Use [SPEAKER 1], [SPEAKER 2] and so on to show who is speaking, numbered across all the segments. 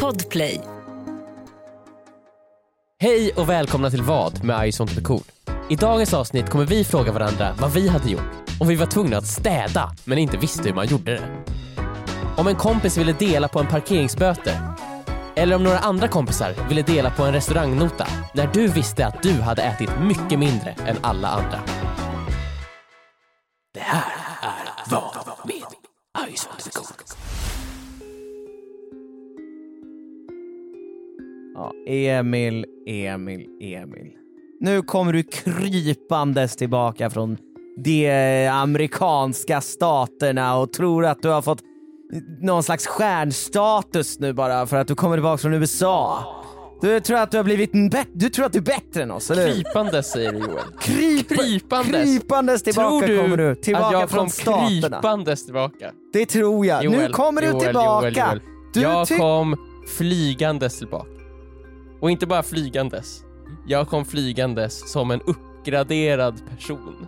[SPEAKER 1] Podplay.
[SPEAKER 2] Hej och välkomna till Vad med Ice on the cool. I dagens avsnitt kommer vi fråga varandra vad vi hade gjort om vi var tvungna att städa men inte visste hur man gjorde det. Om en kompis ville dela på en parkeringsböter. Eller om några andra kompisar ville dela på en restaurangnota när du visste att du hade ätit mycket mindre än alla andra. Det här är Vad med Ice on the cool.
[SPEAKER 3] Ja, Emil, Emil, Emil. Nu kommer du krypandes tillbaka från de amerikanska staterna och tror att du har fått någon slags stjärnstatus nu bara för att du kommer tillbaka från USA. Du tror att du har blivit en bättre, du tror att du är bättre än oss, eller hur?
[SPEAKER 2] Krypande säger du Joel.
[SPEAKER 3] Kryp,
[SPEAKER 2] krypandes.
[SPEAKER 3] krypandes tillbaka
[SPEAKER 2] tror du
[SPEAKER 3] kommer du,
[SPEAKER 2] att
[SPEAKER 3] tillbaka
[SPEAKER 2] jag
[SPEAKER 3] från
[SPEAKER 2] kom
[SPEAKER 3] staterna.
[SPEAKER 2] krypandes tillbaka?
[SPEAKER 3] Det tror jag. nu
[SPEAKER 2] Joel,
[SPEAKER 3] kommer du
[SPEAKER 2] Joel,
[SPEAKER 3] tillbaka.
[SPEAKER 2] Joel, Joel.
[SPEAKER 3] Du
[SPEAKER 2] jag
[SPEAKER 3] tyck-
[SPEAKER 2] kom flygandes tillbaka. Och inte bara flygandes. Jag kom flygandes som en uppgraderad person.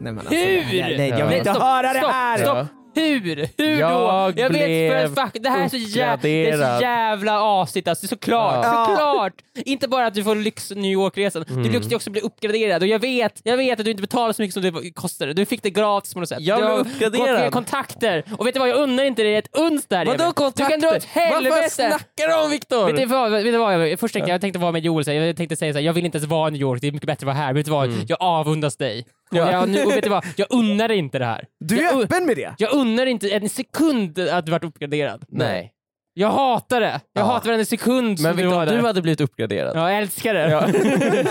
[SPEAKER 3] Nej, men alltså,
[SPEAKER 4] Hur?
[SPEAKER 3] det här- nej, jag vill
[SPEAKER 2] Ja.
[SPEAKER 3] inte höra det här!
[SPEAKER 4] Stopp! Hur? Hur
[SPEAKER 2] Jag
[SPEAKER 4] då? Jag vet för
[SPEAKER 2] blev
[SPEAKER 4] en fuck, det här är så, jä det är
[SPEAKER 2] uppgraderad.
[SPEAKER 4] så jävla asigt alltså, det är såklart,
[SPEAKER 3] Ja.
[SPEAKER 4] såklart! Inte bara att du får lyx New York-resan,
[SPEAKER 2] Mm.
[SPEAKER 4] du lyckas ju också bli uppgraderad och jag vet, jag vet att du inte betalar så mycket som det kostade, du fick det gratis på något sätt.
[SPEAKER 2] Jag
[SPEAKER 4] du
[SPEAKER 2] blev
[SPEAKER 4] har
[SPEAKER 2] uppgraderad.
[SPEAKER 4] gått via kontakter, och vet du vad, jag unnar inte dig ett uns där Emil.
[SPEAKER 2] Vadå kontakter?
[SPEAKER 4] Du kan dra åt
[SPEAKER 2] Vad fan
[SPEAKER 4] helvete!
[SPEAKER 2] snackar du om Viktor?
[SPEAKER 4] Vet du vad, vet du vad jag, först tänkte jag, jag tänkte vara med Joel, så här, jag tänkte säga så här, jag vill inte ens vara i New York, det är mycket bättre att vara här. Vet du vad, jag avundas dig.
[SPEAKER 2] Mm. Ja.
[SPEAKER 4] Och, jag, nu, och vet du vad, jag unnar dig inte det här.
[SPEAKER 3] Du
[SPEAKER 4] Jag
[SPEAKER 3] är
[SPEAKER 4] un-
[SPEAKER 3] öppen med det?
[SPEAKER 4] Jag unnar inte en sekund att du varit uppgraderad.
[SPEAKER 2] Nej.
[SPEAKER 4] Jag hatar det. Jag
[SPEAKER 2] Ja.
[SPEAKER 4] hatar varenda sekund
[SPEAKER 2] Men
[SPEAKER 4] som du var
[SPEAKER 2] Viktor,
[SPEAKER 4] där.
[SPEAKER 2] du hade blivit uppgraderad.
[SPEAKER 4] Ja, jag älskar det.
[SPEAKER 2] Ja.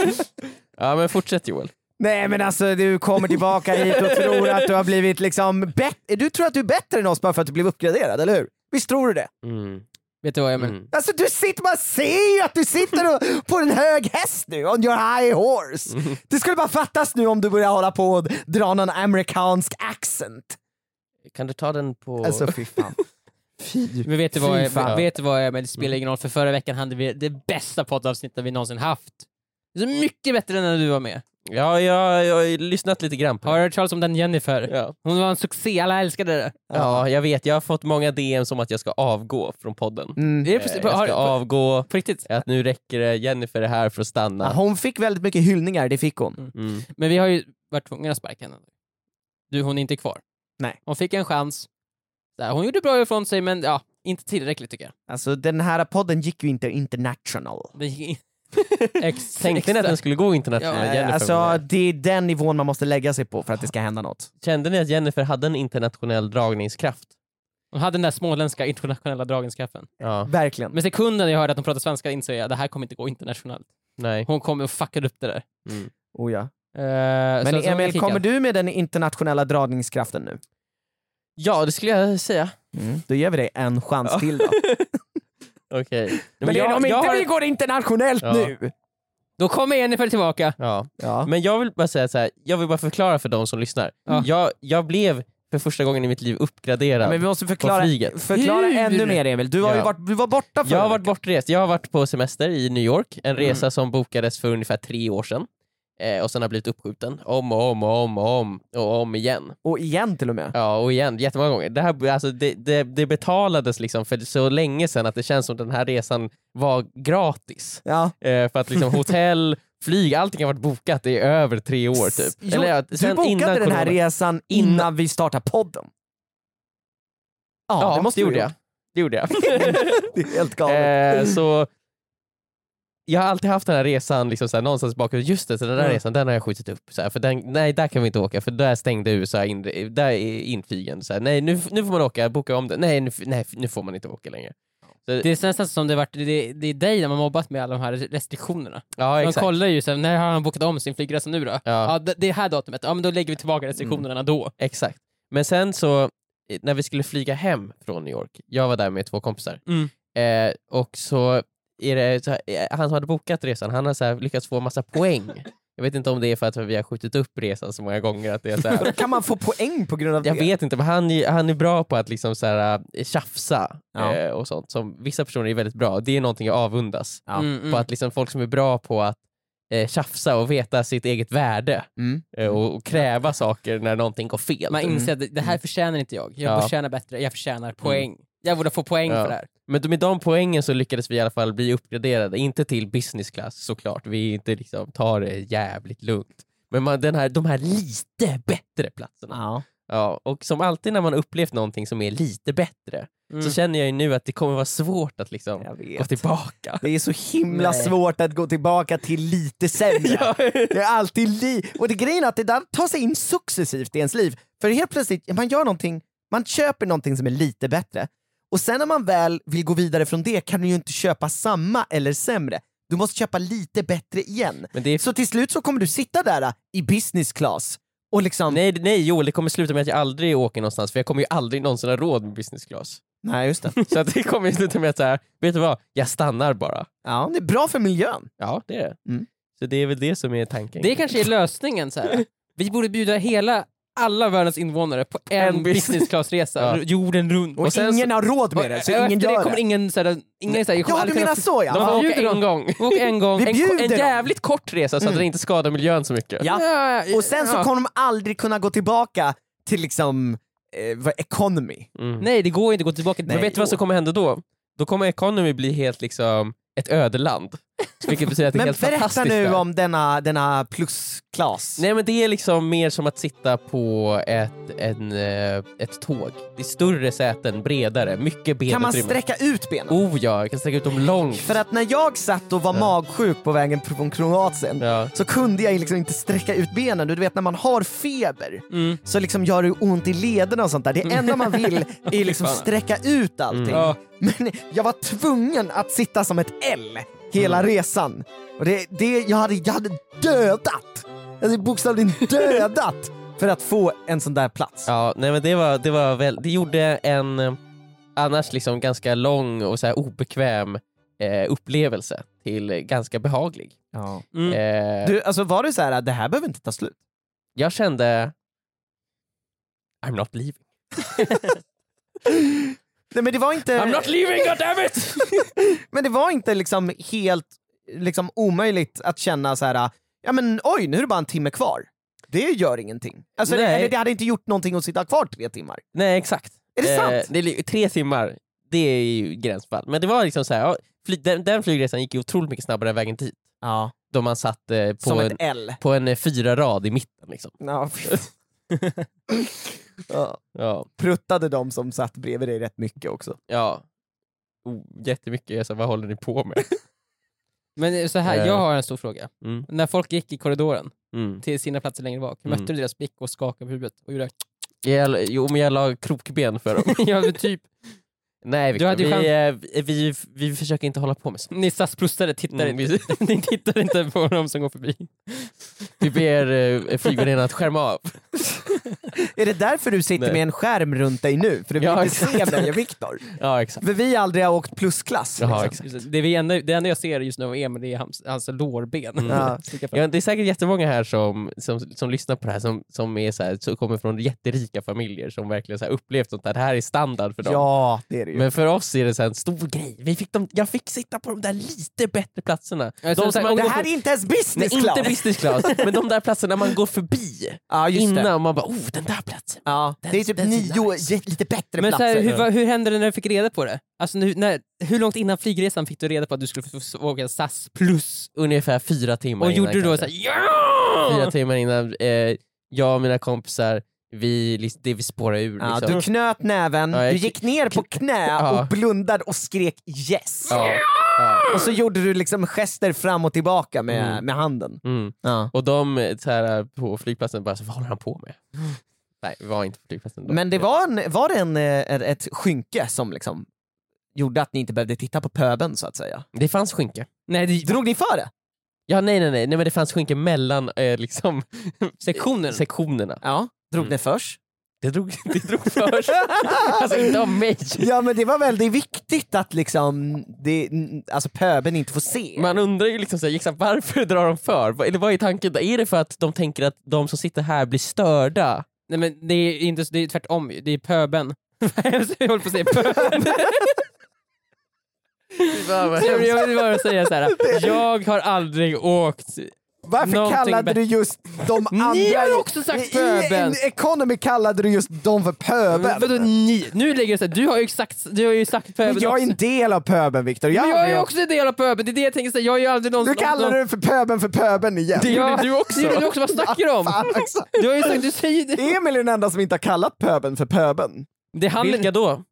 [SPEAKER 2] ja men fortsätt Joel.
[SPEAKER 3] Nej men alltså du kommer tillbaka hit och tror att du har blivit liksom bättre, du tror att du är bättre än oss bara för att du blev uppgraderad, eller hur? Visst tror du det?
[SPEAKER 4] Vet du vad jag menar?
[SPEAKER 2] Mm.
[SPEAKER 3] Alltså du sitter, man ser ju att du sitter och, på en hög häst nu, on your high horse. Det skulle bara fattas nu om du börjar hålla på och dra någon amerikansk accent.
[SPEAKER 2] Kan du ta den på...
[SPEAKER 3] Alltså fy fan. Fy.
[SPEAKER 4] Men vet du vad,
[SPEAKER 3] Fy fan.
[SPEAKER 4] jag, vet du vad jag, men det
[SPEAKER 2] Mm.
[SPEAKER 4] spelar ingen roll, för förra veckan hade vi det bästa poddavsnittet vi någonsin haft. Det är så mycket bättre än när du var med.
[SPEAKER 2] Ja, jag, jag har ju lyssnat lite grann på
[SPEAKER 4] Har
[SPEAKER 2] det.
[SPEAKER 4] du hört talas om den Jennifer?
[SPEAKER 2] Ja.
[SPEAKER 4] Hon var en succé, alla älskade det.
[SPEAKER 2] ja, jag vet. Jag har fått många DM som att jag ska avgå från podden.
[SPEAKER 3] Mm.
[SPEAKER 4] Det är
[SPEAKER 2] Eh,
[SPEAKER 4] precis,
[SPEAKER 2] Jag
[SPEAKER 4] har,
[SPEAKER 2] ska avgå,
[SPEAKER 4] på riktigt.
[SPEAKER 2] att nu räcker det, Jennifer är här för att
[SPEAKER 3] Ja,
[SPEAKER 2] stanna.
[SPEAKER 3] Hon fick väldigt mycket hyllningar, det fick hon.
[SPEAKER 2] Mm.
[SPEAKER 4] Men vi har ju varit tvungna att sparka henne. Du, hon är inte kvar.
[SPEAKER 3] Nej.
[SPEAKER 4] Hon fick en chans. Där, Hon gjorde bra ifrån sig, men ja, inte tillräckligt tycker jag.
[SPEAKER 3] Alltså den här podden gick ju inte international.
[SPEAKER 4] Det- Ex-
[SPEAKER 2] Tänkte ni att
[SPEAKER 4] exakt.
[SPEAKER 2] den skulle gå internationellt?
[SPEAKER 4] Ja,
[SPEAKER 2] när Jennifer var
[SPEAKER 3] Alltså
[SPEAKER 2] med?
[SPEAKER 3] det är den nivån man måste lägga sig på för att det ska hända något.
[SPEAKER 2] Kände ni att Jennifer hade en internationell dragningskraft?
[SPEAKER 4] Hon hade den där småländska internationella dragningskraften.
[SPEAKER 2] Ja,
[SPEAKER 3] Verkligen.
[SPEAKER 4] Men sekunden jag hörde att hon pratade svenska inser jag att det här kommer inte gå internationellt.
[SPEAKER 2] nej.
[SPEAKER 4] Hon kommer och fuckade upp det där.
[SPEAKER 3] Oh, ja.
[SPEAKER 4] Eh,
[SPEAKER 3] Men
[SPEAKER 4] så- så hon
[SPEAKER 3] Emil,
[SPEAKER 4] kickad.
[SPEAKER 3] kommer du med den internationella dragningskraften nu?
[SPEAKER 2] Ja, det skulle jag säga.
[SPEAKER 3] Då ger vi dig en chans
[SPEAKER 2] Mm. Ja.
[SPEAKER 3] till då.
[SPEAKER 2] Okej. Nej,
[SPEAKER 3] Men det är om inte
[SPEAKER 2] har-
[SPEAKER 3] vi går internationellt
[SPEAKER 2] Ja.
[SPEAKER 3] nu!
[SPEAKER 4] Då kommer Jennifer tillbaka.
[SPEAKER 2] Ja.
[SPEAKER 3] Ja.
[SPEAKER 2] Men jag vill bara säga så här. jag vill bara förklara för de som lyssnar.
[SPEAKER 4] Ja.
[SPEAKER 2] Jag, jag blev för första gången i mitt liv uppgraderad.
[SPEAKER 3] Men vi måste
[SPEAKER 2] På
[SPEAKER 3] förklara,
[SPEAKER 2] flyget.
[SPEAKER 3] förklara
[SPEAKER 4] Hur?
[SPEAKER 3] ännu mer Emil, du har ju
[SPEAKER 2] Ja.
[SPEAKER 3] varit, du var borta förra
[SPEAKER 2] Jag har varit
[SPEAKER 3] veckan.
[SPEAKER 2] bortrest. Jag har varit på semester i New York,
[SPEAKER 3] Mm.
[SPEAKER 2] en resa som bokades för ungefär tre år sedan. Eh, och sen har blivit uppskjuten om och om och om och om och om igen.
[SPEAKER 3] Och igen till och med.
[SPEAKER 2] Ja, och igen, jättemånga gånger. Det, här, alltså, det, det, det betalades liksom för så länge sedan att det känns som att den här resan var gratis.
[SPEAKER 3] Ja.
[SPEAKER 2] Eh, för att liksom hotell, flyg, allting har varit bokat i över tre år typ.
[SPEAKER 3] Jo,
[SPEAKER 2] ja,
[SPEAKER 3] Du bokade den här
[SPEAKER 2] corona.
[SPEAKER 3] resan innan, vi startade podden. Ja,
[SPEAKER 2] Ja,
[SPEAKER 3] det måste
[SPEAKER 2] det
[SPEAKER 3] du
[SPEAKER 2] gjorde
[SPEAKER 3] ha
[SPEAKER 2] jag.
[SPEAKER 3] gjort.
[SPEAKER 2] Det gjorde jag.
[SPEAKER 3] Det är helt galet.
[SPEAKER 2] Eh, så jag har alltid haft den här resan liksom såhär, någonstans bakom, just det, så den där
[SPEAKER 3] Mm.
[SPEAKER 2] resan den har jag skjutit upp. Såhär, för den, nej, där kan vi inte åka för där stängde USA in, där är inflygen. Såhär, nej, nu, nu får man åka, boka om det. Nej, nu, nej, nu får man inte åka längre. Så,
[SPEAKER 4] Det är nästan som det, varit, det, det är dig de har mobbat med alla de här restriktionerna.
[SPEAKER 2] ja,
[SPEAKER 4] De
[SPEAKER 2] exakt.
[SPEAKER 4] kollar ju sen, när har han bokat om sin flygresa nu då? Ja. det, det här datumet, ja men då lägger vi
[SPEAKER 3] Mm.
[SPEAKER 4] tillbaka restriktionerna då.
[SPEAKER 2] Exakt. Men sen så, eh, när vi skulle flyga hem från New York, jag var där med två kompisar,
[SPEAKER 4] Mm.
[SPEAKER 2] eh, och så är det, så här, eh, han som hade bokat resan, han har så här, lyckats få massa poäng. Jag vet inte om det är för att vi har skjutit upp resan så många gånger. Att det är så här,
[SPEAKER 3] Kan man få poäng på grund av
[SPEAKER 2] Eh. jag
[SPEAKER 3] det?
[SPEAKER 2] vet inte, men han, är- han är bra på att liksom så här, eh, tjafsa
[SPEAKER 3] Ja.
[SPEAKER 2] eh, och sånt. Som vissa personer är väldigt bra Det är någonting jag avundas.
[SPEAKER 3] Ja.
[SPEAKER 4] Mm, mm.
[SPEAKER 2] På att liksom folk som är bra på att eh, tjafsa och veta sitt eget värde
[SPEAKER 3] Mm.
[SPEAKER 2] eh, och, och kräva saker när någonting går fel.
[SPEAKER 3] Mm.
[SPEAKER 4] Man inser att det här förtjänar inte jag. Jag
[SPEAKER 2] Ja.
[SPEAKER 4] förtjänar bättre, jag förtjänar poäng. Jag borde få poäng
[SPEAKER 2] Ja.
[SPEAKER 4] för det här.
[SPEAKER 2] Men med de poängen så lyckades vi i alla fall bli uppgraderade. Inte till business class såklart, vi inte liksom tar det jävligt lugnt. Men man, den här, de här lite bättre platserna.
[SPEAKER 3] Ja.
[SPEAKER 2] Ja, och som alltid när man upplevt någonting som är lite bättre
[SPEAKER 4] Mm.
[SPEAKER 2] så känner jag ju nu att det kommer vara svårt att liksom
[SPEAKER 3] Jag
[SPEAKER 2] gå
[SPEAKER 3] vet.
[SPEAKER 2] tillbaka.
[SPEAKER 3] Det är så himla
[SPEAKER 4] Nej.
[SPEAKER 3] svårt att gå tillbaka till lite sämre.
[SPEAKER 2] Ja.
[SPEAKER 3] Det är alltid li- och det grejen är att det där tar sig in successivt i ens liv. För helt plötsligt, man gör någonting, man köper någonting som är lite bättre. Och sen när man väl vill gå vidare från det kan du ju inte köpa samma eller sämre. Du måste köpa lite bättre igen.
[SPEAKER 2] Men det är,
[SPEAKER 3] Så till slut så kommer du sitta där äh, i business class och liksom...
[SPEAKER 2] nej, nej Joel, det kommer sluta med att jag aldrig åker någonstans för jag kommer ju aldrig någonsin ha råd med business class.
[SPEAKER 3] Nej, just det.
[SPEAKER 2] Så att det kommer ju sluta med att så här, vet du vad, jag stannar bara.
[SPEAKER 3] Ja, det är bra för miljön.
[SPEAKER 2] Ja, det är det.
[SPEAKER 3] Mm.
[SPEAKER 2] Så det är väl det som är tanken.
[SPEAKER 4] Det kanske är lösningen. Så här. Vi borde bjuda hela, alla världens invånare på en,
[SPEAKER 2] En business-
[SPEAKER 4] business class-resa
[SPEAKER 2] Ja.
[SPEAKER 4] jorden runt.
[SPEAKER 3] Och,
[SPEAKER 2] sen
[SPEAKER 3] ingen har råd
[SPEAKER 4] och
[SPEAKER 3] med det, så
[SPEAKER 4] efter
[SPEAKER 3] ingen gör
[SPEAKER 4] kommer
[SPEAKER 3] det.
[SPEAKER 4] ingen... Så här, ingen så här, jag kommer
[SPEAKER 3] Ja, du
[SPEAKER 4] aldrig
[SPEAKER 3] menar
[SPEAKER 4] kunna-
[SPEAKER 3] så
[SPEAKER 2] De
[SPEAKER 4] Ja,
[SPEAKER 3] ja.
[SPEAKER 2] får
[SPEAKER 4] vi
[SPEAKER 2] åka
[SPEAKER 4] bjuder
[SPEAKER 2] en gång.
[SPEAKER 4] Och en gång,
[SPEAKER 3] Vi
[SPEAKER 4] en, ko-
[SPEAKER 3] bjuder
[SPEAKER 4] en
[SPEAKER 3] dem.
[SPEAKER 4] jävligt
[SPEAKER 2] Kort resa så att den inte skadar miljön så mycket.
[SPEAKER 3] Ja.
[SPEAKER 4] Mm. Ja,
[SPEAKER 3] Och sen så
[SPEAKER 4] ja.
[SPEAKER 3] kommer de aldrig kunna gå tillbaka till liksom eh, vad- economy.
[SPEAKER 2] Mm.
[SPEAKER 4] Nej, det går inte att gå tillbaka till
[SPEAKER 2] Men vet du vad som kommer hända då? Då kommer Economy bli helt liksom ett ödeland. Vilket betyder att det är
[SPEAKER 3] Men
[SPEAKER 2] helt
[SPEAKER 3] berätta
[SPEAKER 2] fantastiskt
[SPEAKER 3] nu
[SPEAKER 2] där.
[SPEAKER 3] om denna, denna plusklass.
[SPEAKER 2] Nej men det är liksom mer som att sitta på ett, en, eh, ett tåg. Det är större säten, bredare, mycket
[SPEAKER 3] kan man
[SPEAKER 2] benutrymme.
[SPEAKER 3] sträcka ut benen?
[SPEAKER 2] Oh ja, jag kan sträcka ut dem långt.
[SPEAKER 3] För att när jag satt och var
[SPEAKER 2] Ja.
[SPEAKER 3] magsjuk på vägen från Kroatien
[SPEAKER 2] Ja.
[SPEAKER 3] så kunde jag liksom inte sträcka ut benen. Du vet när man har feber
[SPEAKER 4] Mm.
[SPEAKER 3] så liksom gör det ont i lederna och sånt där. Det enda man vill är liksom
[SPEAKER 4] Fy fan.
[SPEAKER 3] sträcka ut allting.
[SPEAKER 2] Ja.
[SPEAKER 3] Men jag var tvungen att sitta som ett L hela resan. Och det, det, jag, hade, jag hade dödat, alltså bokstavligen dödat för att få en sån där plats.
[SPEAKER 2] Ja, nej men det var, det var väl, det gjorde en eh, annars liksom ganska lång och så här obekväm eh, upplevelse till eh, ganska behaglig.
[SPEAKER 3] Ja.
[SPEAKER 4] Mm.
[SPEAKER 2] Eh,
[SPEAKER 3] Du, alltså var du så här, det här behöver inte ta slut?
[SPEAKER 2] jag kände I'm not leaving.
[SPEAKER 3] Nej, men det var
[SPEAKER 2] I'm
[SPEAKER 3] inte,
[SPEAKER 2] not leaving, goddammit!
[SPEAKER 3] men det var inte liksom helt liksom omöjligt att känna så här, äh, ja men oj, nu är det bara en timme kvar. Det gör ingenting. Alltså, det,
[SPEAKER 2] Nej.
[SPEAKER 3] eller det hade inte gjort någonting att sitta kvar tre timmar.
[SPEAKER 2] nej, exakt. Eh,
[SPEAKER 3] Är det sant?
[SPEAKER 2] det är li- tre timmar, det är ju gränsfall. Men det var liksom så här, ja, fly, den, den flygresan gick ju otroligt mycket snabbare än vägen dit.
[SPEAKER 3] Ja.
[SPEAKER 2] Då man satt eh,
[SPEAKER 3] Som
[SPEAKER 2] på, en,
[SPEAKER 3] ett L.
[SPEAKER 2] på en eh, fyra rad i mitten. Liksom.
[SPEAKER 3] Ja, fy fan. ja,
[SPEAKER 2] Ja,
[SPEAKER 3] pruttade de som satt bredvid dig rätt mycket också.
[SPEAKER 2] ja. Oh, jättemycket, jag sa, vad håller ni på med?
[SPEAKER 4] Men så här,
[SPEAKER 2] Eh.
[SPEAKER 4] jag har en stor fråga.
[SPEAKER 2] Mm.
[SPEAKER 4] När folk gick i korridoren
[SPEAKER 2] Mm.
[SPEAKER 4] till sina platser längre bak,
[SPEAKER 2] Mm.
[SPEAKER 4] mötte du deras blick och skakade på huvudet? Och gjorde,
[SPEAKER 2] Jag, jo men jag la krokben för dem.
[SPEAKER 4] ja, men typ,
[SPEAKER 2] Nej Victor,
[SPEAKER 4] hade ju chans-
[SPEAKER 2] vi, eh, vi, vi, vi försöker inte hålla på med sånt.
[SPEAKER 4] ni SAS-plussare tittar
[SPEAKER 2] Mm,
[SPEAKER 4] inte. ni tittar inte på dem som går förbi.
[SPEAKER 2] Vi ber eh, flygvärdinnan att skärma av.
[SPEAKER 3] Är det därför du sitter
[SPEAKER 2] Nej.
[SPEAKER 3] med en skärm runt dig nu? För du vill
[SPEAKER 2] Ja,
[SPEAKER 3] inte se mig och Viktor?
[SPEAKER 2] Ja exakt.
[SPEAKER 3] För vi aldrig har åkt plusklass.
[SPEAKER 2] Jaha,
[SPEAKER 3] liksom.
[SPEAKER 2] exakt.
[SPEAKER 4] Det, vi enda, det enda jag ser just nu av Emil det är hans, hans lårben.
[SPEAKER 2] Mm.
[SPEAKER 3] Ja.
[SPEAKER 4] Sticka fram.
[SPEAKER 2] Ja, det är säkert jättemånga här som, som, som lyssnar på det här som, som är så här, så kommer från jätterika familjer som verkligen så här upplevt sånt här. Det här är standard för dem.
[SPEAKER 3] Ja, det är det ju.
[SPEAKER 2] Men för oss är det så här en stor grej. Vi fick dem, jag fick sitta på de där lite bättre platserna.
[SPEAKER 4] Ja, så-
[SPEAKER 2] de
[SPEAKER 4] så-
[SPEAKER 2] man
[SPEAKER 3] Det
[SPEAKER 2] går
[SPEAKER 3] här
[SPEAKER 2] för-
[SPEAKER 3] är inte ens
[SPEAKER 2] Nej,
[SPEAKER 3] business class!
[SPEAKER 2] inte business class, men de där platserna man går förbi
[SPEAKER 3] ja, just
[SPEAKER 2] innan
[SPEAKER 3] det.
[SPEAKER 2] man bara oh den där platsen.
[SPEAKER 3] Ja, det är typ
[SPEAKER 2] Den- den
[SPEAKER 3] nio
[SPEAKER 2] nice.
[SPEAKER 3] ge- lite bättre
[SPEAKER 4] Men så
[SPEAKER 3] platser.
[SPEAKER 4] här, hur, vad- hur hände det när du fick reda på det? Alltså, nu, när, hur långt innan flygresan fick du reda på att du skulle få- få åka SAS plus?
[SPEAKER 2] Ungefär fyra timmar
[SPEAKER 4] Och
[SPEAKER 2] innan
[SPEAKER 4] gjorde du då
[SPEAKER 2] kanske.
[SPEAKER 4] såhär ja!
[SPEAKER 2] Fyra timmar innan eh, jag och mina kompisar, vi, lis- det vi spårar ur.
[SPEAKER 3] ja,
[SPEAKER 2] liksom.
[SPEAKER 3] du knöt näven,
[SPEAKER 2] Ja, jag
[SPEAKER 3] du
[SPEAKER 2] kn-
[SPEAKER 3] gick ner på knä
[SPEAKER 2] Ja.
[SPEAKER 3] och blundade och skrek yes.
[SPEAKER 2] ja, ja.
[SPEAKER 3] Och så gjorde du liksom gester fram och tillbaka med,
[SPEAKER 2] Mm.
[SPEAKER 3] med handen.
[SPEAKER 2] Mm.
[SPEAKER 3] Ja.
[SPEAKER 2] Och de eh, så här, på flygplatsen bara, så, vad håller han på med? Nej, vi var inte på flygplatsen då.
[SPEAKER 3] Men det var, en, var det en, eh, ett skynke som liksom gjorde att ni inte behövde titta på pöben så att säga?
[SPEAKER 2] Det fanns skinka.
[SPEAKER 4] Nej, det,
[SPEAKER 3] Drog ni för det?
[SPEAKER 2] Ja, nej, nej, nej, nej men det fanns skinka mellan eh, liksom,
[SPEAKER 4] sektionen.
[SPEAKER 2] sektionerna.
[SPEAKER 3] Ja. Drog
[SPEAKER 2] Mm.
[SPEAKER 3] ni först?
[SPEAKER 2] Det drog, det drog för sig. Alltså inte av mig.
[SPEAKER 3] Ja men det var väldigt viktigt att liksom, det, alltså pöben inte får se.
[SPEAKER 2] Man undrar ju liksom, så här, Jackson, varför drar de för? Vad- Eller vad är tanken? där? Är det för att de tänker att de som sitter här blir störda?
[SPEAKER 4] Nej men det är, inte, så- det är tvärtom ju. det är pöben. jag höll på att säga pöben. jag vill bara säga så här. jag har aldrig åkt
[SPEAKER 3] Varför
[SPEAKER 4] Någonting
[SPEAKER 3] kallade
[SPEAKER 4] bättre.
[SPEAKER 3] du just de andra...
[SPEAKER 4] Ni har ju också sagt
[SPEAKER 3] I-
[SPEAKER 4] pöbel.
[SPEAKER 3] I Economy kallade du just dem för pöbel.
[SPEAKER 4] Vadå ni? Nu lägger det sig. Du har ju exakt, du har ju sagt pöbeln
[SPEAKER 3] Men jag är en
[SPEAKER 4] också.
[SPEAKER 3] del av pöbeln Viktor.
[SPEAKER 4] Men jag är ju
[SPEAKER 3] Jag-
[SPEAKER 4] också en del av pöbeln, det är det jag tänker säga. Jag är ju aldrig någon
[SPEAKER 3] Du kallar det för pöbeln för pöbeln igen.
[SPEAKER 4] Det gjorde du också. Det gjorde du också, vad snackar du om?
[SPEAKER 3] Fan också.
[SPEAKER 4] Du har ju sagt, du säger det.
[SPEAKER 3] Emil är den enda som inte har kallat pöbeln för pöbeln.
[SPEAKER 4] det handlar-
[SPEAKER 2] Vilka då?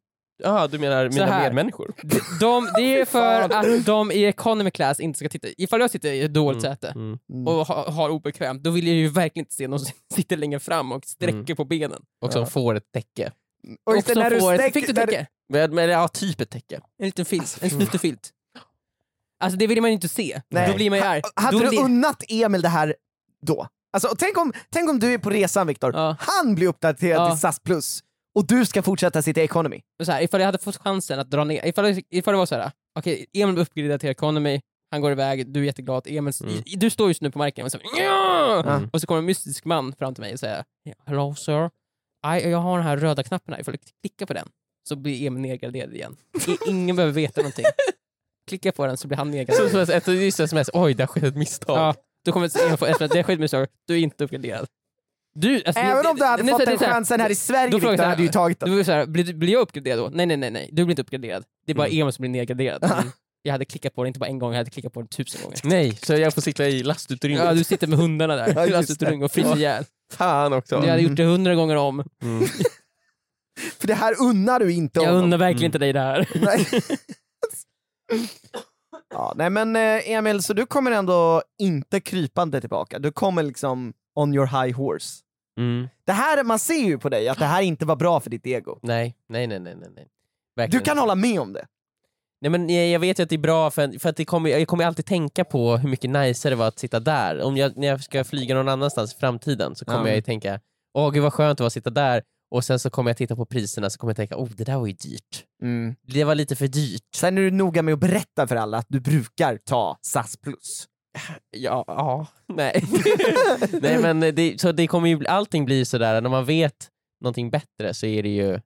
[SPEAKER 2] Jaha, du menar mina
[SPEAKER 4] här.
[SPEAKER 2] medmänniskor?
[SPEAKER 4] De, det är för att de i economy class inte ska titta. Ifall jag sitter i ett dåligt säte
[SPEAKER 2] mm.
[SPEAKER 4] och ha, har obekvämt, då vill jag ju verkligen inte se någon som sitter längre fram och sträcker på benen.
[SPEAKER 2] Mm. Och som får ett täcke.
[SPEAKER 3] Och
[SPEAKER 4] Och
[SPEAKER 3] inte
[SPEAKER 4] som
[SPEAKER 3] när du
[SPEAKER 4] får ett-
[SPEAKER 3] sträck-
[SPEAKER 4] Fick du
[SPEAKER 3] när du-
[SPEAKER 4] täcke?
[SPEAKER 2] Men, men ja, typ ett täcke.
[SPEAKER 4] En liten filt. En liten filt. Alltså det vill man ju inte se.
[SPEAKER 3] Nej.
[SPEAKER 4] Då blir man ju arg.
[SPEAKER 3] Hade
[SPEAKER 4] Då
[SPEAKER 3] du
[SPEAKER 4] blir-
[SPEAKER 3] unnat Emil det här då? Alltså, och tänk, om, tänk om du är på resan Viktor,
[SPEAKER 4] Ja.
[SPEAKER 3] han blir uppdaterad
[SPEAKER 4] Ja.
[SPEAKER 3] till SAS plus och du ska fortsätta sitta i economy.
[SPEAKER 4] så här, ifall jag hade fått chansen att dra ner, ifall, ifall det var så här, okej Emil blir uppgraderad till economy, han går iväg, du är jätteglad, Emil, du står just nu på marken och så, "Ja!"
[SPEAKER 2] Mm.
[SPEAKER 4] och så kommer en mystisk man fram till mig och säger Hello sir, I, jag har den här röda knappen här, ifall du klickar på den så blir Emil nedgraderad igen. I, ingen behöver veta någonting. Klicka på den så blir han
[SPEAKER 2] Så,
[SPEAKER 4] nedgraderad.
[SPEAKER 2] så, ett, just sms, oj där skedde ett misstag.
[SPEAKER 4] Ja, då kommer Emil få efter det skett misstag, du är inte uppgraderad. Du, alltså,
[SPEAKER 3] Även
[SPEAKER 4] det-
[SPEAKER 3] om du hade
[SPEAKER 4] det- det-
[SPEAKER 3] fått
[SPEAKER 4] det-
[SPEAKER 3] den
[SPEAKER 4] det- det-
[SPEAKER 3] chansen här i Sverige
[SPEAKER 4] då frågar jag
[SPEAKER 3] Viktor
[SPEAKER 4] så här,
[SPEAKER 3] hade du ju tagit
[SPEAKER 4] det
[SPEAKER 3] den.
[SPEAKER 4] var så här, blir, blir jag uppgraderad då? Nej, nej, nej, nej. du blir inte uppgraderad. Det är bara
[SPEAKER 3] Mm.
[SPEAKER 4] Emil som blir nedgraderad. Jag hade klickat på det inte bara en gång, jag hade klickat på det tusen gånger.
[SPEAKER 2] Nej, så jag får sitta i lastutrymmet.
[SPEAKER 4] Ja, du sitter med hundarna
[SPEAKER 3] Ja,
[SPEAKER 4] där,
[SPEAKER 3] just
[SPEAKER 4] lastutrymmet och fryser ihjäl.
[SPEAKER 2] Fan också.
[SPEAKER 4] Jag hade gjort det hundra gånger om.
[SPEAKER 2] Mm.
[SPEAKER 3] För det här unnar du inte
[SPEAKER 4] Jag
[SPEAKER 3] honom.
[SPEAKER 4] undrar verkligen inte dig det här.
[SPEAKER 3] Nej. ja, nej men eh, Emil, så du kommer ändå inte krypande tillbaka. Du kommer liksom on your high horse.
[SPEAKER 2] Mm.
[SPEAKER 3] Det här, man ser ju på dig att det här inte var bra för ditt ego.
[SPEAKER 2] Nej, nej, nej, nej. nej, nej.
[SPEAKER 3] Du
[SPEAKER 2] Verkligen
[SPEAKER 3] kan
[SPEAKER 2] inte.
[SPEAKER 3] hålla med om det.
[SPEAKER 2] Nej, men jag, jag vet ju att det är bra, för, för att det kommer, jag kommer alltid tänka på hur mycket nicer det var att sitta där. Om jag, när jag ska flyga någon annanstans i framtiden så kommer
[SPEAKER 3] Ja.
[SPEAKER 2] jag ju tänka, åh gud vad skönt det var att sitta där. Och sen så kommer jag titta på priserna så kommer jag tänka, oh det där var ju dyrt.
[SPEAKER 4] Mm.
[SPEAKER 2] Det var lite för dyrt.
[SPEAKER 3] Sen är du noga med att berätta för alla att du brukar ta SAS plus.
[SPEAKER 2] Ja, ja nej. nej men det, så det kommer ju, bli- allting blir sådär, när man vet någonting bättre så är det ju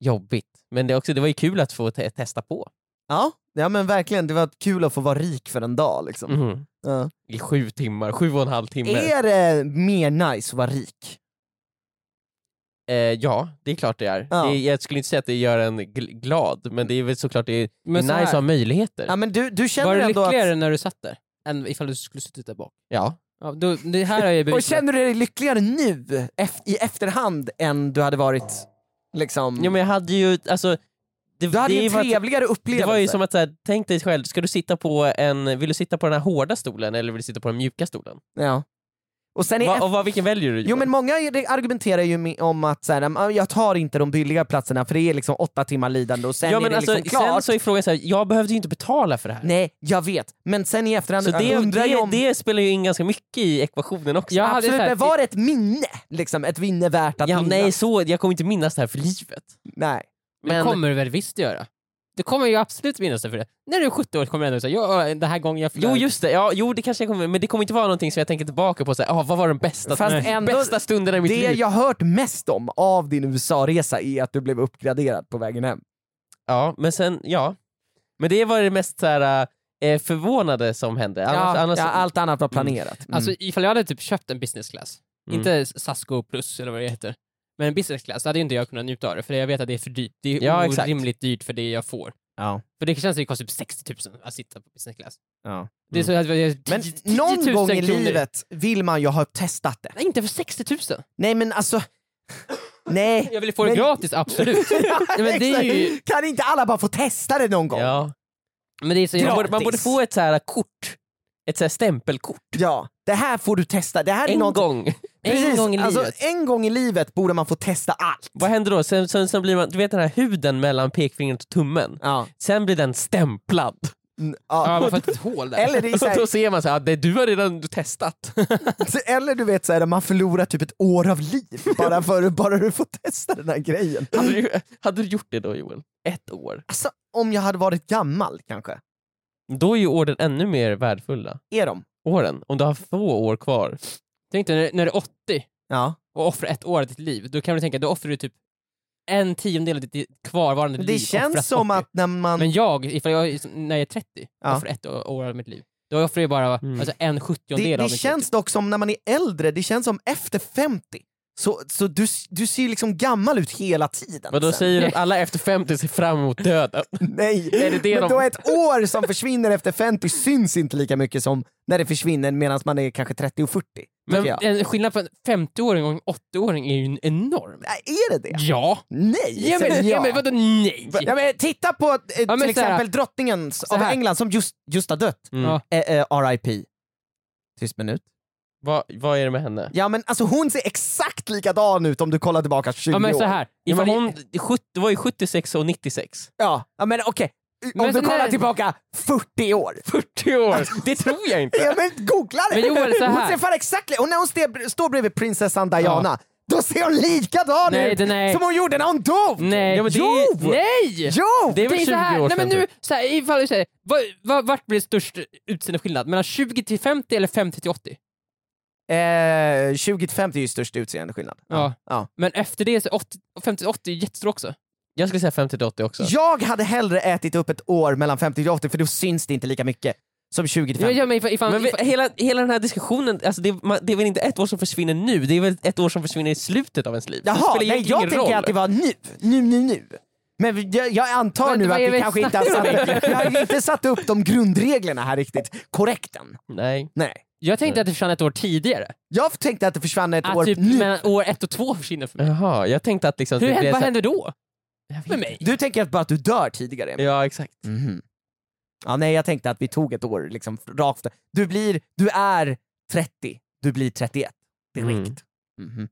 [SPEAKER 2] jobbigt. Men det, är också, det var ju kul att få te- testa på.
[SPEAKER 3] Ja, ja men verkligen. Det var kul att få vara rik för en dag.
[SPEAKER 4] Mm.
[SPEAKER 3] Liksom.
[SPEAKER 2] Mhm.
[SPEAKER 3] Ja.
[SPEAKER 2] I sju timmar, sju och en halv timme.
[SPEAKER 3] Är det mer nice att vara rik?
[SPEAKER 2] Eh, ja, det är klart det är.
[SPEAKER 3] Ja.
[SPEAKER 2] Det, jag skulle inte säga att det gör en gl- glad, men det är väl såklart det är,
[SPEAKER 4] Men
[SPEAKER 2] det
[SPEAKER 4] så
[SPEAKER 2] är nice att ha
[SPEAKER 4] här,
[SPEAKER 2] möjligheter.
[SPEAKER 3] Ja, men du, du känner
[SPEAKER 4] var du
[SPEAKER 3] ändå att...
[SPEAKER 4] lyckligare när du satt där? Än ifall du skulle suttit där bak?
[SPEAKER 2] Ja.
[SPEAKER 4] Ja, då, det här har jag
[SPEAKER 3] Och
[SPEAKER 4] bevisat.
[SPEAKER 3] känner du dig lyckligare nu ef- i efterhand än du hade varit liksom...
[SPEAKER 2] ja, men jag hade ju, alltså, det,
[SPEAKER 3] du hade
[SPEAKER 2] det
[SPEAKER 3] ju en
[SPEAKER 2] var- typ-
[SPEAKER 3] trevligare upplevelse.
[SPEAKER 2] Det var ju som att, så här, tänk dig själv, ska du sitta på en, vill du sitta på den här hårda stolen eller vill du sitta på den mjuka stolen?
[SPEAKER 3] ja. Och sen i
[SPEAKER 2] Va, och vad, vilken väljer du?
[SPEAKER 3] Jo
[SPEAKER 2] Johan?
[SPEAKER 3] men många argumenterar ju med, om att så här, "Ah, jag tar inte de billiga platserna för det är liksom åtta timmar lidande och sen
[SPEAKER 2] ja,
[SPEAKER 3] är
[SPEAKER 2] men
[SPEAKER 3] det
[SPEAKER 2] alltså,
[SPEAKER 3] liksom klart.
[SPEAKER 2] sen så är frågan så här, jag behövde ju inte betala för det här.
[SPEAKER 3] Nej, jag vet. Men sen i efterhand
[SPEAKER 2] Så det,
[SPEAKER 3] Mm. undrar
[SPEAKER 2] det,
[SPEAKER 3] jag om...
[SPEAKER 2] det spelar ju in ganska mycket i ekvationen också.
[SPEAKER 4] Jag hade
[SPEAKER 3] absolut,
[SPEAKER 4] så här-
[SPEAKER 3] men var det ett minne? Liksom, ett minne värt att
[SPEAKER 2] ja,
[SPEAKER 3] minnas?
[SPEAKER 2] nej, så, jag kommer inte minnas det här för livet.
[SPEAKER 3] nej.
[SPEAKER 4] Men det kommer du väl visst göra. Du kommer ju absolut minnas det för det. När du är 70 år kommer du ändå säga ja, den här gången jag
[SPEAKER 2] Jo just det, ja, jo, det kanske jag kommer, men det kommer inte vara någonting som jag tänker tillbaka på, såhär, ah, vad var den bästa,
[SPEAKER 3] Fast ändå-
[SPEAKER 2] bästa stunden i mitt
[SPEAKER 3] Det
[SPEAKER 2] liv?
[SPEAKER 3] jag hört mest om av din USA-resa är att du blev uppgraderad på vägen hem.
[SPEAKER 2] Ja, men sen, ja. Men det var det mest såhär, eh, förvånade som hände. Annars,
[SPEAKER 3] ja,
[SPEAKER 2] annars,
[SPEAKER 3] ja, allt annat var planerat. Mm.
[SPEAKER 4] Alltså ifall jag hade typ köpt en business class,
[SPEAKER 2] Mm.
[SPEAKER 4] inte SAS Go plus eller vad det heter, men en business class, då hade ju inte jag kunnat njuta av det för jag vet att det är för dyrt. Det är
[SPEAKER 2] Ja, exakt.
[SPEAKER 4] orimligt dyrt för det jag får.
[SPEAKER 3] Ja.
[SPEAKER 4] För det känns det kostar typ 60 000 att sitta på business class.
[SPEAKER 3] Ja. Mm.
[SPEAKER 4] Det är så att jag- jag- 10
[SPEAKER 3] men
[SPEAKER 4] 10 000
[SPEAKER 3] någon gång i
[SPEAKER 4] kronor.
[SPEAKER 3] livet vill man ju ha testat det.
[SPEAKER 4] Nej, inte för 60 000!
[SPEAKER 3] Nej men alltså... Nej.
[SPEAKER 4] Jag ville få det
[SPEAKER 3] Men-
[SPEAKER 4] gratis, absolut. Nej, men det är ju...
[SPEAKER 3] Kan inte alla bara få testa det någon gång?
[SPEAKER 2] ja.
[SPEAKER 4] Men det är så
[SPEAKER 2] Man,
[SPEAKER 4] jag
[SPEAKER 2] borde, man borde få ett såhär kort, ett såhär stämpelkort.
[SPEAKER 3] Ja, det här får du testa. Det här är
[SPEAKER 2] En
[SPEAKER 3] något...
[SPEAKER 2] gång.
[SPEAKER 4] en gång i
[SPEAKER 3] alltså,
[SPEAKER 4] livet.
[SPEAKER 3] En gång i livet borde man få testa allt.
[SPEAKER 2] Vad händer då? Sen, sen, sen blir man, du vet den här huden mellan pekfingret och tummen?
[SPEAKER 3] Ja.
[SPEAKER 2] Sen blir den stämplad.
[SPEAKER 3] Mm,
[SPEAKER 4] Ja,
[SPEAKER 3] ja.
[SPEAKER 4] man får ett hål där.
[SPEAKER 3] Eller, det är så
[SPEAKER 2] Och
[SPEAKER 3] här,
[SPEAKER 2] då ser man såhär, du har redan testat.
[SPEAKER 3] eller du vet, så här, man förlorar typ ett år av liv bara för bara du får testa den här grejen.
[SPEAKER 2] hade, du, hade du gjort det då Joel? Ett år?
[SPEAKER 3] Alltså, om jag hade varit gammal kanske.
[SPEAKER 2] Då är ju åren ännu mer värdefulla.
[SPEAKER 3] Är de?
[SPEAKER 2] Åren, om du har få år kvar.
[SPEAKER 4] Tänk dig när, när du är 80
[SPEAKER 3] Ja.
[SPEAKER 4] och offrar ett år av ditt liv, då kan du tänka, då offrar du typ en tiondel av ditt kvarvarande
[SPEAKER 3] Det
[SPEAKER 4] liv.
[SPEAKER 3] känns
[SPEAKER 4] offras
[SPEAKER 3] som
[SPEAKER 4] 80.
[SPEAKER 3] att när man...
[SPEAKER 4] Men jag, ifall jag, när jag är 30,
[SPEAKER 3] Ja.
[SPEAKER 4] offrar ett år år av mitt liv. Du offrar ju bara
[SPEAKER 2] Mm.
[SPEAKER 4] alltså, en
[SPEAKER 3] Det,
[SPEAKER 4] sjuttiondel
[SPEAKER 3] det
[SPEAKER 4] av din
[SPEAKER 3] känns dock som när man är äldre, det känns som efter 50. Så, så du, du ser ju liksom gammal ut hela tiden.
[SPEAKER 2] Men då
[SPEAKER 3] sen.
[SPEAKER 2] säger du att alla efter 50 ser fram emot döden?
[SPEAKER 3] Nej,
[SPEAKER 2] Är det det
[SPEAKER 3] men
[SPEAKER 2] de-
[SPEAKER 3] då är ett år som försvinner efter 50 syns inte lika mycket som när det försvinner medan man är kanske 30 och 40.
[SPEAKER 4] Men
[SPEAKER 3] jag.
[SPEAKER 4] en skillnad på en 50-åring och en 80-åring är ju en enorm.
[SPEAKER 3] Nej, Äh, Är det det?
[SPEAKER 4] Ja!
[SPEAKER 3] Nej,
[SPEAKER 4] Ja men,
[SPEAKER 3] säger
[SPEAKER 4] ja,
[SPEAKER 3] jag.
[SPEAKER 4] men vadå nej?
[SPEAKER 3] Ja, men titta på eh,
[SPEAKER 4] men så här-
[SPEAKER 3] till exempel drottningen s-
[SPEAKER 4] så
[SPEAKER 3] av
[SPEAKER 4] här.
[SPEAKER 3] England som just, just har dött.
[SPEAKER 2] Mm.
[SPEAKER 4] Ja.
[SPEAKER 3] Eh, eh, RIP. Tyst minut.
[SPEAKER 2] Vad, vad är det med henne?
[SPEAKER 3] Ja men alltså hon ser exakt likadan ut om du kollar tillbaka 20
[SPEAKER 4] Ja men
[SPEAKER 3] år.
[SPEAKER 4] så här.
[SPEAKER 2] Ja, men
[SPEAKER 4] ifall-
[SPEAKER 2] hon sjut- det var ju 76 och 96.
[SPEAKER 3] Ja, ja, men okej.
[SPEAKER 4] Men
[SPEAKER 3] Om du
[SPEAKER 4] så
[SPEAKER 3] kollar
[SPEAKER 4] nej.
[SPEAKER 3] tillbaka 40 år.
[SPEAKER 2] 40 år! Det tror jag inte!
[SPEAKER 3] Ja, men googla det!
[SPEAKER 4] Men Joel, så
[SPEAKER 3] hon
[SPEAKER 4] här.
[SPEAKER 3] ser fan exakt li- Och när hon ste- står bredvid prinsessan Diana, då ser hon likadan
[SPEAKER 4] Nej,
[SPEAKER 3] ut
[SPEAKER 4] det- nej.
[SPEAKER 3] som hon gjorde när hon dog!
[SPEAKER 4] Nej!
[SPEAKER 2] Ja, men det
[SPEAKER 3] jo!
[SPEAKER 2] är-
[SPEAKER 4] Nej!
[SPEAKER 3] Jo!
[SPEAKER 2] Det är väl
[SPEAKER 4] Tänk
[SPEAKER 2] 20
[SPEAKER 4] så här,
[SPEAKER 2] år
[SPEAKER 4] nej
[SPEAKER 2] sedan
[SPEAKER 4] men nu,
[SPEAKER 2] typ.
[SPEAKER 4] så här, ifall du säger, vad, vad, vart blir störst utseendeskillnad? Mellan 20 till 50 eller 50 till 80?
[SPEAKER 3] Eh, 20 till 50 är ju störst utseendeskillnad.
[SPEAKER 4] Ja.
[SPEAKER 3] Ja.
[SPEAKER 4] Men efter det så 80, 50 till 80 är jättestor också.
[SPEAKER 2] Jag skulle säga 50 till 80 också.
[SPEAKER 3] Jag hade hellre ätit upp ett år mellan 50 till 80 för då syns det inte lika mycket som 20 till
[SPEAKER 4] Ja,
[SPEAKER 3] 50.
[SPEAKER 4] ja, men ifall, ifall,
[SPEAKER 2] Men vi,
[SPEAKER 4] ifall,
[SPEAKER 2] hela, hela den här diskussionen, alltså det, man, det är väl inte ett år som försvinner nu, det är väl ett år som försvinner i slutet av ens liv? det
[SPEAKER 3] Jaha,
[SPEAKER 2] spelar
[SPEAKER 3] nej,
[SPEAKER 2] egentligen
[SPEAKER 3] jag
[SPEAKER 2] ingen
[SPEAKER 3] tänker
[SPEAKER 2] roll.
[SPEAKER 3] att det var nu. Nu, nu, nu. Men vi- jag, jag antar
[SPEAKER 4] Vad-
[SPEAKER 3] nu
[SPEAKER 4] vad
[SPEAKER 3] att
[SPEAKER 4] är
[SPEAKER 3] vi
[SPEAKER 4] vi
[SPEAKER 3] kanske inte har
[SPEAKER 4] snackar
[SPEAKER 3] satt, vi har inte satt upp de grundreglerna här riktigt korrekt än.
[SPEAKER 2] Nej.
[SPEAKER 3] Nej.
[SPEAKER 4] jag
[SPEAKER 2] Mm.
[SPEAKER 4] tänkte att det försvann ett år tidigare.
[SPEAKER 3] Jag tänkte att det försvann ett år
[SPEAKER 4] Att typ
[SPEAKER 3] nu.
[SPEAKER 4] mellan år ett och två försvinner för mig.
[SPEAKER 2] Jaha, jag tänkte att liksom...
[SPEAKER 4] Hur,
[SPEAKER 2] det
[SPEAKER 4] händer-
[SPEAKER 2] blev
[SPEAKER 4] vad
[SPEAKER 2] så-
[SPEAKER 4] händer då?
[SPEAKER 2] Jag vet
[SPEAKER 4] Med
[SPEAKER 2] inte.
[SPEAKER 4] mig?
[SPEAKER 3] Du tänker att bara att du dör tidigare?
[SPEAKER 2] Ja, exakt.
[SPEAKER 3] Mhm. Ja, nej, jag tänkte att vi tog ett år liksom, rakt. Du, blir, du är 30, du blir 31 direkt.
[SPEAKER 2] Mm.
[SPEAKER 3] Mhm.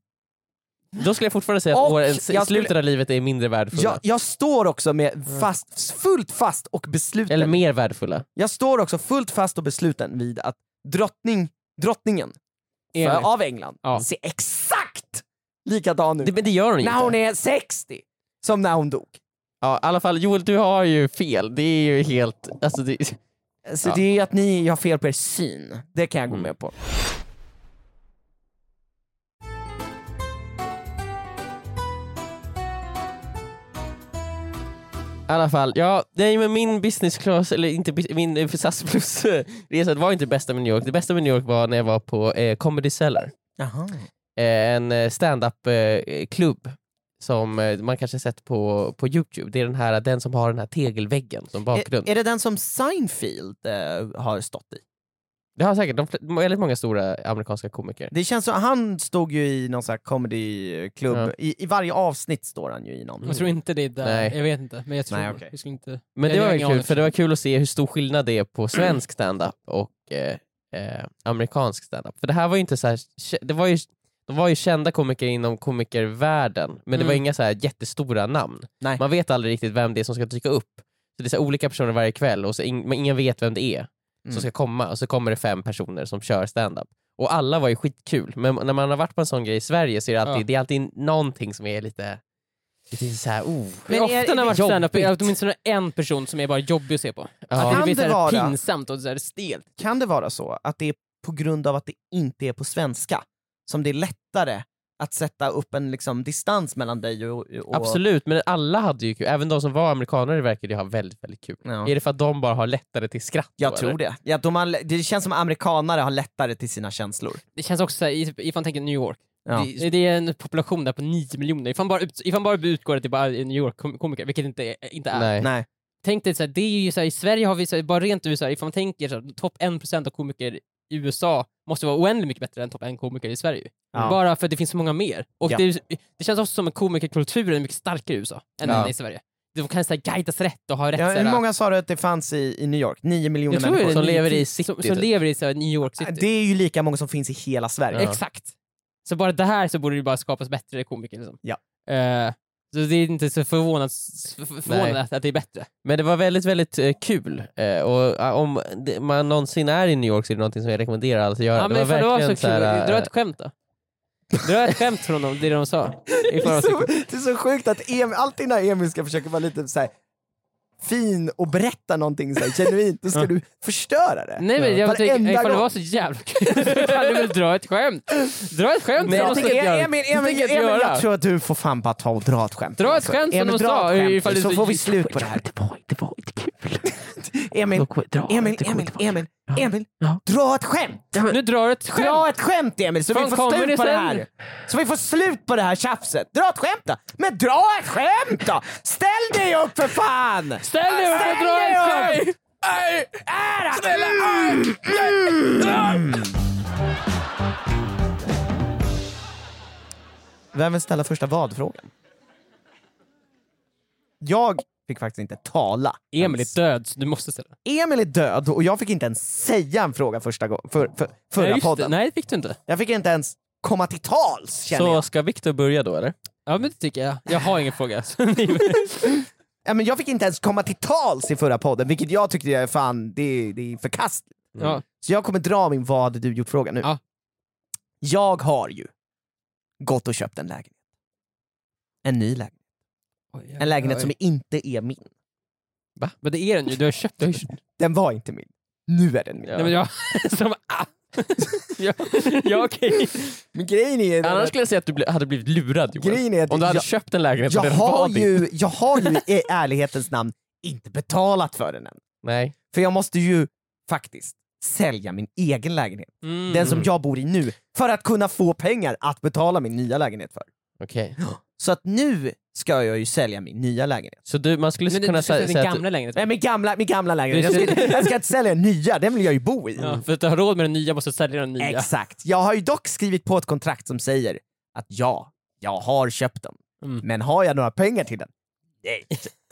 [SPEAKER 2] Då skulle jag fortfarande säga att
[SPEAKER 3] Och
[SPEAKER 2] åren,
[SPEAKER 3] jag
[SPEAKER 2] skulle... slutet av livet är mindre värdefulla.
[SPEAKER 3] Jag, jag står också med fast, fullt fast och besluten.
[SPEAKER 2] Eller mer värdefulla.
[SPEAKER 3] Jag står också fullt fast och besluten vid att drottning, drottningen
[SPEAKER 4] Emil.
[SPEAKER 3] för, av England
[SPEAKER 4] Ja.
[SPEAKER 3] ser exakt likadan ut
[SPEAKER 2] Det, men det gör hon ju
[SPEAKER 3] när
[SPEAKER 2] inte.
[SPEAKER 3] hon är 60 som när hon dog.
[SPEAKER 2] Ja, i alla fall Joel, du har ju fel. Det är ju helt... Alltså, det...
[SPEAKER 3] Så
[SPEAKER 2] Ja.
[SPEAKER 3] det är ju att ni har fel på er syn. Det kan jag gå
[SPEAKER 2] Mm.
[SPEAKER 3] med på.
[SPEAKER 2] I alla fall, ja, nej men min business class, eller inte bus- min eh, SAS plus eh, resa var inte det bästa med New York. Det bästa med New York var när jag var på eh, Comedy Cellar.
[SPEAKER 3] Jaha.
[SPEAKER 2] Eh, en eh, stand-up eh, klubb som eh, man kanske sett på, på Youtube. Det är den, här, den som har den här tegelväggen
[SPEAKER 3] Eh,
[SPEAKER 2] som bakgrund.
[SPEAKER 3] Är, är det den som Seinfeld eh, har stått i?
[SPEAKER 2] det har säkert de, fl- väldigt många stora amerikanska komiker.
[SPEAKER 3] Det känns som, han stod ju i någon sån här comedyklubb,
[SPEAKER 2] Ja.
[SPEAKER 3] i, i varje avsnitt står han ju i någon.
[SPEAKER 4] Jag tror inte det är där,
[SPEAKER 2] Mm. Nej.
[SPEAKER 4] jag vet inte. Men jag tror,
[SPEAKER 3] Nej, okej.
[SPEAKER 4] jag skulle inte...
[SPEAKER 2] Men
[SPEAKER 4] Jag
[SPEAKER 2] det var
[SPEAKER 4] har
[SPEAKER 2] ju
[SPEAKER 4] ingen
[SPEAKER 2] kul,
[SPEAKER 4] aning.
[SPEAKER 2] för det var kul att se hur stor skillnad det är på svensk standup och eh, eh, amerikansk standup. För det här var ju inte så här, det var ju, de var ju kända komiker inom komikervärlden, men det var
[SPEAKER 4] Mm.
[SPEAKER 2] inga så här jättestora namn.
[SPEAKER 3] Nej.
[SPEAKER 2] Man vet aldrig riktigt vem det är som ska dyka upp. Så det är så här olika personer varje kväll och så ing, men ingen vet vem det är
[SPEAKER 3] Mm.
[SPEAKER 2] som ska komma och så kommer det fem personer som kör standup. Och alla var ju skitkul, men när man har varit på en sån grej i Sverige så är det alltid,
[SPEAKER 4] Ja.
[SPEAKER 2] det är alltid någonting som är lite, lite så här, oh.
[SPEAKER 4] Men ofta när man har
[SPEAKER 2] jobbigt.
[SPEAKER 4] stand-up är det åtminstone en person som är bara jobbig att se på.
[SPEAKER 2] Ja.
[SPEAKER 4] Att det
[SPEAKER 3] Kan
[SPEAKER 4] blir
[SPEAKER 3] det
[SPEAKER 4] så här
[SPEAKER 3] vara?
[SPEAKER 4] pinsamt och så här stelt.
[SPEAKER 3] Kan det vara så att det är på grund av att det inte är på svenska som det är lättare att sätta upp en liksom, distans mellan dig och... och
[SPEAKER 2] Absolut, men alla hade ju kul. Även de som var amerikanare verkade ju ha väldigt, väldigt kul.
[SPEAKER 3] Ja.
[SPEAKER 2] Är det för att de bara har lättare till skratt?
[SPEAKER 3] Jag
[SPEAKER 2] då,
[SPEAKER 3] tror
[SPEAKER 2] eller?
[SPEAKER 3] det. Ja, de har, det känns som amerikanare har lättare till sina känslor.
[SPEAKER 4] Det känns också såhär, ifall man tänker New York,
[SPEAKER 3] Ja.
[SPEAKER 4] det, det är en population där på 9 miljoner. Ifall man bara, ut, ifall man bara utgår att det bara är New York-komiker, vilket inte, är- inte är.
[SPEAKER 2] Nej.
[SPEAKER 3] Nej.
[SPEAKER 4] Tänk dig, såhär, det är ju såhär, i Sverige har vi, såhär, bara rent ut, såhär, ifall man tänker såhär, topp 1% av komiker i USA måste vara oändligt mycket bättre än topp 1-komiker i Sverige.
[SPEAKER 3] Ja.
[SPEAKER 4] Bara för att det finns så många mer. Och
[SPEAKER 3] Ja.
[SPEAKER 4] det, är- det känns också som att komikerkulturen är mycket starkare i USA än
[SPEAKER 2] Ja.
[SPEAKER 4] den är i Sverige. De kan såhär, guidas rätt och ha rätt
[SPEAKER 3] Ja, hur
[SPEAKER 4] såhär-
[SPEAKER 3] många sa du att det fanns i, i New York? 9 miljoner
[SPEAKER 4] Jag tror det
[SPEAKER 3] människor.
[SPEAKER 4] är
[SPEAKER 2] Som
[SPEAKER 4] nio-
[SPEAKER 2] lever i
[SPEAKER 4] som- Som,
[SPEAKER 2] city, typ.
[SPEAKER 4] lever i såhär, New York City.
[SPEAKER 3] Det är ju lika många som finns i hela Sverige.
[SPEAKER 2] Ja.
[SPEAKER 4] Exakt. Så bara det här så borde det bara skapas bättre komiker. Liksom.
[SPEAKER 3] Ja.
[SPEAKER 4] Eh, så det är inte så förvånad, förvånande
[SPEAKER 2] Nej.
[SPEAKER 4] att, att det är bättre.
[SPEAKER 2] Men det var väldigt, väldigt eh, kul. Eh, och eh, om det, man någonsin är i New York så är det någonting som jag rekommenderar alla att göra.
[SPEAKER 4] Ja, men
[SPEAKER 2] det
[SPEAKER 4] ifall det var så kul,
[SPEAKER 2] här, eh,
[SPEAKER 4] dra ett skämt då. Dra ett skämt från dem, det de sa.
[SPEAKER 3] Det är,
[SPEAKER 4] Ifall de
[SPEAKER 3] så,
[SPEAKER 4] tycker-
[SPEAKER 3] det är så sjukt att Emil, alltid när Emil ska försöka vara lite så här fin och berätta någonting så här, genuint, då ska du förstöra det.
[SPEAKER 4] Nej men jag
[SPEAKER 3] Varenda
[SPEAKER 4] tänker, ifall det
[SPEAKER 3] gång.
[SPEAKER 4] var så jävla kul så kan du väl dra ett skämt? Dra ett skämt
[SPEAKER 3] Men
[SPEAKER 4] som
[SPEAKER 3] jag
[SPEAKER 4] de
[SPEAKER 3] tänker,
[SPEAKER 4] ska göra.
[SPEAKER 3] Emil, Emil,
[SPEAKER 4] tänker
[SPEAKER 3] Emil,
[SPEAKER 4] jag göra.
[SPEAKER 3] jag tror att du får fan bara ta och dra ett skämt. Alltså,
[SPEAKER 4] Dra ett skämt som
[SPEAKER 3] Emil,
[SPEAKER 4] de
[SPEAKER 3] dra
[SPEAKER 4] sa, eh,
[SPEAKER 3] ett skämt,
[SPEAKER 4] ifall det är
[SPEAKER 3] så
[SPEAKER 4] så-
[SPEAKER 3] får vi slut på det här.
[SPEAKER 1] Det var, det var inte kul.
[SPEAKER 3] Emil,
[SPEAKER 1] Dra,
[SPEAKER 3] Emil,
[SPEAKER 1] det var
[SPEAKER 3] Emil,
[SPEAKER 1] inte kul.
[SPEAKER 3] Emil, Emil,
[SPEAKER 2] Ja.
[SPEAKER 3] dra ett skämt!
[SPEAKER 4] Nu drar ett skämt!
[SPEAKER 3] Dra ett skämt Emil så
[SPEAKER 4] Fan,
[SPEAKER 3] vi får
[SPEAKER 4] kommer
[SPEAKER 3] slut
[SPEAKER 4] det
[SPEAKER 3] på det
[SPEAKER 4] sen?
[SPEAKER 3] här. Så vi får slut på det här tjafset. Dra ett skämt då! Men dra ett skämt då! Ställ dig upp för fan!
[SPEAKER 4] Ställ dig upp och dra
[SPEAKER 3] dig
[SPEAKER 4] ett skämt!
[SPEAKER 3] Vem vill ställa första vad-frågan? Jag fick faktiskt inte tala.
[SPEAKER 4] Emil är död, så du måste ställa.
[SPEAKER 3] Emil är död och jag fick inte ens säga en fråga första gången, för, för, förra
[SPEAKER 4] Nej, just det.
[SPEAKER 3] podden.
[SPEAKER 4] Nej, det fick du inte.
[SPEAKER 3] Jag fick inte ens komma till tals känner
[SPEAKER 2] Så
[SPEAKER 3] jag.
[SPEAKER 2] ska Viktor börja då eller?
[SPEAKER 4] Ja, men det tycker jag. Jag har ingen fråga. så ni-
[SPEAKER 3] Ja, men jag fick inte ens komma till tals i förra podden, vilket jag tyckte jag fan, det, är- det är förkastligt.
[SPEAKER 4] Mm. ja.
[SPEAKER 3] Så jag kommer dra min vad du gjort-fråga nu.
[SPEAKER 4] Ja.
[SPEAKER 3] Jag har ju gått och köpt en lägenhet. En ny lägenhet. En lägenhet som inte är min.
[SPEAKER 4] Va? Men det är den ju, du har köpt den.
[SPEAKER 3] Den var inte min. Nu är den min.
[SPEAKER 4] Nej, men jag... Som... Ah. ja, ja okej.
[SPEAKER 3] Men grejen är...
[SPEAKER 2] Annars skulle jag säga att du bli- hade blivit lurad Joel.
[SPEAKER 3] Grejen är att
[SPEAKER 2] Om du hade
[SPEAKER 3] jag-
[SPEAKER 2] köpt en lägenhet
[SPEAKER 3] jag,
[SPEAKER 2] och den var
[SPEAKER 3] har
[SPEAKER 2] din.
[SPEAKER 3] ju, jag har ju i ärlighetens namn inte betalat för den än.
[SPEAKER 2] Nej.
[SPEAKER 3] För jag måste ju faktiskt sälja min egen lägenhet.
[SPEAKER 4] Mm.
[SPEAKER 3] Den som jag bor i nu. För att kunna få pengar att betala min nya lägenhet för.
[SPEAKER 2] Okej.
[SPEAKER 3] Så att nu ska jag ju sälja min nya lägenhet.
[SPEAKER 2] Så du, man skulle
[SPEAKER 4] Men du,
[SPEAKER 2] kunna
[SPEAKER 4] du ska
[SPEAKER 2] säga,
[SPEAKER 4] säga
[SPEAKER 2] säga
[SPEAKER 4] din
[SPEAKER 2] att du,
[SPEAKER 4] gamla lägenhet.
[SPEAKER 3] Nej, min gamla, min gamla lägenhet.
[SPEAKER 4] Det-
[SPEAKER 3] Jag ska, jag ska inte sälja den nya, den vill jag ju bo i.
[SPEAKER 4] Ja, för att du har råd med den nya måste du sälja den nya.
[SPEAKER 3] Exakt. Jag har ju dock skrivit på ett kontrakt som säger att ja, jag har köpt den.
[SPEAKER 4] Mm.
[SPEAKER 3] Men har jag några pengar till den? Nej,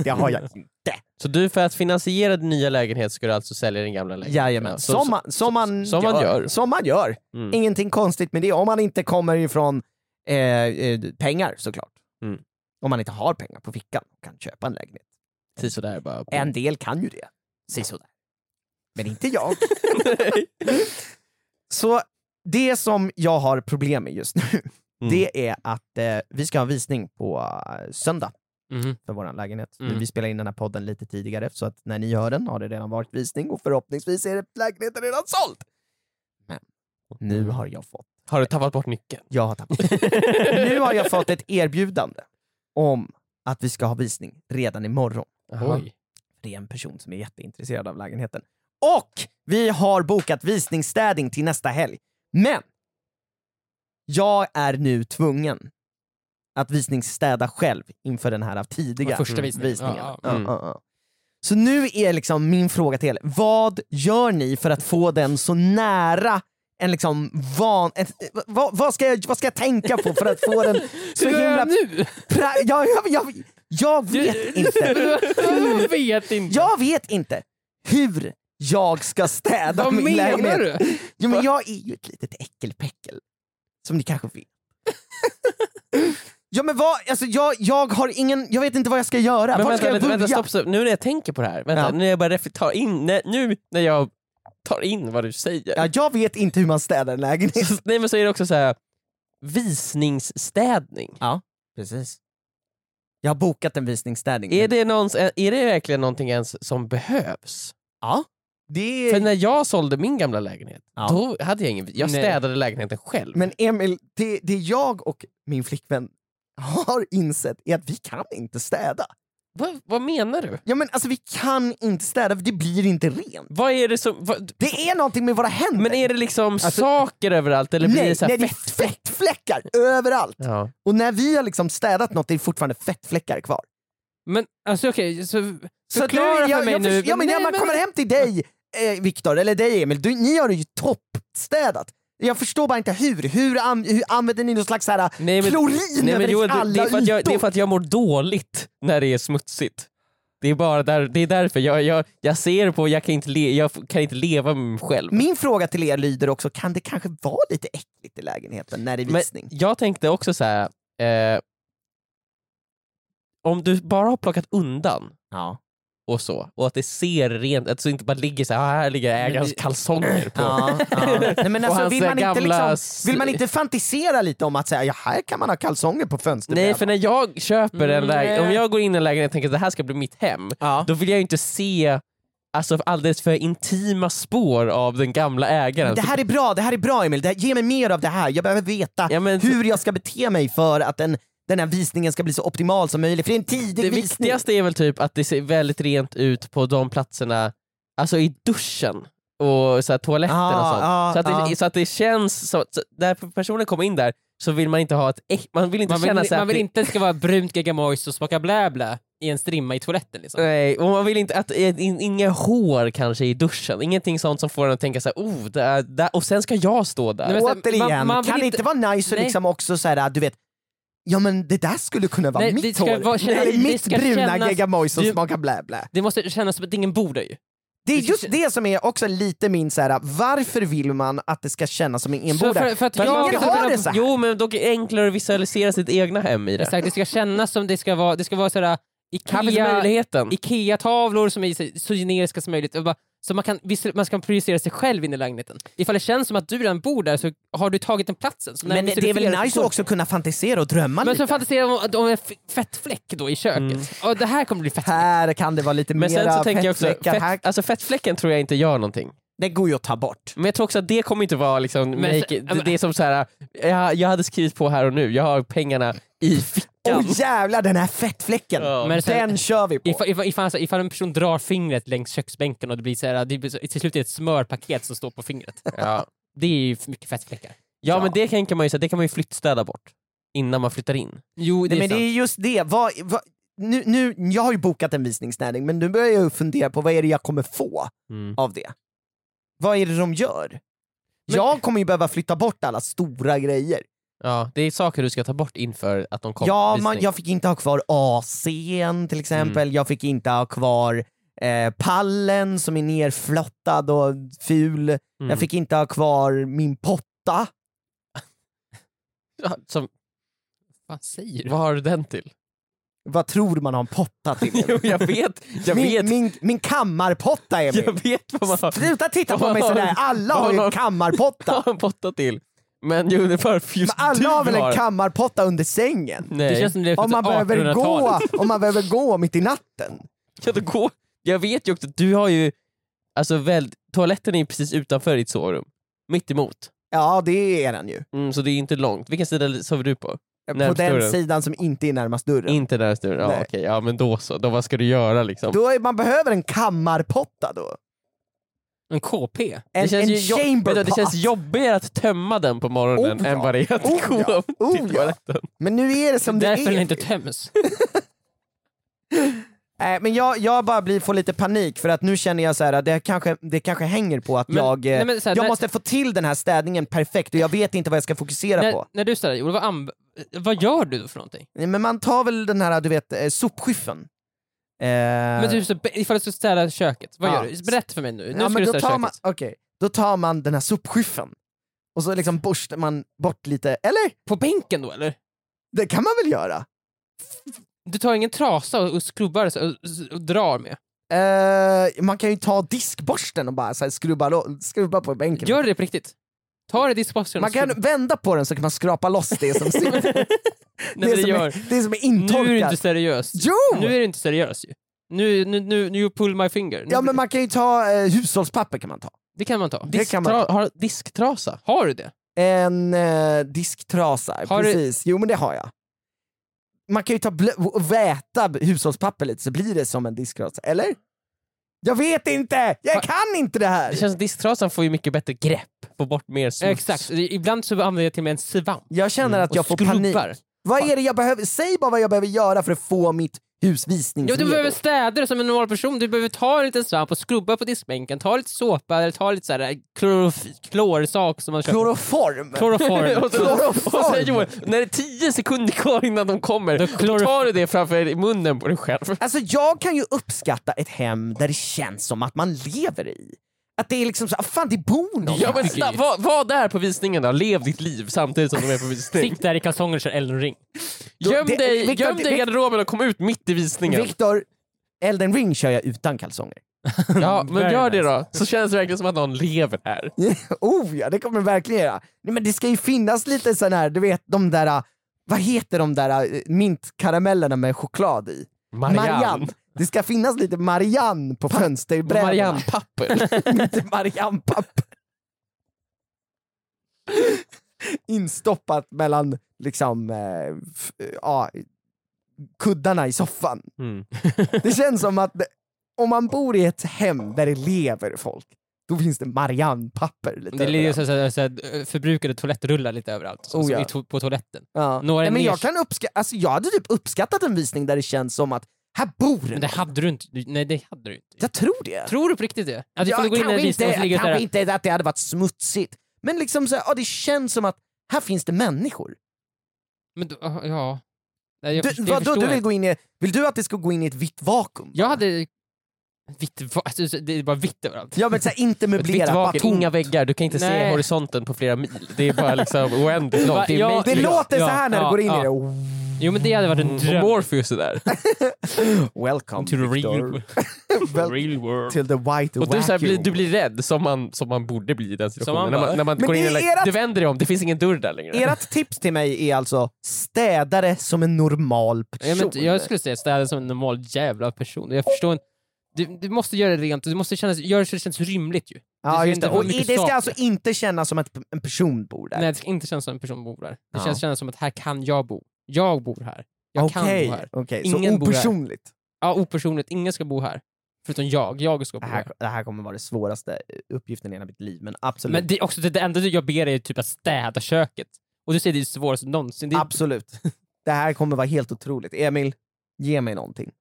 [SPEAKER 3] det har jag inte.
[SPEAKER 2] så du för att finansiera din nya lägenhet ska du alltså sälja din gamla lägenhet?
[SPEAKER 3] Jajamän.
[SPEAKER 2] Ja, så-
[SPEAKER 3] Som man, som man,
[SPEAKER 2] som man gör.
[SPEAKER 3] Som man gör.
[SPEAKER 2] Mm.
[SPEAKER 3] Ingenting konstigt med det, om man inte kommer ifrån eh, eh, pengar såklart.
[SPEAKER 2] Mm.
[SPEAKER 3] Om man inte har pengar på fickan och kan köpa en lägenhet.
[SPEAKER 2] så- sådär bara. på-
[SPEAKER 3] En del kan ju det. Sisådär. Men inte jag. Så det som jag har problem med just nu,
[SPEAKER 4] Mm.
[SPEAKER 3] det är att eh, vi ska ha en visning på eh, söndag
[SPEAKER 4] Mhm.
[SPEAKER 3] för vår lägenhet.
[SPEAKER 4] Mm.
[SPEAKER 3] Vi spelar in den här podden lite tidigare, så att när ni hör den har det redan varit visning och förhoppningsvis är det- lägenheten redan såld. Men
[SPEAKER 4] Mm.
[SPEAKER 3] nu har jag fått,
[SPEAKER 2] Har du tappat bort nyckeln?
[SPEAKER 3] jag har tappat. nu har jag fått ett erbjudande om att vi ska ha visning redan imorgon.
[SPEAKER 2] Jaha.
[SPEAKER 4] Oj.
[SPEAKER 3] Det är en person som är jätteintresserad av lägenheten. Och vi har bokat visningsstädning till nästa helg. Men! Jag är nu tvungen att visningsstäda själv inför den här tidiga Mm,
[SPEAKER 4] Ja, första visningen.
[SPEAKER 3] visningen.
[SPEAKER 4] Ja,
[SPEAKER 2] ja.
[SPEAKER 3] Ja, ja, ja. Så nu är liksom min fråga till er, vad gör ni för att få den så nära en liksom van... Ett, vad, vad, ska jag, vad ska jag tänka på för att få den så
[SPEAKER 4] Hur gör
[SPEAKER 3] himla...
[SPEAKER 4] jag nu?
[SPEAKER 3] Pra, jag, jag, jag, jag vet inte.
[SPEAKER 4] Jag vet inte.
[SPEAKER 3] Jag vet inte hur jag ska städa
[SPEAKER 4] Vad
[SPEAKER 3] min
[SPEAKER 4] menar
[SPEAKER 3] lägenhet.
[SPEAKER 4] du?
[SPEAKER 3] Jo, men jag är ju ett litet äckelpäckel, som ni kanske vet. ja, men vad, alltså, jag, jag har ingen, jag vet inte vad jag ska göra,
[SPEAKER 2] Men
[SPEAKER 3] var
[SPEAKER 2] vänta,
[SPEAKER 3] ska jag
[SPEAKER 2] vänta,
[SPEAKER 3] börja?
[SPEAKER 2] vänta, stopp, stopp. Nu när jag tänker på det här, vänta,
[SPEAKER 3] Ja.
[SPEAKER 2] nu när jag bara reflekterar tar in, när, nu när jag tar in vad du säger.
[SPEAKER 3] Ja, jag vet inte hur man städar en lägenhet.
[SPEAKER 2] Så, nej men så är det också så här visningsstädning.
[SPEAKER 3] Precis. Jag har bokat en visningsstädning.
[SPEAKER 2] Är det, någons, är det verkligen någonting ens som behövs?
[SPEAKER 3] Det
[SPEAKER 2] För
[SPEAKER 3] är...
[SPEAKER 2] när jag sålde min gamla lägenhet,
[SPEAKER 3] Ja.
[SPEAKER 2] då hade jag ingen, jag
[SPEAKER 4] Nej.
[SPEAKER 2] städade lägenheten själv.
[SPEAKER 3] Men Emil, det, det jag och min flickvän har insett är att vi kan inte städa.
[SPEAKER 2] Vad- vad menar du?
[SPEAKER 3] Ja men alltså vi kan inte städa för det blir inte rent.
[SPEAKER 2] Vad är det som... Vad,
[SPEAKER 3] Det är någonting med våra händer.
[SPEAKER 2] men är det liksom saker överallt eller blir
[SPEAKER 3] Alltså- nej,
[SPEAKER 2] det så
[SPEAKER 3] nej,
[SPEAKER 2] här
[SPEAKER 3] det är
[SPEAKER 2] fett?
[SPEAKER 3] fettfläckar överallt.
[SPEAKER 2] Ja.
[SPEAKER 3] Och när vi har liksom städat något det är fortfarande fettfläckar kvar.
[SPEAKER 4] Men alltså okej, så
[SPEAKER 3] Så att
[SPEAKER 4] förklara
[SPEAKER 3] jag,
[SPEAKER 4] för mig
[SPEAKER 3] jag,
[SPEAKER 4] nu.
[SPEAKER 3] Ja, men när
[SPEAKER 4] Nej,
[SPEAKER 3] man
[SPEAKER 4] men-
[SPEAKER 3] kommer hem till dig eh, Viktor, eller dig Emil, du, ni har det ju toppstädat. Jag förstår bara inte hur. Hur, an, hur använder ni någon slags så här,
[SPEAKER 2] Nej, men,
[SPEAKER 3] klorin
[SPEAKER 2] nej,
[SPEAKER 3] över
[SPEAKER 2] men Joel, det,
[SPEAKER 3] alla
[SPEAKER 2] det, är för att jag, det är
[SPEAKER 3] ytor?
[SPEAKER 2] för att jag mår dåligt när det är smutsigt. Det är bara där, det är därför. Jag, jag, jag ser på, jag kan, inte le, jag f- kan inte leva med mig själv.
[SPEAKER 3] Min fråga till er lyder också, kan det kanske vara lite äckligt i lägenheten när det är
[SPEAKER 2] Men
[SPEAKER 3] visning?
[SPEAKER 2] jag tänkte också så här. Eh, om du bara har plockat undan
[SPEAKER 3] Ja.
[SPEAKER 2] och så, och att det ser rent, att det inte bara ligger så här, "Ah, här ligger ägarens
[SPEAKER 4] det-
[SPEAKER 2] kalsonger på.
[SPEAKER 3] Ja, ja. Nej, men
[SPEAKER 2] Och
[SPEAKER 3] alltså,
[SPEAKER 2] hans,
[SPEAKER 3] vill, man
[SPEAKER 2] eh,
[SPEAKER 3] inte
[SPEAKER 2] gamla
[SPEAKER 3] liksom, vill man inte fantisera lite om att säga, ja, här kan man ha kalsonger på fönsterbrädan?
[SPEAKER 2] Nej för när jag köper en
[SPEAKER 4] Mm,
[SPEAKER 2] lägenhet, om
[SPEAKER 4] nej.
[SPEAKER 2] jag går in i en lägenhet och tänker att det här ska bli mitt hem,
[SPEAKER 3] Ja.
[SPEAKER 2] då vill jag ju inte se alltså, alldeles för intima spår av den gamla ägaren.
[SPEAKER 3] Det här är bra, det här är bra Emil. Det här, ge mig mer av det här. Jag behöver veta
[SPEAKER 2] Ja, men-
[SPEAKER 3] hur jag ska bete mig för att den, den här visningen ska bli så optimal som möjligt. För det är en tidig
[SPEAKER 2] det
[SPEAKER 3] visning.
[SPEAKER 2] viktigaste är väl typ att det ser väldigt rent ut på de platserna, alltså i duschen. och så här, toaletten och
[SPEAKER 3] Ah,
[SPEAKER 2] sånt.
[SPEAKER 3] ah,
[SPEAKER 2] så, att det,
[SPEAKER 3] ah.
[SPEAKER 2] så att det känns som, så, när personen kommer in där så vill man inte ha ett äck- man vill inte
[SPEAKER 4] Man
[SPEAKER 2] känna
[SPEAKER 4] vill,
[SPEAKER 2] sig
[SPEAKER 4] man
[SPEAKER 2] att
[SPEAKER 4] vill
[SPEAKER 2] det-
[SPEAKER 4] inte att det ska vara brunt geggamois och smaka blä blä i en strimma i toaletten liksom.
[SPEAKER 2] Nej, och man vill inte att eh, in, inga hår kanske i duschen, ingenting sånt som får en att tänka så här, oh, där, där, och sen ska jag stå där.
[SPEAKER 4] Nej, men- sen-
[SPEAKER 3] Återigen,
[SPEAKER 4] man- man vill
[SPEAKER 3] kan det
[SPEAKER 4] inte-
[SPEAKER 3] inte vara nice och
[SPEAKER 4] Nej.
[SPEAKER 3] liksom också så här, du vet, ja men det där skulle kunna vara
[SPEAKER 4] Nej, det
[SPEAKER 3] mitt
[SPEAKER 4] ska
[SPEAKER 3] hår.
[SPEAKER 4] vara- känna-
[SPEAKER 3] Eller
[SPEAKER 4] det
[SPEAKER 3] mitt
[SPEAKER 4] ska
[SPEAKER 3] bruna
[SPEAKER 4] kännas-
[SPEAKER 3] geggamoy som
[SPEAKER 4] du-
[SPEAKER 3] smakar blä blä.
[SPEAKER 4] Det måste kännas som att ingen bor där ju.
[SPEAKER 3] Det är
[SPEAKER 4] det ska
[SPEAKER 3] just
[SPEAKER 4] kän-
[SPEAKER 3] det som är också lite min så här, varför vill man att det ska kännas som en
[SPEAKER 4] Så
[SPEAKER 3] enbordare?
[SPEAKER 4] för, för att
[SPEAKER 3] Men
[SPEAKER 4] jag
[SPEAKER 3] ingen
[SPEAKER 4] ska
[SPEAKER 3] har
[SPEAKER 4] kunna-
[SPEAKER 3] det så här.
[SPEAKER 2] Jo, men dock är det enklare att visualisera sitt egna hem i det.
[SPEAKER 4] Exakt, det ska kännas som det ska vara, det ska vara sådär
[SPEAKER 2] Här finns
[SPEAKER 4] Ikea,
[SPEAKER 2] möjligheten.
[SPEAKER 4] Mm. Ikea-tavlor som är så- så generiska som möjligt. Och bara, så man kan, visst, man ska projicera sig själv in i lägenheten. Ifall det känns som att du redan bor där så har du tagit den platsen. Så när
[SPEAKER 3] Men
[SPEAKER 4] du
[SPEAKER 3] det, det är väl
[SPEAKER 4] visualiserar så
[SPEAKER 3] nice
[SPEAKER 4] går
[SPEAKER 3] att
[SPEAKER 4] det.
[SPEAKER 3] också kunna fantisera och drömma
[SPEAKER 4] Men
[SPEAKER 3] lite.
[SPEAKER 4] så fantiserar man om, om en f- fettfläck då i köket.
[SPEAKER 2] Mm.
[SPEAKER 4] Och det här kommer bli fett.
[SPEAKER 3] Här kan det vara lite
[SPEAKER 2] Men sen så
[SPEAKER 3] mera
[SPEAKER 2] tänker jag också,
[SPEAKER 3] fettfläckar. Här-
[SPEAKER 2] fett, alltså fettfläcken tror jag inte gör någonting.
[SPEAKER 3] Det går ju att ta bort.
[SPEAKER 2] Men jag tror också att det kommer inte vara liksom,
[SPEAKER 4] Men
[SPEAKER 2] make,
[SPEAKER 4] så-
[SPEAKER 2] it-
[SPEAKER 4] ja,
[SPEAKER 2] det,
[SPEAKER 4] men-
[SPEAKER 2] det är som så här, jag, jag hade skrivit på här och nu, jag har pengarna i fickan.
[SPEAKER 3] Åh jävlar den här fettfläcken!
[SPEAKER 2] Ja.
[SPEAKER 4] Men sen-
[SPEAKER 3] den kör vi på.
[SPEAKER 4] Ifall, ifall, ifall, alltså, ifall en person drar fingret längs köksbänken och det blir, såhär, det blir så, till slut är det ett smörpaket som står på fingret.
[SPEAKER 2] Ja.
[SPEAKER 4] Det är ju för mycket fettfläckar.
[SPEAKER 2] ja men det tänker man ju, så här, det kan man ju flyttstäda bort innan man flyttar in.
[SPEAKER 4] Jo,
[SPEAKER 3] Nej, men det är just det. Vad, vad, nu, nu, jag har ju bokat en visningsnäring men nu börjar jag ju fundera på vad är det jag kommer få av det? Vad är det de gör? jag kommer ju behöva flytta bort alla stora grejer.
[SPEAKER 2] Ja, det är saker du ska ta bort inför att de kommer.
[SPEAKER 3] Ja,
[SPEAKER 2] på visning.
[SPEAKER 3] man,
[SPEAKER 2] Mm.
[SPEAKER 3] jag fick inte ha kvar AC'n till exempel, jag fick inte ha kvar eh, pallen som är nerflottad och ful,
[SPEAKER 2] Mm.
[SPEAKER 3] jag fick inte ha kvar min potta.
[SPEAKER 2] Ja, som,
[SPEAKER 4] Vad säger du?
[SPEAKER 2] vad har du den till?
[SPEAKER 3] Vad tror man har en potta till?
[SPEAKER 2] jo, jag vet, jag
[SPEAKER 3] min,
[SPEAKER 2] vet,
[SPEAKER 3] min, min kammarpotta Emil!
[SPEAKER 2] jag vet vad man har.
[SPEAKER 3] Sluta titta på mig sådär, alla
[SPEAKER 2] Vad
[SPEAKER 3] har ju
[SPEAKER 2] har-
[SPEAKER 3] en kammarpotta!
[SPEAKER 2] Ta en potta till. Men Uniperf,
[SPEAKER 3] Men
[SPEAKER 2] just du
[SPEAKER 3] alla har väl en
[SPEAKER 2] har.
[SPEAKER 3] kammarpotta under sängen?
[SPEAKER 2] Nej.
[SPEAKER 4] Det känns som det är
[SPEAKER 3] Om man, behöver
[SPEAKER 4] 1800-talet.
[SPEAKER 3] gå, om man behöver gå mitt i natten.
[SPEAKER 2] Kan du gå? Jag vet ju också att du har ju, alltså väl, toaletten är ju precis utanför ditt sovrum. Mitt emot.
[SPEAKER 3] Ja det är den ju.
[SPEAKER 2] Mm, så det är ju inte långt. Vilken sida sover du på?
[SPEAKER 3] På
[SPEAKER 2] Närmst
[SPEAKER 3] den
[SPEAKER 2] dörren.
[SPEAKER 3] sidan som inte är närmast dörren.
[SPEAKER 2] Inte där sturen. Ja,
[SPEAKER 3] Nej.
[SPEAKER 2] okej. ja men då så, då, vad ska du göra liksom?
[SPEAKER 3] Då är, man behöver en kammarpotta då.
[SPEAKER 4] En KP?
[SPEAKER 3] En, en
[SPEAKER 2] jo-
[SPEAKER 3] chamber
[SPEAKER 2] vet du, det känns
[SPEAKER 3] pot.
[SPEAKER 2] jobbigare att tömma den på morgonen
[SPEAKER 3] Oh, ja.
[SPEAKER 2] än vad det är att
[SPEAKER 3] Oh,
[SPEAKER 2] gå
[SPEAKER 3] ja. Oh,
[SPEAKER 2] till
[SPEAKER 3] ja.
[SPEAKER 2] toaletten.
[SPEAKER 3] Men nu är det som det
[SPEAKER 4] Därför
[SPEAKER 3] är.
[SPEAKER 4] den inte töms.
[SPEAKER 3] Nej, men jag, jag bara blir, får lite panik för att nu känner jag så här, att det kanske, det kanske hänger på att
[SPEAKER 4] Men-
[SPEAKER 3] jag, eh,
[SPEAKER 4] nej, men så här,
[SPEAKER 3] jag
[SPEAKER 4] när-
[SPEAKER 3] måste få till den här städningen perfekt och jag vet inte vad jag ska fokusera på.
[SPEAKER 4] när, när du städar Joel, vad, anv- vad gör du då för någonting?
[SPEAKER 3] Nej, Men man tar väl den här du vet, eh, sopskyffeln. Eh,
[SPEAKER 4] Men du, så, ifall du ska städa köket, vad
[SPEAKER 3] Ja.
[SPEAKER 4] gör du? Berätta för mig nu. Nu
[SPEAKER 3] ja,
[SPEAKER 4] ska
[SPEAKER 3] men då,
[SPEAKER 4] du städa
[SPEAKER 3] tar
[SPEAKER 4] köket.
[SPEAKER 3] man, okej, då tar man den här sopskyffeln och så liksom borstar man bort lite, eller?
[SPEAKER 4] På bänken då eller?
[SPEAKER 3] Det kan man väl göra?
[SPEAKER 4] Du tar ingen trasa och, och skrubbar så- och, och drar med?
[SPEAKER 3] Eh, man kan ju ta diskborsten och bara så här skrubba, lo- skrubba på bänken.
[SPEAKER 4] Gör du det på riktigt? Ta det i diskboxen
[SPEAKER 3] man
[SPEAKER 4] och
[SPEAKER 3] kan
[SPEAKER 4] skrubba.
[SPEAKER 3] vända på den så kan man skrapa loss det som, sitter-
[SPEAKER 4] Nej,
[SPEAKER 3] det
[SPEAKER 4] men det
[SPEAKER 3] som,
[SPEAKER 4] gör.
[SPEAKER 3] är, det som är
[SPEAKER 4] Nu är du inte
[SPEAKER 3] intorkat.
[SPEAKER 4] seriös.
[SPEAKER 3] Jo!
[SPEAKER 4] Nu är du inte seriös ju. Nu, nu, nu, nu you pull my finger. Nu,
[SPEAKER 3] Ja men man kan ju ta eh, hushållspapper kan man ta.
[SPEAKER 4] Det kan man ta.
[SPEAKER 3] Det kan man
[SPEAKER 2] Dra- har disktrasa?
[SPEAKER 4] Har du det?
[SPEAKER 3] En eh, disktrasa,
[SPEAKER 4] Har du-
[SPEAKER 3] precis. Jo men det har jag. Man kan ju ta blö- och väta b- hushållspapper lite så blir det som en disktrasa, eller? Jag vet inte! Jag
[SPEAKER 4] Har-
[SPEAKER 3] kan inte det här!
[SPEAKER 2] Det känns som disktrasan får ju mycket bättre grepp, får bort mer smuts.
[SPEAKER 4] Exakt. Ibland så använder jag till och med en svamp.
[SPEAKER 3] Jag känner att
[SPEAKER 4] Mm, och
[SPEAKER 3] jag får panik.
[SPEAKER 4] skrubbar.
[SPEAKER 3] Vad är det jag behöver? Säg bara vad jag behöver göra för att få mitt hus
[SPEAKER 4] Ja,
[SPEAKER 3] visningsredo.
[SPEAKER 4] du behöver städa det som en normal person. Du behöver ta en liten svamp och skrubba på diskbänken, ta lite såpa eller ta lite så här eh, klorof- klorsak som man köper.
[SPEAKER 3] Kloroform!
[SPEAKER 4] Kloroform.
[SPEAKER 2] och, så, och så säger Joel, när det är tio sekunder kvar innan de kommer, då
[SPEAKER 4] klor-
[SPEAKER 2] tar du det framför munnen på dig själv.
[SPEAKER 3] Alltså jag kan ju uppskatta ett hem där det känns som att man lever i. Att det är liksom så, ah, fan det bor någon
[SPEAKER 2] Ja,
[SPEAKER 3] här.
[SPEAKER 2] men snabbt, var, var där på visningen då, lev ditt liv samtidigt som de är på visning.
[SPEAKER 4] Sitt där i kalsonger och kör Elden ring.
[SPEAKER 2] Göm
[SPEAKER 3] det-
[SPEAKER 2] dig,
[SPEAKER 3] Victor,
[SPEAKER 2] göm dig i
[SPEAKER 3] det-
[SPEAKER 2] garderoben och kom ut mitt i visningen.
[SPEAKER 3] Viktor, Elden ring kör jag utan kalsonger.
[SPEAKER 2] Ja, men
[SPEAKER 4] Very
[SPEAKER 2] gör det då, så känns det verkligen som att någon lever här.
[SPEAKER 3] oh ja, det kommer jag verkligen göra. Nej, men det ska ju finnas lite sån här, du vet de där, ah, vad heter de där ah, mintkaramellerna med choklad i? Det ska finnas lite Marianne på fönsterbrädan.
[SPEAKER 2] Marianne-papper.
[SPEAKER 3] Inte Marianne-papper. Instoppat mellan liksom, eh, f- ja, kuddarna i soffan.
[SPEAKER 2] Mm.
[SPEAKER 3] Det känns som att om man bor i ett hem där det lever folk, då finns det Marianne-papper lite
[SPEAKER 4] Det ligger
[SPEAKER 3] överallt.
[SPEAKER 4] så här, så här, eh, förbrukade toalettrullar lite överallt, så,
[SPEAKER 3] Oh,
[SPEAKER 4] så
[SPEAKER 3] ja.
[SPEAKER 4] i to- på toaletten.
[SPEAKER 3] ja.
[SPEAKER 4] Några
[SPEAKER 3] Nej, men
[SPEAKER 4] ner-
[SPEAKER 3] jag, kan uppska- alltså, jag hade typ uppskattat en visning där det känns som att här bor
[SPEAKER 4] Men
[SPEAKER 3] en.
[SPEAKER 4] det hade du inte. Nej, det hade du inte.
[SPEAKER 3] Jag tror det.
[SPEAKER 4] Tror du på riktigt det? Att du
[SPEAKER 3] Ja,
[SPEAKER 4] kommer gå in i en
[SPEAKER 3] kanske
[SPEAKER 4] visning och så
[SPEAKER 3] inte,
[SPEAKER 4] ligger det
[SPEAKER 3] kanske
[SPEAKER 4] där...
[SPEAKER 3] inte att det hade varit smutsigt, men liksom så här, ja, det känns som att här finns det människor.
[SPEAKER 4] Men, du- ja... Nej, jag
[SPEAKER 3] Du,
[SPEAKER 4] förstår, jag
[SPEAKER 3] vadå,
[SPEAKER 4] förstår
[SPEAKER 3] du vill,
[SPEAKER 4] inte.
[SPEAKER 3] gå in i, vill du att det ska gå in i ett vitt vakuum?
[SPEAKER 4] Jag hade... Vitt, va- alltså, så- det är bara vitt överallt.
[SPEAKER 3] Ja men såhär, inte
[SPEAKER 2] Ett vitt
[SPEAKER 3] möblerat, bara
[SPEAKER 2] vakuum,
[SPEAKER 3] tomt.
[SPEAKER 2] inga väggar, du kan inte se
[SPEAKER 4] Nej.
[SPEAKER 2] horisonten på flera mil. Det är bara liksom oändligt
[SPEAKER 4] Va?
[SPEAKER 2] långt. Det är
[SPEAKER 4] Ja,
[SPEAKER 2] Matrix.
[SPEAKER 3] Det
[SPEAKER 4] Ja,
[SPEAKER 3] låter så här när
[SPEAKER 4] ja,
[SPEAKER 3] du går in
[SPEAKER 4] ja.
[SPEAKER 3] i det. Oh,
[SPEAKER 4] Jo men det hade varit en
[SPEAKER 2] Och
[SPEAKER 4] dröm.
[SPEAKER 2] Morpheus är där.
[SPEAKER 3] Welcome
[SPEAKER 2] To the
[SPEAKER 3] Victor.
[SPEAKER 2] real,
[SPEAKER 3] Well,
[SPEAKER 2] real world.
[SPEAKER 3] till the white
[SPEAKER 2] Och du, så här, blir,
[SPEAKER 3] vacuum.
[SPEAKER 2] du blir rädd som man, som man borde bli i den situationen.
[SPEAKER 4] man
[SPEAKER 2] när
[SPEAKER 4] bara-
[SPEAKER 2] man, när man
[SPEAKER 3] Men
[SPEAKER 2] går in
[SPEAKER 3] det
[SPEAKER 2] i
[SPEAKER 3] är
[SPEAKER 2] en lägenhet.
[SPEAKER 3] ert-
[SPEAKER 2] Du vänder dig om, det finns ingen dörr där längre.
[SPEAKER 3] Ert tips till mig är alltså städare som en normal person.
[SPEAKER 4] Ja, men jag skulle säga städa som en normal jävla person. Jag förstår inte. Du, du måste göra det rent, du måste kännas, göra det så det känns rimligt ju.
[SPEAKER 3] Ja,
[SPEAKER 4] ska
[SPEAKER 3] just
[SPEAKER 4] inte
[SPEAKER 3] det.
[SPEAKER 4] vara
[SPEAKER 3] Och i-
[SPEAKER 4] mycket
[SPEAKER 3] det ska
[SPEAKER 4] saker.
[SPEAKER 3] alltså inte kännas som att p- en person bor där.
[SPEAKER 4] Nej, det ska inte kännas som en person bor där. Det
[SPEAKER 3] Ja.
[SPEAKER 4] känns, kännas som att här kan jag bo. Jag bor här. Jag kan
[SPEAKER 3] Okej,
[SPEAKER 4] bo här.
[SPEAKER 3] okej,
[SPEAKER 4] Ingen
[SPEAKER 3] så
[SPEAKER 4] bor här.
[SPEAKER 3] opersonligt.
[SPEAKER 4] Ja, opersonligt, ingen ska bo här. Förutom jag, jag ska bo
[SPEAKER 3] Det
[SPEAKER 4] här.
[SPEAKER 3] här, det här kommer vara den svåraste eh, uppgiften i hela mitt liv, men absolut.
[SPEAKER 4] Men det, är också, det, det enda jag ber dig är typ att städa köket. Och du säger det är svårast någonsin. Det är,
[SPEAKER 3] Absolut. Det här kommer vara helt otroligt. Emil, ge mig någonting.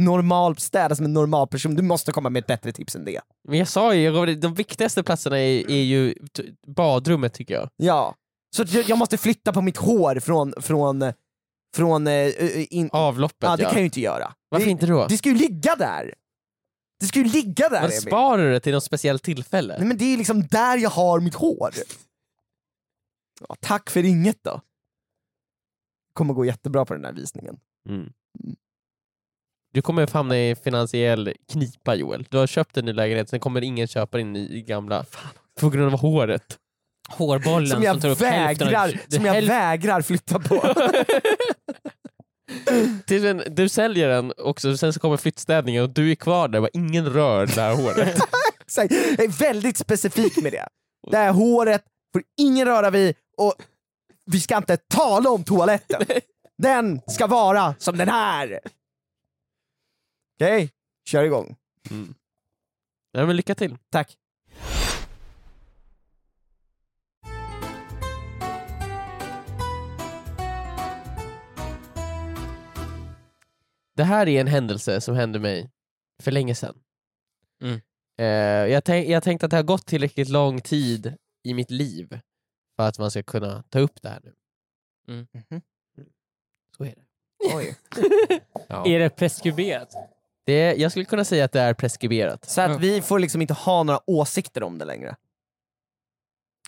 [SPEAKER 3] Normal, städa som en normal person. Du måste komma med ett bättre tips än det.
[SPEAKER 2] Men jag sa ju, Robert, de viktigaste platserna är, är ju t- badrummet tycker jag.
[SPEAKER 3] Ja. Så att jag jag måste flytta på mitt hår från... från, från eh, eh, in...
[SPEAKER 2] Avloppet
[SPEAKER 3] ja, det
[SPEAKER 2] ja.
[SPEAKER 3] kan jag ju inte göra.
[SPEAKER 2] Varför
[SPEAKER 3] det,
[SPEAKER 2] inte då?
[SPEAKER 3] det ska ju ligga där! Det ska ju ligga där
[SPEAKER 2] Men
[SPEAKER 3] Emil!
[SPEAKER 2] sparar du det till något speciellt tillfälle?
[SPEAKER 3] Nej men det är liksom där jag har mitt hår. Ja, tack för inget då. kommer gå jättebra på den här visningen.
[SPEAKER 2] Mm. Du kommer att hamna i finansiell knipa Joel. Du har köpt en ny lägenhet, sen kommer ingen köpa din ny gamla. På grund av håret.
[SPEAKER 4] hårbollen
[SPEAKER 3] Som jag,
[SPEAKER 4] som tar upp hälften av-
[SPEAKER 3] vägrar,
[SPEAKER 4] det-
[SPEAKER 3] som jag
[SPEAKER 4] hälften-
[SPEAKER 3] vägrar flytta på.
[SPEAKER 2] Tills en, du säljer den också, sen så kommer flyttstädningen och du är kvar där. Bara, ingen rör det här håret.
[SPEAKER 3] Så här, Jag är väldigt specifik med det. Det här håret får ingen röra vid och vi ska inte tala om toaletten. Den ska vara som den här. Okej, kör igång.
[SPEAKER 2] Nej, men lycka till.
[SPEAKER 3] Tack.
[SPEAKER 2] Det här är en händelse som hände mig för länge sedan.
[SPEAKER 4] Mm.
[SPEAKER 2] Eh, jag, tänk, jag tänkte att det har gått tillräckligt lång tid i mitt liv för att man ska kunna ta upp det här nu.
[SPEAKER 4] Mm.
[SPEAKER 3] Mhm.
[SPEAKER 2] Så är det.
[SPEAKER 3] Oj.
[SPEAKER 2] Ja.
[SPEAKER 4] Är det preskriberat?
[SPEAKER 2] det. Jag skulle kunna säga att det är preskriberat.
[SPEAKER 3] Så att vi får liksom inte ha några åsikter om det längre.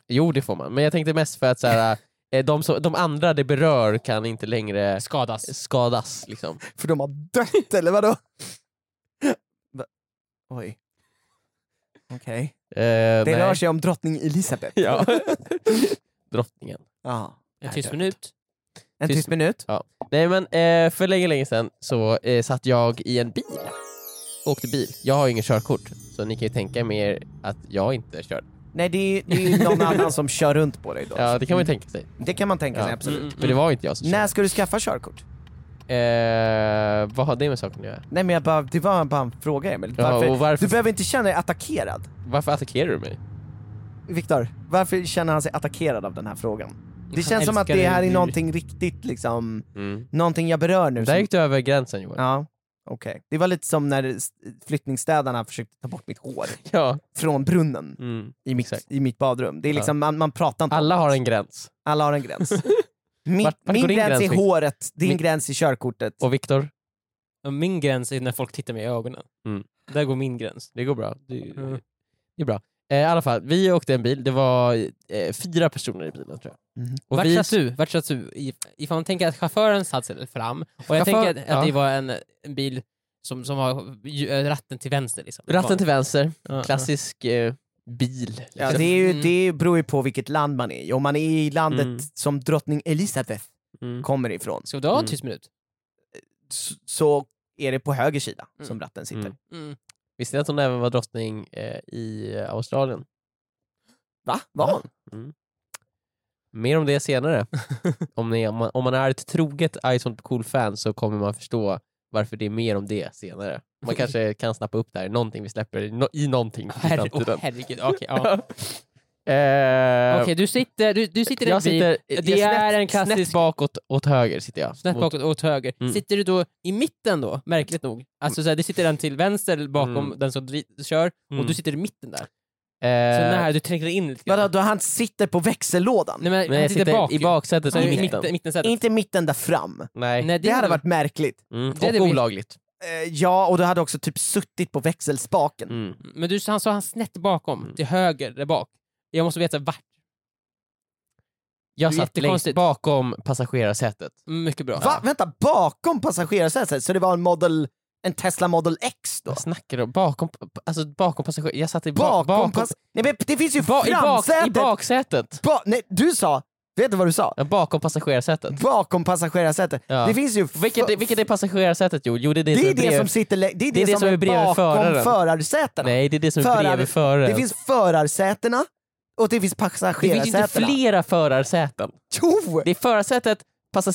[SPEAKER 2] Jo, det får man. Men jag tänkte mest för att så här, eh, de, som, de andra det berör kan inte längre
[SPEAKER 4] Skadas?
[SPEAKER 2] skadas. Liksom.
[SPEAKER 3] För de har dött eller vadå? Va? Oj. Okej.
[SPEAKER 2] Eh,
[SPEAKER 3] Det
[SPEAKER 2] nej.
[SPEAKER 3] rör sig om drottning Elisabeth.
[SPEAKER 2] Ja. Drottningen.
[SPEAKER 3] Ja.
[SPEAKER 4] En tyst minut.
[SPEAKER 3] En
[SPEAKER 2] Tyst-
[SPEAKER 3] tyst minut.
[SPEAKER 2] Nej men eh, för länge, länge sedan så eh, satt jag i en bil. Åkte bil. Jag har ju ingen körkort, så ni kan ju tänka med er att jag inte kör.
[SPEAKER 3] Nej det är, det är ju någon annan som kör runt på dig då.
[SPEAKER 2] Ja, det kan man ju tänka sig.
[SPEAKER 3] Det kan man tänka sig
[SPEAKER 2] Ja.
[SPEAKER 3] Mm.
[SPEAKER 2] Mm,
[SPEAKER 4] Mm,
[SPEAKER 3] absolut.
[SPEAKER 2] Men det var ju inte jag som körde.
[SPEAKER 3] När ska du skaffa körkort?
[SPEAKER 2] Eh, vad har det med saken att göra?
[SPEAKER 3] Nej men jag bara, det var bara en fråga Emil.
[SPEAKER 2] Ja,
[SPEAKER 3] Varför,
[SPEAKER 2] och varför-
[SPEAKER 3] Du behöver inte känna dig attackerad.
[SPEAKER 2] Varför attackerar du mig?
[SPEAKER 3] Viktor, varför känner han sig attackerad av den här frågan? Det känns som att
[SPEAKER 4] älskar
[SPEAKER 3] det här
[SPEAKER 4] dig.
[SPEAKER 3] är någonting riktigt liksom,
[SPEAKER 2] Mm.
[SPEAKER 3] någonting jag berör nu.
[SPEAKER 2] Där
[SPEAKER 3] som-
[SPEAKER 2] gick du över gränsen Joel.
[SPEAKER 3] Ja, okej. Det var lite som när s- flyttningsstädarna försökte ta bort mitt hår
[SPEAKER 2] Ja.
[SPEAKER 3] från brunnen
[SPEAKER 2] Mm.
[SPEAKER 3] i mitt,
[SPEAKER 2] Exakt.
[SPEAKER 3] i mitt badrum. Det är
[SPEAKER 2] Ja.
[SPEAKER 3] liksom, man, man pratar inte om
[SPEAKER 2] Alla
[SPEAKER 3] det.
[SPEAKER 2] har en gräns.
[SPEAKER 3] Alla har en gräns. Min,
[SPEAKER 2] Vart- vart
[SPEAKER 3] min
[SPEAKER 2] går din
[SPEAKER 3] gräns,
[SPEAKER 2] gräns,
[SPEAKER 3] är
[SPEAKER 2] Viktor?
[SPEAKER 3] håret, din
[SPEAKER 2] Min-
[SPEAKER 3] gräns är körkortet.
[SPEAKER 2] Och Viktor,
[SPEAKER 4] Och Min gräns är när folk tittar mig i ögonen.
[SPEAKER 2] Mm.
[SPEAKER 4] Där går min gräns.
[SPEAKER 2] det går bra. Det,
[SPEAKER 4] Mm.
[SPEAKER 2] det är bra. Eh, I alla fall, vi åkte en bil. Det var eh, fyra personer i bilen tror jag.
[SPEAKER 3] Mhm.
[SPEAKER 2] Och
[SPEAKER 4] vart
[SPEAKER 2] vi,
[SPEAKER 4] satt du? Vart satt du? I- Ifall man tänker att chauffören satt sig fram, och jag
[SPEAKER 2] Chaufför-
[SPEAKER 4] tänker att, att det
[SPEAKER 2] ja.
[SPEAKER 4] var en, en bil som, som har ju- eh, ratten till vänster. Liksom.
[SPEAKER 2] ratten till vänster,
[SPEAKER 4] Ja,
[SPEAKER 2] klassisk eh, bil.
[SPEAKER 3] Ja,
[SPEAKER 2] liksom.
[SPEAKER 3] det, är ju,
[SPEAKER 4] Mm.
[SPEAKER 3] det beror ju på vilket land man är i. Om man är i landet
[SPEAKER 2] Mm.
[SPEAKER 3] som drottning Elisabeth
[SPEAKER 2] Mm.
[SPEAKER 3] kommer ifrån
[SPEAKER 4] ja. Ska du ha en
[SPEAKER 2] Mm.
[SPEAKER 4] tyst minut?
[SPEAKER 3] s- så är det på höger sida
[SPEAKER 4] Mm.
[SPEAKER 3] som ratten sitter.
[SPEAKER 2] Mm.
[SPEAKER 4] Mm.
[SPEAKER 2] Visste ni att hon även var drottning eh, i eh, Australien?
[SPEAKER 3] Va? Var hon?
[SPEAKER 2] Mer om det senare. om, ni, om, man, om man är ett troget Ice on Cool-fan så kommer man förstå varför det är mer om det senare. Man kanske kan snappa upp det här i någonting vi släpper i no- i någonting i
[SPEAKER 4] Herre, oh,
[SPEAKER 2] framtiden.
[SPEAKER 4] herregud, okej. ja.
[SPEAKER 2] Eh,
[SPEAKER 4] Okej, du sitter, du, du sitter i en
[SPEAKER 2] jag
[SPEAKER 4] bil,
[SPEAKER 2] sitter,
[SPEAKER 4] det är en klassisk-
[SPEAKER 2] snett bakåt åt höger sitter jag.
[SPEAKER 4] snett
[SPEAKER 2] Mot-
[SPEAKER 4] bakåt åt höger.
[SPEAKER 2] Mm.
[SPEAKER 4] Sitter du då i mitten då, märkligt nog? Alltså såhär, det sitter den till vänster bakom
[SPEAKER 2] Mm.
[SPEAKER 4] den som dri- kör,
[SPEAKER 2] Mm.
[SPEAKER 4] och du sitter i mitten där.
[SPEAKER 2] Eh,
[SPEAKER 4] Så när du tränger in lite
[SPEAKER 3] Vadå, då han sitter på växellådan?
[SPEAKER 4] Nej, men,
[SPEAKER 2] men
[SPEAKER 4] han
[SPEAKER 2] jag
[SPEAKER 4] sitter,
[SPEAKER 2] sitter
[SPEAKER 4] bak,
[SPEAKER 2] i
[SPEAKER 4] ju.
[SPEAKER 2] baksätet
[SPEAKER 4] Så
[SPEAKER 2] i
[SPEAKER 4] i
[SPEAKER 2] mitten.
[SPEAKER 4] mitten, mittensätet.
[SPEAKER 3] Inte mitten där fram.
[SPEAKER 2] Nej.
[SPEAKER 4] Nej,
[SPEAKER 3] Det, hade varit märkligt.
[SPEAKER 2] Mm.
[SPEAKER 4] det
[SPEAKER 2] Och
[SPEAKER 4] hade blivit-
[SPEAKER 2] olagligt.
[SPEAKER 3] Eh, ja, och du hade också typ suttit på växelspaken.
[SPEAKER 2] Mm.
[SPEAKER 4] Men du, han sa han snett bakom,
[SPEAKER 2] Mm.
[SPEAKER 4] till höger där bak. Jag måste veta vart.
[SPEAKER 2] Jag
[SPEAKER 4] Det är
[SPEAKER 2] satt längst
[SPEAKER 4] jättekonstigt. Mm,
[SPEAKER 2] bakom passagerarsätet.
[SPEAKER 4] Mycket bra.
[SPEAKER 3] Va? Vänta, bakom passagerarsätet? Så det var en, model, en Tesla Model X då?
[SPEAKER 2] Vad snackar du om? Bakom, alltså bakom passagerar... Jag satt i ba-
[SPEAKER 3] Bakom, pass- Nej men det finns ju
[SPEAKER 2] ba- i, bak,
[SPEAKER 3] framsätet!
[SPEAKER 2] I baksätet!
[SPEAKER 3] Ba- Nej, du sa, vet du vad du sa?
[SPEAKER 2] Ja, Bakom passagerarsätet.
[SPEAKER 3] Bakom passagerarsätet.
[SPEAKER 2] Ja.
[SPEAKER 3] Det finns ju... f-
[SPEAKER 2] Vilket, det- vilket är passagerarsätet Joel? Jo, det är det,
[SPEAKER 3] det är
[SPEAKER 2] som,
[SPEAKER 3] det
[SPEAKER 2] brev-
[SPEAKER 3] som sitter lä- det är
[SPEAKER 2] det är
[SPEAKER 3] det som är
[SPEAKER 2] bredvid
[SPEAKER 3] bakom
[SPEAKER 2] föraren.
[SPEAKER 3] förarsätena.
[SPEAKER 2] Nej, det är det som är
[SPEAKER 3] Förar-
[SPEAKER 2] bredvid föraren.
[SPEAKER 3] Det finns förarsätena och det finns
[SPEAKER 2] det finns
[SPEAKER 3] passagerarsätena.
[SPEAKER 2] inte flera förarsäten.
[SPEAKER 3] Jo!
[SPEAKER 2] Det är förarsätet,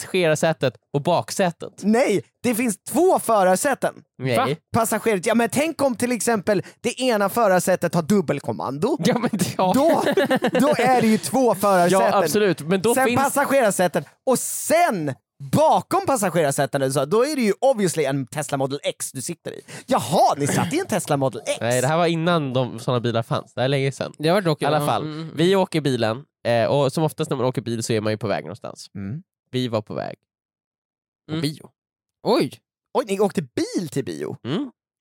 [SPEAKER 2] passagerarsätet och baksätet.
[SPEAKER 3] Nej, det finns två förarsäten.
[SPEAKER 2] Nej.
[SPEAKER 4] Va?
[SPEAKER 3] Passagerare, ja men tänk om till exempel det ena förarsätet har dubbelkommando.
[SPEAKER 2] Ja, men, ja.
[SPEAKER 3] Då, då är det ju två
[SPEAKER 2] ja,
[SPEAKER 3] förarsäten.
[SPEAKER 2] absolut. Men då
[SPEAKER 3] sen
[SPEAKER 2] finns...
[SPEAKER 3] passagerarsäten och sen bakom passagerarsäten, så då är det ju obviously en Tesla Model X du sitter i. Jaha, ni satt i en Tesla Model X?
[SPEAKER 2] Nej, det här var innan de, sådana bilar fanns. Det här är länge sedan.
[SPEAKER 4] Det var dock...
[SPEAKER 2] I alla fall,
[SPEAKER 4] Mm, mm.
[SPEAKER 2] vi åker bilen eh, och som oftast när man åker bil så är man ju på väg någonstans.
[SPEAKER 3] Mm.
[SPEAKER 2] Vi var på väg på
[SPEAKER 4] Mm.
[SPEAKER 2] bio. Mm.
[SPEAKER 4] Oj!
[SPEAKER 3] Oj, ni åkte bil till bio?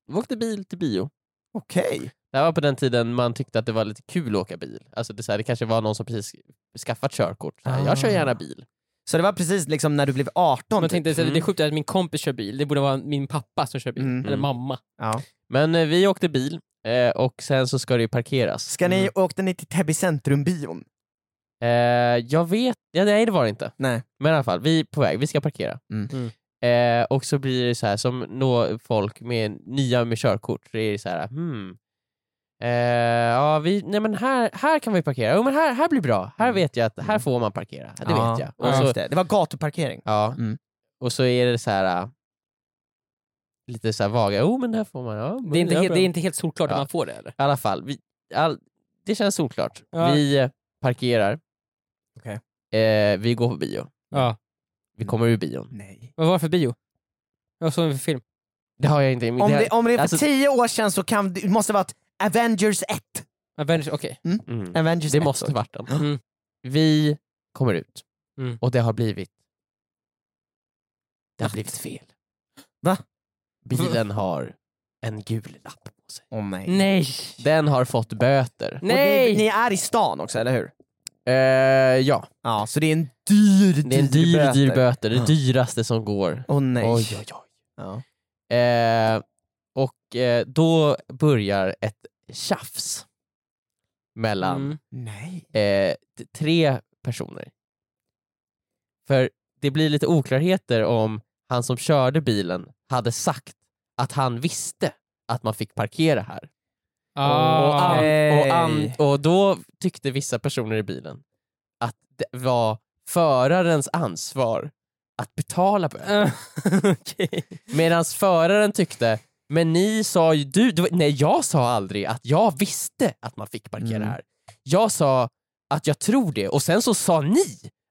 [SPEAKER 2] Vi åkte bil till bio.
[SPEAKER 3] Okej.
[SPEAKER 2] Det här var på den tiden man tyckte att det var lite kul att åka bil. Alltså det, så här, det kanske var någon som precis skaffat körkort. Så här, Jag kör
[SPEAKER 3] Ah.
[SPEAKER 2] gärna bil.
[SPEAKER 3] Så det var precis liksom när du blev 18?
[SPEAKER 4] Man
[SPEAKER 3] typ.
[SPEAKER 4] tänkte,
[SPEAKER 2] Mm.
[SPEAKER 4] mm. det är sjukt att min kompis kör bil, det borde vara min pappa som kör bil.
[SPEAKER 3] Mm.
[SPEAKER 4] Eller mamma.
[SPEAKER 2] Men eh, vi åkte bil eh, och sen så ska det ju parkeras.
[SPEAKER 3] Ska ni, Åkte ni till Täby centrumbion?
[SPEAKER 2] Eh, jag vet, ja, nej det var det inte.
[SPEAKER 3] Nej.
[SPEAKER 2] Men i alla fall, vi är på väg, vi ska parkera.
[SPEAKER 3] Mm.
[SPEAKER 2] Eh, och så blir det så här som nå folk med nya med körkort, så är det så här, hmm. Eh, ja, vi, nej men här, här kan vi parkera, jo men här, här blir bra, här vet jag att här får man parkera, det vet jag. Alltså- Och
[SPEAKER 3] Mm. Ja,
[SPEAKER 2] så,
[SPEAKER 3] just det. det var gatuparkering.
[SPEAKER 2] ja.
[SPEAKER 3] Mm.
[SPEAKER 2] och så är det så här äh, lite så här vaga, jo men här får man, ja, men
[SPEAKER 4] Det är inte,
[SPEAKER 2] ja,
[SPEAKER 4] helt,
[SPEAKER 2] bra.
[SPEAKER 4] det är inte helt solklart
[SPEAKER 2] Ja.
[SPEAKER 4] att man får det eller?
[SPEAKER 2] I alla fall, vi, all, det känns solklart.
[SPEAKER 4] Ja.
[SPEAKER 2] Vi eh, parkerar,
[SPEAKER 3] Okej.
[SPEAKER 2] eh, vi går på bio,
[SPEAKER 4] Ja.
[SPEAKER 2] vi kommer ur bion.
[SPEAKER 3] Nej.
[SPEAKER 4] Vad var det för bio? Vad såg vi för film?
[SPEAKER 2] Det har jag inte i mitt
[SPEAKER 3] Om det, om det är för
[SPEAKER 2] alltså-
[SPEAKER 3] tio år sedan så kan, det måste det varit Avengers 1.
[SPEAKER 4] Avengers, okej.
[SPEAKER 2] mm.
[SPEAKER 3] Avengers
[SPEAKER 2] Det
[SPEAKER 3] 1.
[SPEAKER 2] måste varit den.
[SPEAKER 4] Mm.
[SPEAKER 2] Vi kommer ut
[SPEAKER 4] Mm.
[SPEAKER 2] och det har blivit... Det har blivit fel.
[SPEAKER 3] Va?
[SPEAKER 2] Bilen har en gul lapp på sig.
[SPEAKER 3] Åh, nej.
[SPEAKER 4] Nej!
[SPEAKER 2] Den har fått böter.
[SPEAKER 3] Och Ni,
[SPEAKER 4] Nej!
[SPEAKER 3] ni är i stan också, eller hur?
[SPEAKER 2] Eh, ja,
[SPEAKER 3] Ja, så det är en dyr,
[SPEAKER 2] det är en dyr,
[SPEAKER 3] böter.
[SPEAKER 2] dyr böter. Det
[SPEAKER 3] Ja.
[SPEAKER 2] dyraste som går.
[SPEAKER 3] Åh nej.
[SPEAKER 2] Oj, oj, oj.
[SPEAKER 3] Ja.
[SPEAKER 2] Eh, och eh, då börjar ett tjafs mellan
[SPEAKER 4] Mm.
[SPEAKER 3] Nej.
[SPEAKER 2] eh, t- tre personer. För det blir lite oklarheter om han som körde bilen hade sagt att han visste att man fick parkera här.
[SPEAKER 4] Ah.
[SPEAKER 2] Och, an- och, an- och då tyckte vissa personer i bilen att det var förarens ansvar att betala böter.
[SPEAKER 4] Okej.
[SPEAKER 2] Medan föraren tyckte, men ni sa ju, du, det var- nej jag sa aldrig att jag visste att man fick parkera
[SPEAKER 3] Mm.
[SPEAKER 2] här. Jag sa att jag tror det och sen så sa ni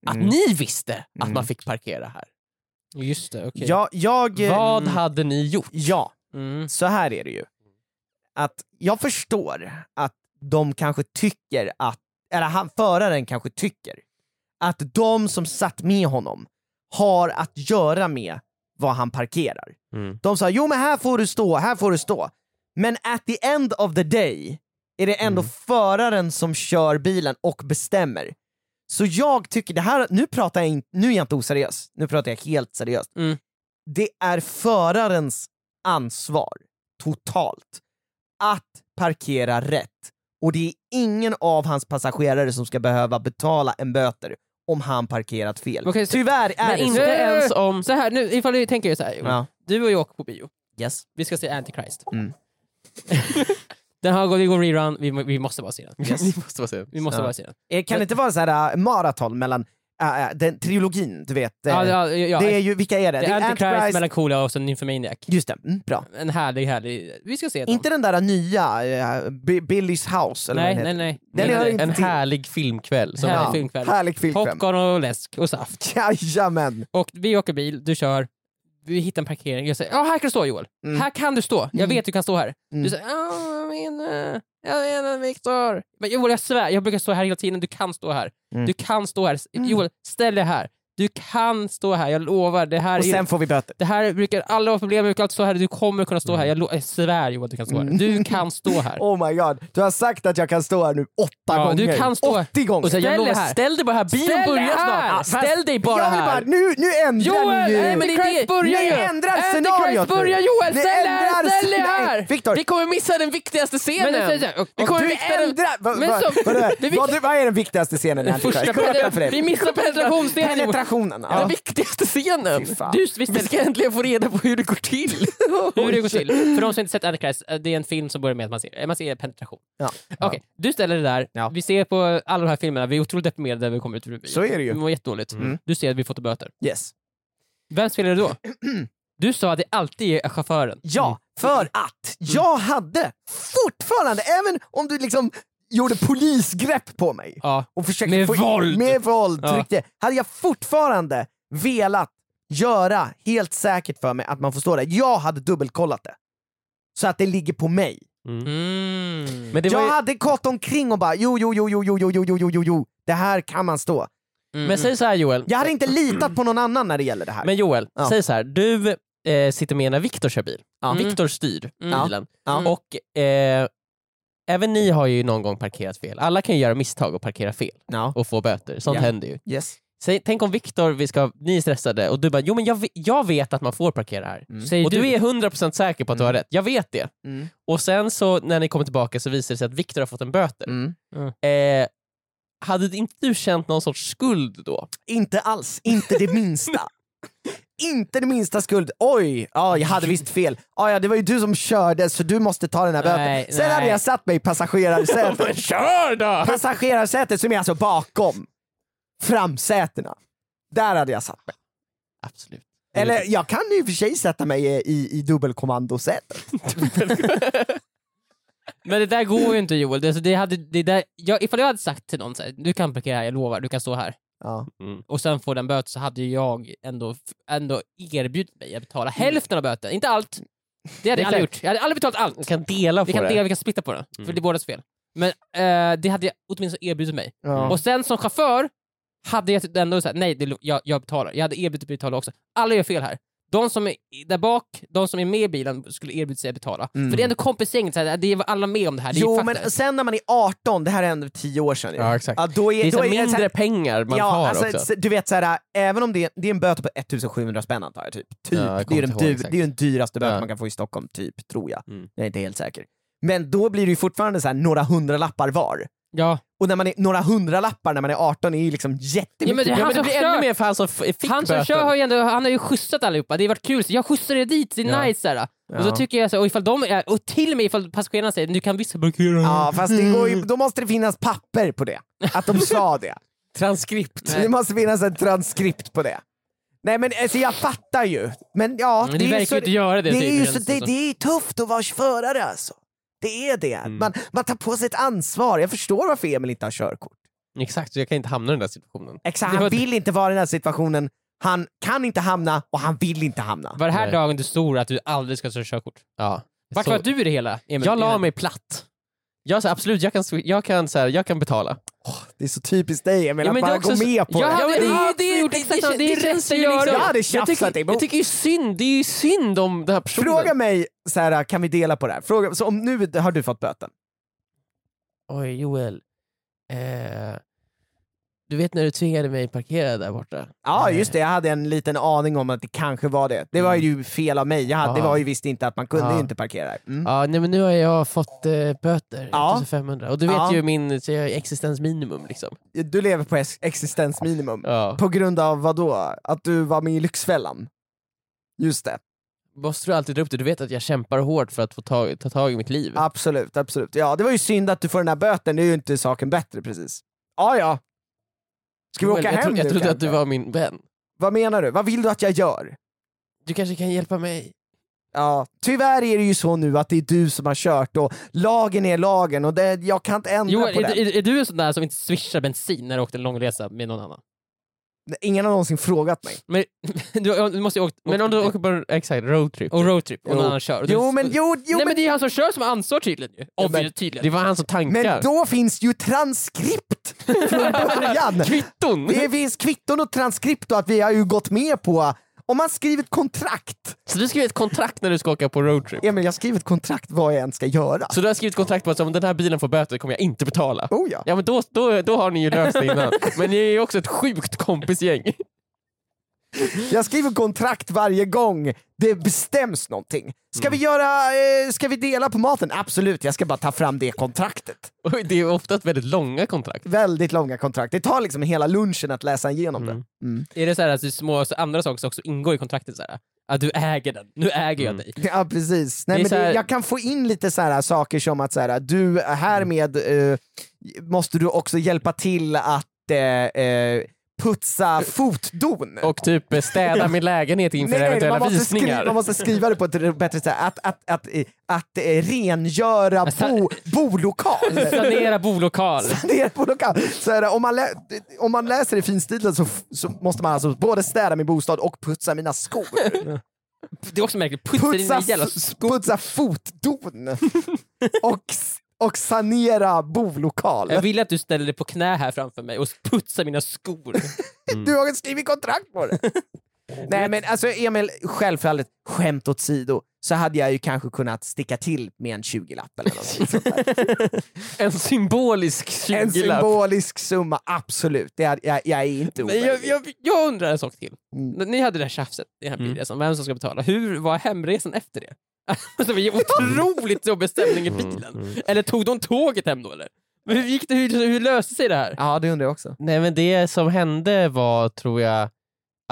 [SPEAKER 2] att
[SPEAKER 3] Mm.
[SPEAKER 2] ni visste att
[SPEAKER 3] Mm.
[SPEAKER 2] man fick parkera här.
[SPEAKER 4] Just det, okej.
[SPEAKER 3] Jag, jag... eh,
[SPEAKER 2] Vad
[SPEAKER 3] mm,
[SPEAKER 2] hade ni gjort?
[SPEAKER 3] Ja,
[SPEAKER 4] Mm.
[SPEAKER 3] så här är det ju. Att jag förstår att de kanske tycker att, eller han, föraren kanske tycker, att de som satt med honom har att göra med vad han parkerar.
[SPEAKER 2] Mm.
[SPEAKER 3] De sa jo men här får du stå, här får du stå. Men at the end of the day är det
[SPEAKER 4] Mm.
[SPEAKER 3] ändå föraren som kör bilen och bestämmer. Så jag tycker, det här, nu, pratar jag in, nu är jag inte oseriös, nu pratar jag helt seriöst.
[SPEAKER 4] Mm.
[SPEAKER 3] Det är förarens ansvar, totalt, att parkera rätt. Och det är ingen av hans passagerare som ska behöva betala en böter om han parkerat fel.
[SPEAKER 4] Okej, så-
[SPEAKER 3] Tyvärr är
[SPEAKER 4] Men
[SPEAKER 3] det
[SPEAKER 4] inte
[SPEAKER 3] så.
[SPEAKER 4] ens
[SPEAKER 2] om...
[SPEAKER 4] Så här, nu, ifall vi tänker så här. Joel.
[SPEAKER 3] Ja.
[SPEAKER 4] Du och jag åker på bio.
[SPEAKER 3] Yes.
[SPEAKER 4] Vi ska se Antichrist.
[SPEAKER 3] Mm.
[SPEAKER 4] Den här går, vi går rerun, vi, vi måste bara se den.
[SPEAKER 2] Ni måste bara säga.
[SPEAKER 4] Vi måste
[SPEAKER 3] Ja.
[SPEAKER 4] bara se den.
[SPEAKER 3] Eh, Kan det inte vara så här äh, maraton mellan ah, ah, den trilogin, du vet. eh,
[SPEAKER 4] Ja, ja, ja,
[SPEAKER 3] Det är ju, vilka är det?
[SPEAKER 4] det är Antichrist,
[SPEAKER 3] Antichrist-
[SPEAKER 4] Melancholia och så Nymphomaniac.
[SPEAKER 3] Just det, mm, bra.
[SPEAKER 4] En härlig, härlig... Vi ska se dem.
[SPEAKER 3] Inte den där äh, nya, eh, Bi- Billys house eller
[SPEAKER 4] nej,
[SPEAKER 3] vad
[SPEAKER 4] nej,
[SPEAKER 3] den
[SPEAKER 4] nej.
[SPEAKER 3] Den är-
[SPEAKER 4] Nej,
[SPEAKER 3] inte
[SPEAKER 2] En
[SPEAKER 3] till.
[SPEAKER 2] härlig filmkväll. Som
[SPEAKER 4] nej.
[SPEAKER 3] Ja.
[SPEAKER 4] Härlig filmkväll.
[SPEAKER 3] heter. Härlig filmkväm.
[SPEAKER 4] Popcorn och läsk och saft.
[SPEAKER 3] Jajamän!
[SPEAKER 4] Och vi åker bil, du kör, vi hittar en parkering. Jag säger ja här kan du stå Joel.
[SPEAKER 3] Mm.
[SPEAKER 4] Här kan du stå. Jag vet du kan stå här.
[SPEAKER 3] Mm.
[SPEAKER 4] Du säger ja jag menar, jag menar Viktor. Men Joel jag svär, jag brukar stå här hela tiden. Du kan stå här.
[SPEAKER 3] Mm.
[SPEAKER 4] Du kan stå här. Joel, ställ dig här. Du kan stå här, jag lovar. Det här,
[SPEAKER 3] Och
[SPEAKER 4] är,
[SPEAKER 3] sen får vi böter.
[SPEAKER 4] det här brukar alla ha problem med, brukar alltid stå här. Du kommer kunna
[SPEAKER 2] Mm.
[SPEAKER 4] stå här. Jag, lo- jag svär Joel, du kan stå här.
[SPEAKER 3] Mm.
[SPEAKER 4] Du kan stå här.
[SPEAKER 3] Oh my god, du har sagt att jag kan stå här nu åtta
[SPEAKER 4] Ja,
[SPEAKER 3] gånger.
[SPEAKER 4] du kan stå här.
[SPEAKER 3] 80 gånger!
[SPEAKER 2] Och så, jag
[SPEAKER 4] Ställ
[SPEAKER 2] lovar,
[SPEAKER 4] dig här.
[SPEAKER 2] ställ dig bara här, bilen
[SPEAKER 4] Ställ
[SPEAKER 2] börjar
[SPEAKER 4] dig här.
[SPEAKER 2] snart. Ställ dig bara
[SPEAKER 3] jag vill bara,
[SPEAKER 2] här.
[SPEAKER 3] nu, nu ändrar
[SPEAKER 4] Joel!
[SPEAKER 3] ni ju!
[SPEAKER 4] Nej, men det är det. börjar
[SPEAKER 3] Ni
[SPEAKER 4] ju!
[SPEAKER 3] ändrar
[SPEAKER 4] Antichrist
[SPEAKER 3] scenariot nu.
[SPEAKER 4] börjar Joel!
[SPEAKER 3] Ni
[SPEAKER 4] Ställ dig här!
[SPEAKER 3] ändrar-
[SPEAKER 4] Ställ dig
[SPEAKER 3] Nej,
[SPEAKER 4] här!
[SPEAKER 3] Viktor,
[SPEAKER 2] Vi kommer missa den viktigaste scenen.
[SPEAKER 4] Men det- och- och-
[SPEAKER 2] vi kommer
[SPEAKER 3] du
[SPEAKER 2] missa den.
[SPEAKER 3] ändrar... Vad,
[SPEAKER 4] Men
[SPEAKER 3] vad,
[SPEAKER 4] som-
[SPEAKER 3] vad,
[SPEAKER 4] det
[SPEAKER 3] vad,
[SPEAKER 4] vi-
[SPEAKER 3] vad, vad är den viktigaste scenen i
[SPEAKER 4] Den första
[SPEAKER 3] Antichrist? Berätta för
[SPEAKER 4] penetra-
[SPEAKER 3] dig.
[SPEAKER 4] vi missar penetrationsdelen. Joel.
[SPEAKER 3] Penetrationen!
[SPEAKER 2] Den
[SPEAKER 3] Ja.
[SPEAKER 2] viktigaste scenen.
[SPEAKER 3] Fy fan.
[SPEAKER 2] Du, vi ska äntligen få reda på hur det går till.
[SPEAKER 4] Hur det går till. För de som inte sett Antichrist, eh, det är en film som börjar med att man ser, eh, man ser penetration.
[SPEAKER 3] Ja.
[SPEAKER 4] Okej, du ställer dig där,
[SPEAKER 3] Ja.
[SPEAKER 4] vi ser på alla de här filmerna, vi är otroligt deprimerade när vi kommer ut ur bilen.
[SPEAKER 3] Så är det
[SPEAKER 4] Vi
[SPEAKER 3] ju.
[SPEAKER 4] mår jättedåligt.
[SPEAKER 3] Mm.
[SPEAKER 4] Du ser att vi fått böter.
[SPEAKER 3] Yes.
[SPEAKER 4] Vem spelar det då? Du sa att det alltid är chauffören.
[SPEAKER 2] Mm.
[SPEAKER 3] Ja,
[SPEAKER 4] Mm.
[SPEAKER 3] för att jag hade fortfarande, även om du liksom gjorde polisgrepp på mig
[SPEAKER 4] Ja.
[SPEAKER 3] och försökte
[SPEAKER 4] Med
[SPEAKER 3] få in-
[SPEAKER 4] våld.
[SPEAKER 3] med våld
[SPEAKER 4] Ja.
[SPEAKER 3] tryckte, hade jag fortfarande velat göra helt säkert för mig att man får stå där. Jag hade dubbelkollat det. Så att det ligger på mig.
[SPEAKER 4] Mm.
[SPEAKER 2] Men det var
[SPEAKER 3] jag
[SPEAKER 2] ju,
[SPEAKER 3] hade gått omkring och bara jo, jo, jo, jo, jo, jo, jo, jo, jo, jo, jo, det här kan man stå.
[SPEAKER 2] men säg så här Joel.
[SPEAKER 3] Jag hade inte litat på någon annan när det gäller det här.
[SPEAKER 2] Men Joel,
[SPEAKER 3] Ja.
[SPEAKER 2] säg så här. Du eh, sitter med när Viktor kör bil.
[SPEAKER 4] Mm.
[SPEAKER 2] Viktor styr
[SPEAKER 4] Mm.
[SPEAKER 2] bilen.
[SPEAKER 4] Ja.
[SPEAKER 2] Och eh, även ni har ju någon gång parkerat fel. Alla kan ju göra misstag och parkera fel
[SPEAKER 3] Ja.
[SPEAKER 2] och få böter. Sånt
[SPEAKER 3] Ja.
[SPEAKER 2] händer ju.
[SPEAKER 3] yes.
[SPEAKER 2] Säg, tänk om Viktor, vi ska- ni är stressade och du bara “jo men jag, ve- jag vet att man får parkera här”.
[SPEAKER 4] Säger
[SPEAKER 2] Och
[SPEAKER 4] du,
[SPEAKER 2] du är 100% säker på att du har rätt. Jag vet det.
[SPEAKER 3] Mm.
[SPEAKER 2] Och sen så när ni kommer tillbaka så visar det sig att Viktor har fått en böter.
[SPEAKER 3] Mm.
[SPEAKER 2] Eh, hade inte du känt någon sorts skuld då?
[SPEAKER 3] Inte alls, inte det minsta. inte det minsta skuld. Oj, ja, jag hade visst fel. Ja, ja, det var ju du som körde så du måste ta den här böten.
[SPEAKER 4] Nej,
[SPEAKER 3] Sen hade
[SPEAKER 4] nej.
[SPEAKER 3] jag satt mig i passagerarsätet.
[SPEAKER 2] kör då!
[SPEAKER 3] passagerarsätet som är alltså bakom framsätena. Där hade jag satt mig.
[SPEAKER 2] Absolut.
[SPEAKER 3] Eller jag kan ju i och för sig sätta mig i, i, i dubbelkommandosätet.
[SPEAKER 4] Men det där går ju inte Joel. Det, det hade, det där, jag, ifall jag hade sagt till någon så här, du kan parkera här, jag lovar, du kan stå här.
[SPEAKER 3] Ja.
[SPEAKER 4] och sen får den böter så hade ju jag ändå, ändå erbjudit mig att betala hälften av böten, inte allt. Det hade jag aldrig gjort. Jag hade aldrig betalat allt.
[SPEAKER 2] Vi kan dela på
[SPEAKER 4] Vi kan
[SPEAKER 2] det. Mm.
[SPEAKER 4] dela, vi kan splitta på det, för det är bådas fel. Men eh, det hade jag åtminstone erbjudit mig.
[SPEAKER 3] Ja.
[SPEAKER 4] Och sen som chaufför hade jag typ ändå sagt nej, det, är lugnt, jag, jag betalar. Jag hade erbjudit mig att betala också. Alla gör fel här. De som är där bak, de som är med i bilen skulle erbjudit sig att betala. För det är ändå kompisgänget, så här, det är alla med om det här. Det är
[SPEAKER 3] Jo
[SPEAKER 4] ju
[SPEAKER 3] men alltså-
[SPEAKER 4] fakta.
[SPEAKER 3] sen när man är 18, det här hände för 10 år sedan. ju.
[SPEAKER 2] Ja, exakt.
[SPEAKER 3] Ja, då är,
[SPEAKER 2] Det är, så
[SPEAKER 3] då
[SPEAKER 2] här
[SPEAKER 3] är det så
[SPEAKER 2] mindre
[SPEAKER 3] här-
[SPEAKER 2] pengar man
[SPEAKER 3] ja,
[SPEAKER 2] har
[SPEAKER 3] alltså,
[SPEAKER 2] också.
[SPEAKER 3] s- Du vet såhär, även om det är, det är en böter på 1700 spänn antar jag, typ.
[SPEAKER 2] Ja,
[SPEAKER 3] typ.
[SPEAKER 2] jag
[SPEAKER 3] det, är
[SPEAKER 2] kommer
[SPEAKER 3] den
[SPEAKER 2] inte
[SPEAKER 3] du,
[SPEAKER 2] ihåg
[SPEAKER 3] det
[SPEAKER 2] exakt.
[SPEAKER 3] är ju den dyraste böter
[SPEAKER 2] Ja.
[SPEAKER 3] man kan få i Stockholm, typ, tror jag.
[SPEAKER 2] Mm.
[SPEAKER 3] Jag är inte helt säker. Men då blir det ju fortfarande så här några hundra lappar var.
[SPEAKER 4] Ja.
[SPEAKER 3] Och när man är, några hundra lappar när man är 18 är ju liksom
[SPEAKER 4] Ja, men
[SPEAKER 3] jättemycket.
[SPEAKER 4] det-
[SPEAKER 2] Ja,
[SPEAKER 4] han
[SPEAKER 2] men det
[SPEAKER 4] som
[SPEAKER 2] blir
[SPEAKER 4] kör-
[SPEAKER 2] ännu mer för han som f- fick
[SPEAKER 4] Han som
[SPEAKER 2] böter.
[SPEAKER 4] kör har ju ändå, han har ju skjutsat allihopa, det har varit kul. Så jag skjutsar er dit, det är
[SPEAKER 2] Ja.
[SPEAKER 4] nice. Så här. Och så
[SPEAKER 3] Ja.
[SPEAKER 4] tycker jag så här, och ifall de är, och till och med ifall passagerarna säger du kan visst parkera
[SPEAKER 3] Ja, fast det går
[SPEAKER 4] Mm.
[SPEAKER 3] ju, då måste det finnas papper på det. Att de sa det.
[SPEAKER 2] Transkript.
[SPEAKER 3] Det måste finnas en transkript på det. Nej men alltså, jag fattar ju. Men ja,
[SPEAKER 4] Men det,
[SPEAKER 3] är
[SPEAKER 4] verkar
[SPEAKER 3] ju så-
[SPEAKER 4] ju inte göra det.
[SPEAKER 3] Det
[SPEAKER 4] typ,
[SPEAKER 3] är, ju
[SPEAKER 4] känns
[SPEAKER 3] så, det,
[SPEAKER 4] som.
[SPEAKER 3] det är tufft att vara förare alltså. Det är det.
[SPEAKER 4] Mm.
[SPEAKER 3] Man, man tar på sig ett ansvar. Jag förstår varför Emil inte har körkort.
[SPEAKER 2] Exakt, så jag kan inte hamna i den där situationen.
[SPEAKER 3] Exakt,
[SPEAKER 4] Det
[SPEAKER 3] han
[SPEAKER 4] var-
[SPEAKER 3] vill inte vara i den här situationen. Han kan inte hamna och han vill inte hamna.
[SPEAKER 4] Var det här
[SPEAKER 2] Nej.
[SPEAKER 4] dagen du stod att du aldrig ska ta körkort?
[SPEAKER 2] Eh. Ja.
[SPEAKER 4] Vart
[SPEAKER 2] Så-
[SPEAKER 4] var du i det hela? Emil?
[SPEAKER 2] Jag la mig platt. Jag sa absolut, jag kan, swi- jag kan, så här, jag kan betala.
[SPEAKER 3] Det är så typiskt dig Emil,
[SPEAKER 4] Ja,
[SPEAKER 3] att
[SPEAKER 4] men det
[SPEAKER 3] bara
[SPEAKER 4] är också
[SPEAKER 3] gå
[SPEAKER 4] så-
[SPEAKER 3] med på
[SPEAKER 4] Jag
[SPEAKER 3] det.
[SPEAKER 4] hade
[SPEAKER 2] men det-
[SPEAKER 4] aldrig
[SPEAKER 2] det-
[SPEAKER 4] gjort
[SPEAKER 2] det-
[SPEAKER 4] exakt
[SPEAKER 2] det-
[SPEAKER 4] samma, det
[SPEAKER 2] det
[SPEAKER 4] är rätt
[SPEAKER 2] känns
[SPEAKER 4] att
[SPEAKER 2] ju
[SPEAKER 4] göra.
[SPEAKER 3] Jag
[SPEAKER 2] liksom-
[SPEAKER 3] hade
[SPEAKER 2] Jag
[SPEAKER 3] tjafsat
[SPEAKER 2] tycker,
[SPEAKER 3] emot.
[SPEAKER 2] jag tycker ju synd, det är ju synd om den här personen.
[SPEAKER 3] Fråga mig, så här, kan vi dela på det här? Fråga, så om nu har du fått böten.
[SPEAKER 2] Oj Joel, eh, du vet när du tvingade mig parkera där borta?
[SPEAKER 3] Ja
[SPEAKER 2] Eh,
[SPEAKER 3] just det, jag hade en liten aning om att det kanske var det. Det var
[SPEAKER 2] Mm.
[SPEAKER 3] ju fel av mig, jag hade, det
[SPEAKER 2] Ja.
[SPEAKER 3] var ju visst inte att man kunde
[SPEAKER 2] Ja.
[SPEAKER 3] ju inte parkera här. Mm.
[SPEAKER 2] Ja, nej, men nu har jag fått eh, böter,
[SPEAKER 3] Ja.
[SPEAKER 2] 1500. Och du vet
[SPEAKER 3] Ja.
[SPEAKER 2] ju min så jag är existensminimum. Liksom.
[SPEAKER 3] Du lever på ex- existensminimum.
[SPEAKER 2] Ja.
[SPEAKER 3] På grund av vad då? Att du var med i Lyxfällan? Just det,
[SPEAKER 2] Måste du alltid dra upp det? Du vet att jag kämpar hårt för att få tag, ta tag i mitt liv.
[SPEAKER 3] absolut, absolut. Ja, det var ju synd att du får den här böten, det är ju inte saken bättre precis. Ja, ja. Ska vi åka
[SPEAKER 2] jag,
[SPEAKER 3] hem
[SPEAKER 2] jag
[SPEAKER 3] nu
[SPEAKER 2] trodde att
[SPEAKER 3] kanske?
[SPEAKER 2] du var min vän.
[SPEAKER 3] Vad menar du? Vad vill du att jag gör?
[SPEAKER 2] Du kanske kan hjälpa mig?
[SPEAKER 3] Ja, tyvärr är det ju så nu att det är du som har kört och lagen är lagen och det, jag kan inte ändra
[SPEAKER 4] Joel,
[SPEAKER 3] på
[SPEAKER 4] är,
[SPEAKER 3] det.
[SPEAKER 4] är, är du en sån där som inte swishar bensin när du åkte en långresa med någon annan?
[SPEAKER 3] Ingen har någonsin frågat mig.
[SPEAKER 4] Men, du, du måste ju ha åkt...
[SPEAKER 2] Men om du åker på en exakt roadtrip.
[SPEAKER 4] Och roadtrip, och
[SPEAKER 3] Jo.
[SPEAKER 4] någon annan kör. Och du,
[SPEAKER 3] Jo men, jo, jo,
[SPEAKER 4] nej men
[SPEAKER 3] men,
[SPEAKER 4] det är han som kör som har ansvar tydligen ju.
[SPEAKER 2] men-
[SPEAKER 4] Obviously, tydligen.
[SPEAKER 2] Det var han som tankar.
[SPEAKER 3] men då finns ju transkript från början.
[SPEAKER 2] Kvitton!
[SPEAKER 3] Det finns kvitton och transkript och att vi har ju gått med på, om man skriver ett kontrakt,
[SPEAKER 2] Så du skriver ett kontrakt när du ska åka på roadtrip?
[SPEAKER 3] Emil jag skriver ett kontrakt vad jag än ska göra.
[SPEAKER 2] Så du har skrivit kontrakt på att så om den här bilen får böter kommer jag inte betala?
[SPEAKER 3] Oh ja.
[SPEAKER 2] Ja men då, då, då har ni ju löst det innan. Men ni är ju också ett sjukt kompisgäng.
[SPEAKER 3] Jag skriver kontrakt varje gång det bestäms någonting. Ska vi göra, eh, ska vi dela på maten? Absolut, jag ska bara ta fram det kontraktet.
[SPEAKER 2] Och det är oftast väldigt långa kontrakt.
[SPEAKER 3] Väldigt långa kontrakt, det tar liksom hela lunchen att läsa igenom det. Mm.
[SPEAKER 4] Är det så här att det är små så andra saker som också ingår i kontraktet? Så här, att du äger den, nu äger jag
[SPEAKER 2] Mm.
[SPEAKER 4] dig.
[SPEAKER 3] Ja precis,
[SPEAKER 4] Det
[SPEAKER 3] Nej,
[SPEAKER 4] är
[SPEAKER 3] men
[SPEAKER 4] så här-
[SPEAKER 3] det, jag kan få in lite så här saker som att så här, du härmed eh, måste du också hjälpa till att eh, eh, putsa fotdon.
[SPEAKER 2] Och typ eh, städa min lägenhet inför eventuella
[SPEAKER 3] man, måste skriva,
[SPEAKER 2] visningar.
[SPEAKER 3] man måste skriva det på ett bättre sätt. Att, att, att, eh, att eh, rengöra
[SPEAKER 4] sa-
[SPEAKER 3] bo, bolokal.
[SPEAKER 4] Sanera bolokal.
[SPEAKER 3] det är på lokal. Så är det, om, man lä- om man läser i finstilen så, f- så måste man alltså både städa min bostad och putsa mina skor.
[SPEAKER 4] Det är också märkligt. Putsa
[SPEAKER 3] Putsa,
[SPEAKER 4] dina jävla...
[SPEAKER 3] s- putsa fotdon och, s- och sanera bolokal.
[SPEAKER 4] Jag vill att du ställer dig på knä här framför mig och putsa mina skor. Mm.
[SPEAKER 3] Du har skrivit kontrakt på det. Nej men alltså Emil, självfallet, skämt åsido, så hade jag ju kanske kunnat sticka till med en 20-lapp eller något sånt där.
[SPEAKER 2] En symbolisk 20
[SPEAKER 3] En symbolisk summa, absolut. Det är, jag, jag är inte
[SPEAKER 4] Men jag,
[SPEAKER 3] omöjlig.
[SPEAKER 4] jag, jag undrar en sak till.
[SPEAKER 3] Mm.
[SPEAKER 4] Ni hade det här tjafset, den här
[SPEAKER 2] Mm.
[SPEAKER 4] bilresan, vem som ska betala. Hur var hemresan efter det? Alltså, det var ju otroligt jobbig stämning i
[SPEAKER 2] Mm,
[SPEAKER 4] bilen. Eller tog de tåget hem då eller? Men hur, gick det, hur, hur löste sig det här?
[SPEAKER 3] Ja det undrar jag också.
[SPEAKER 2] Nej men det som hände var, tror jag,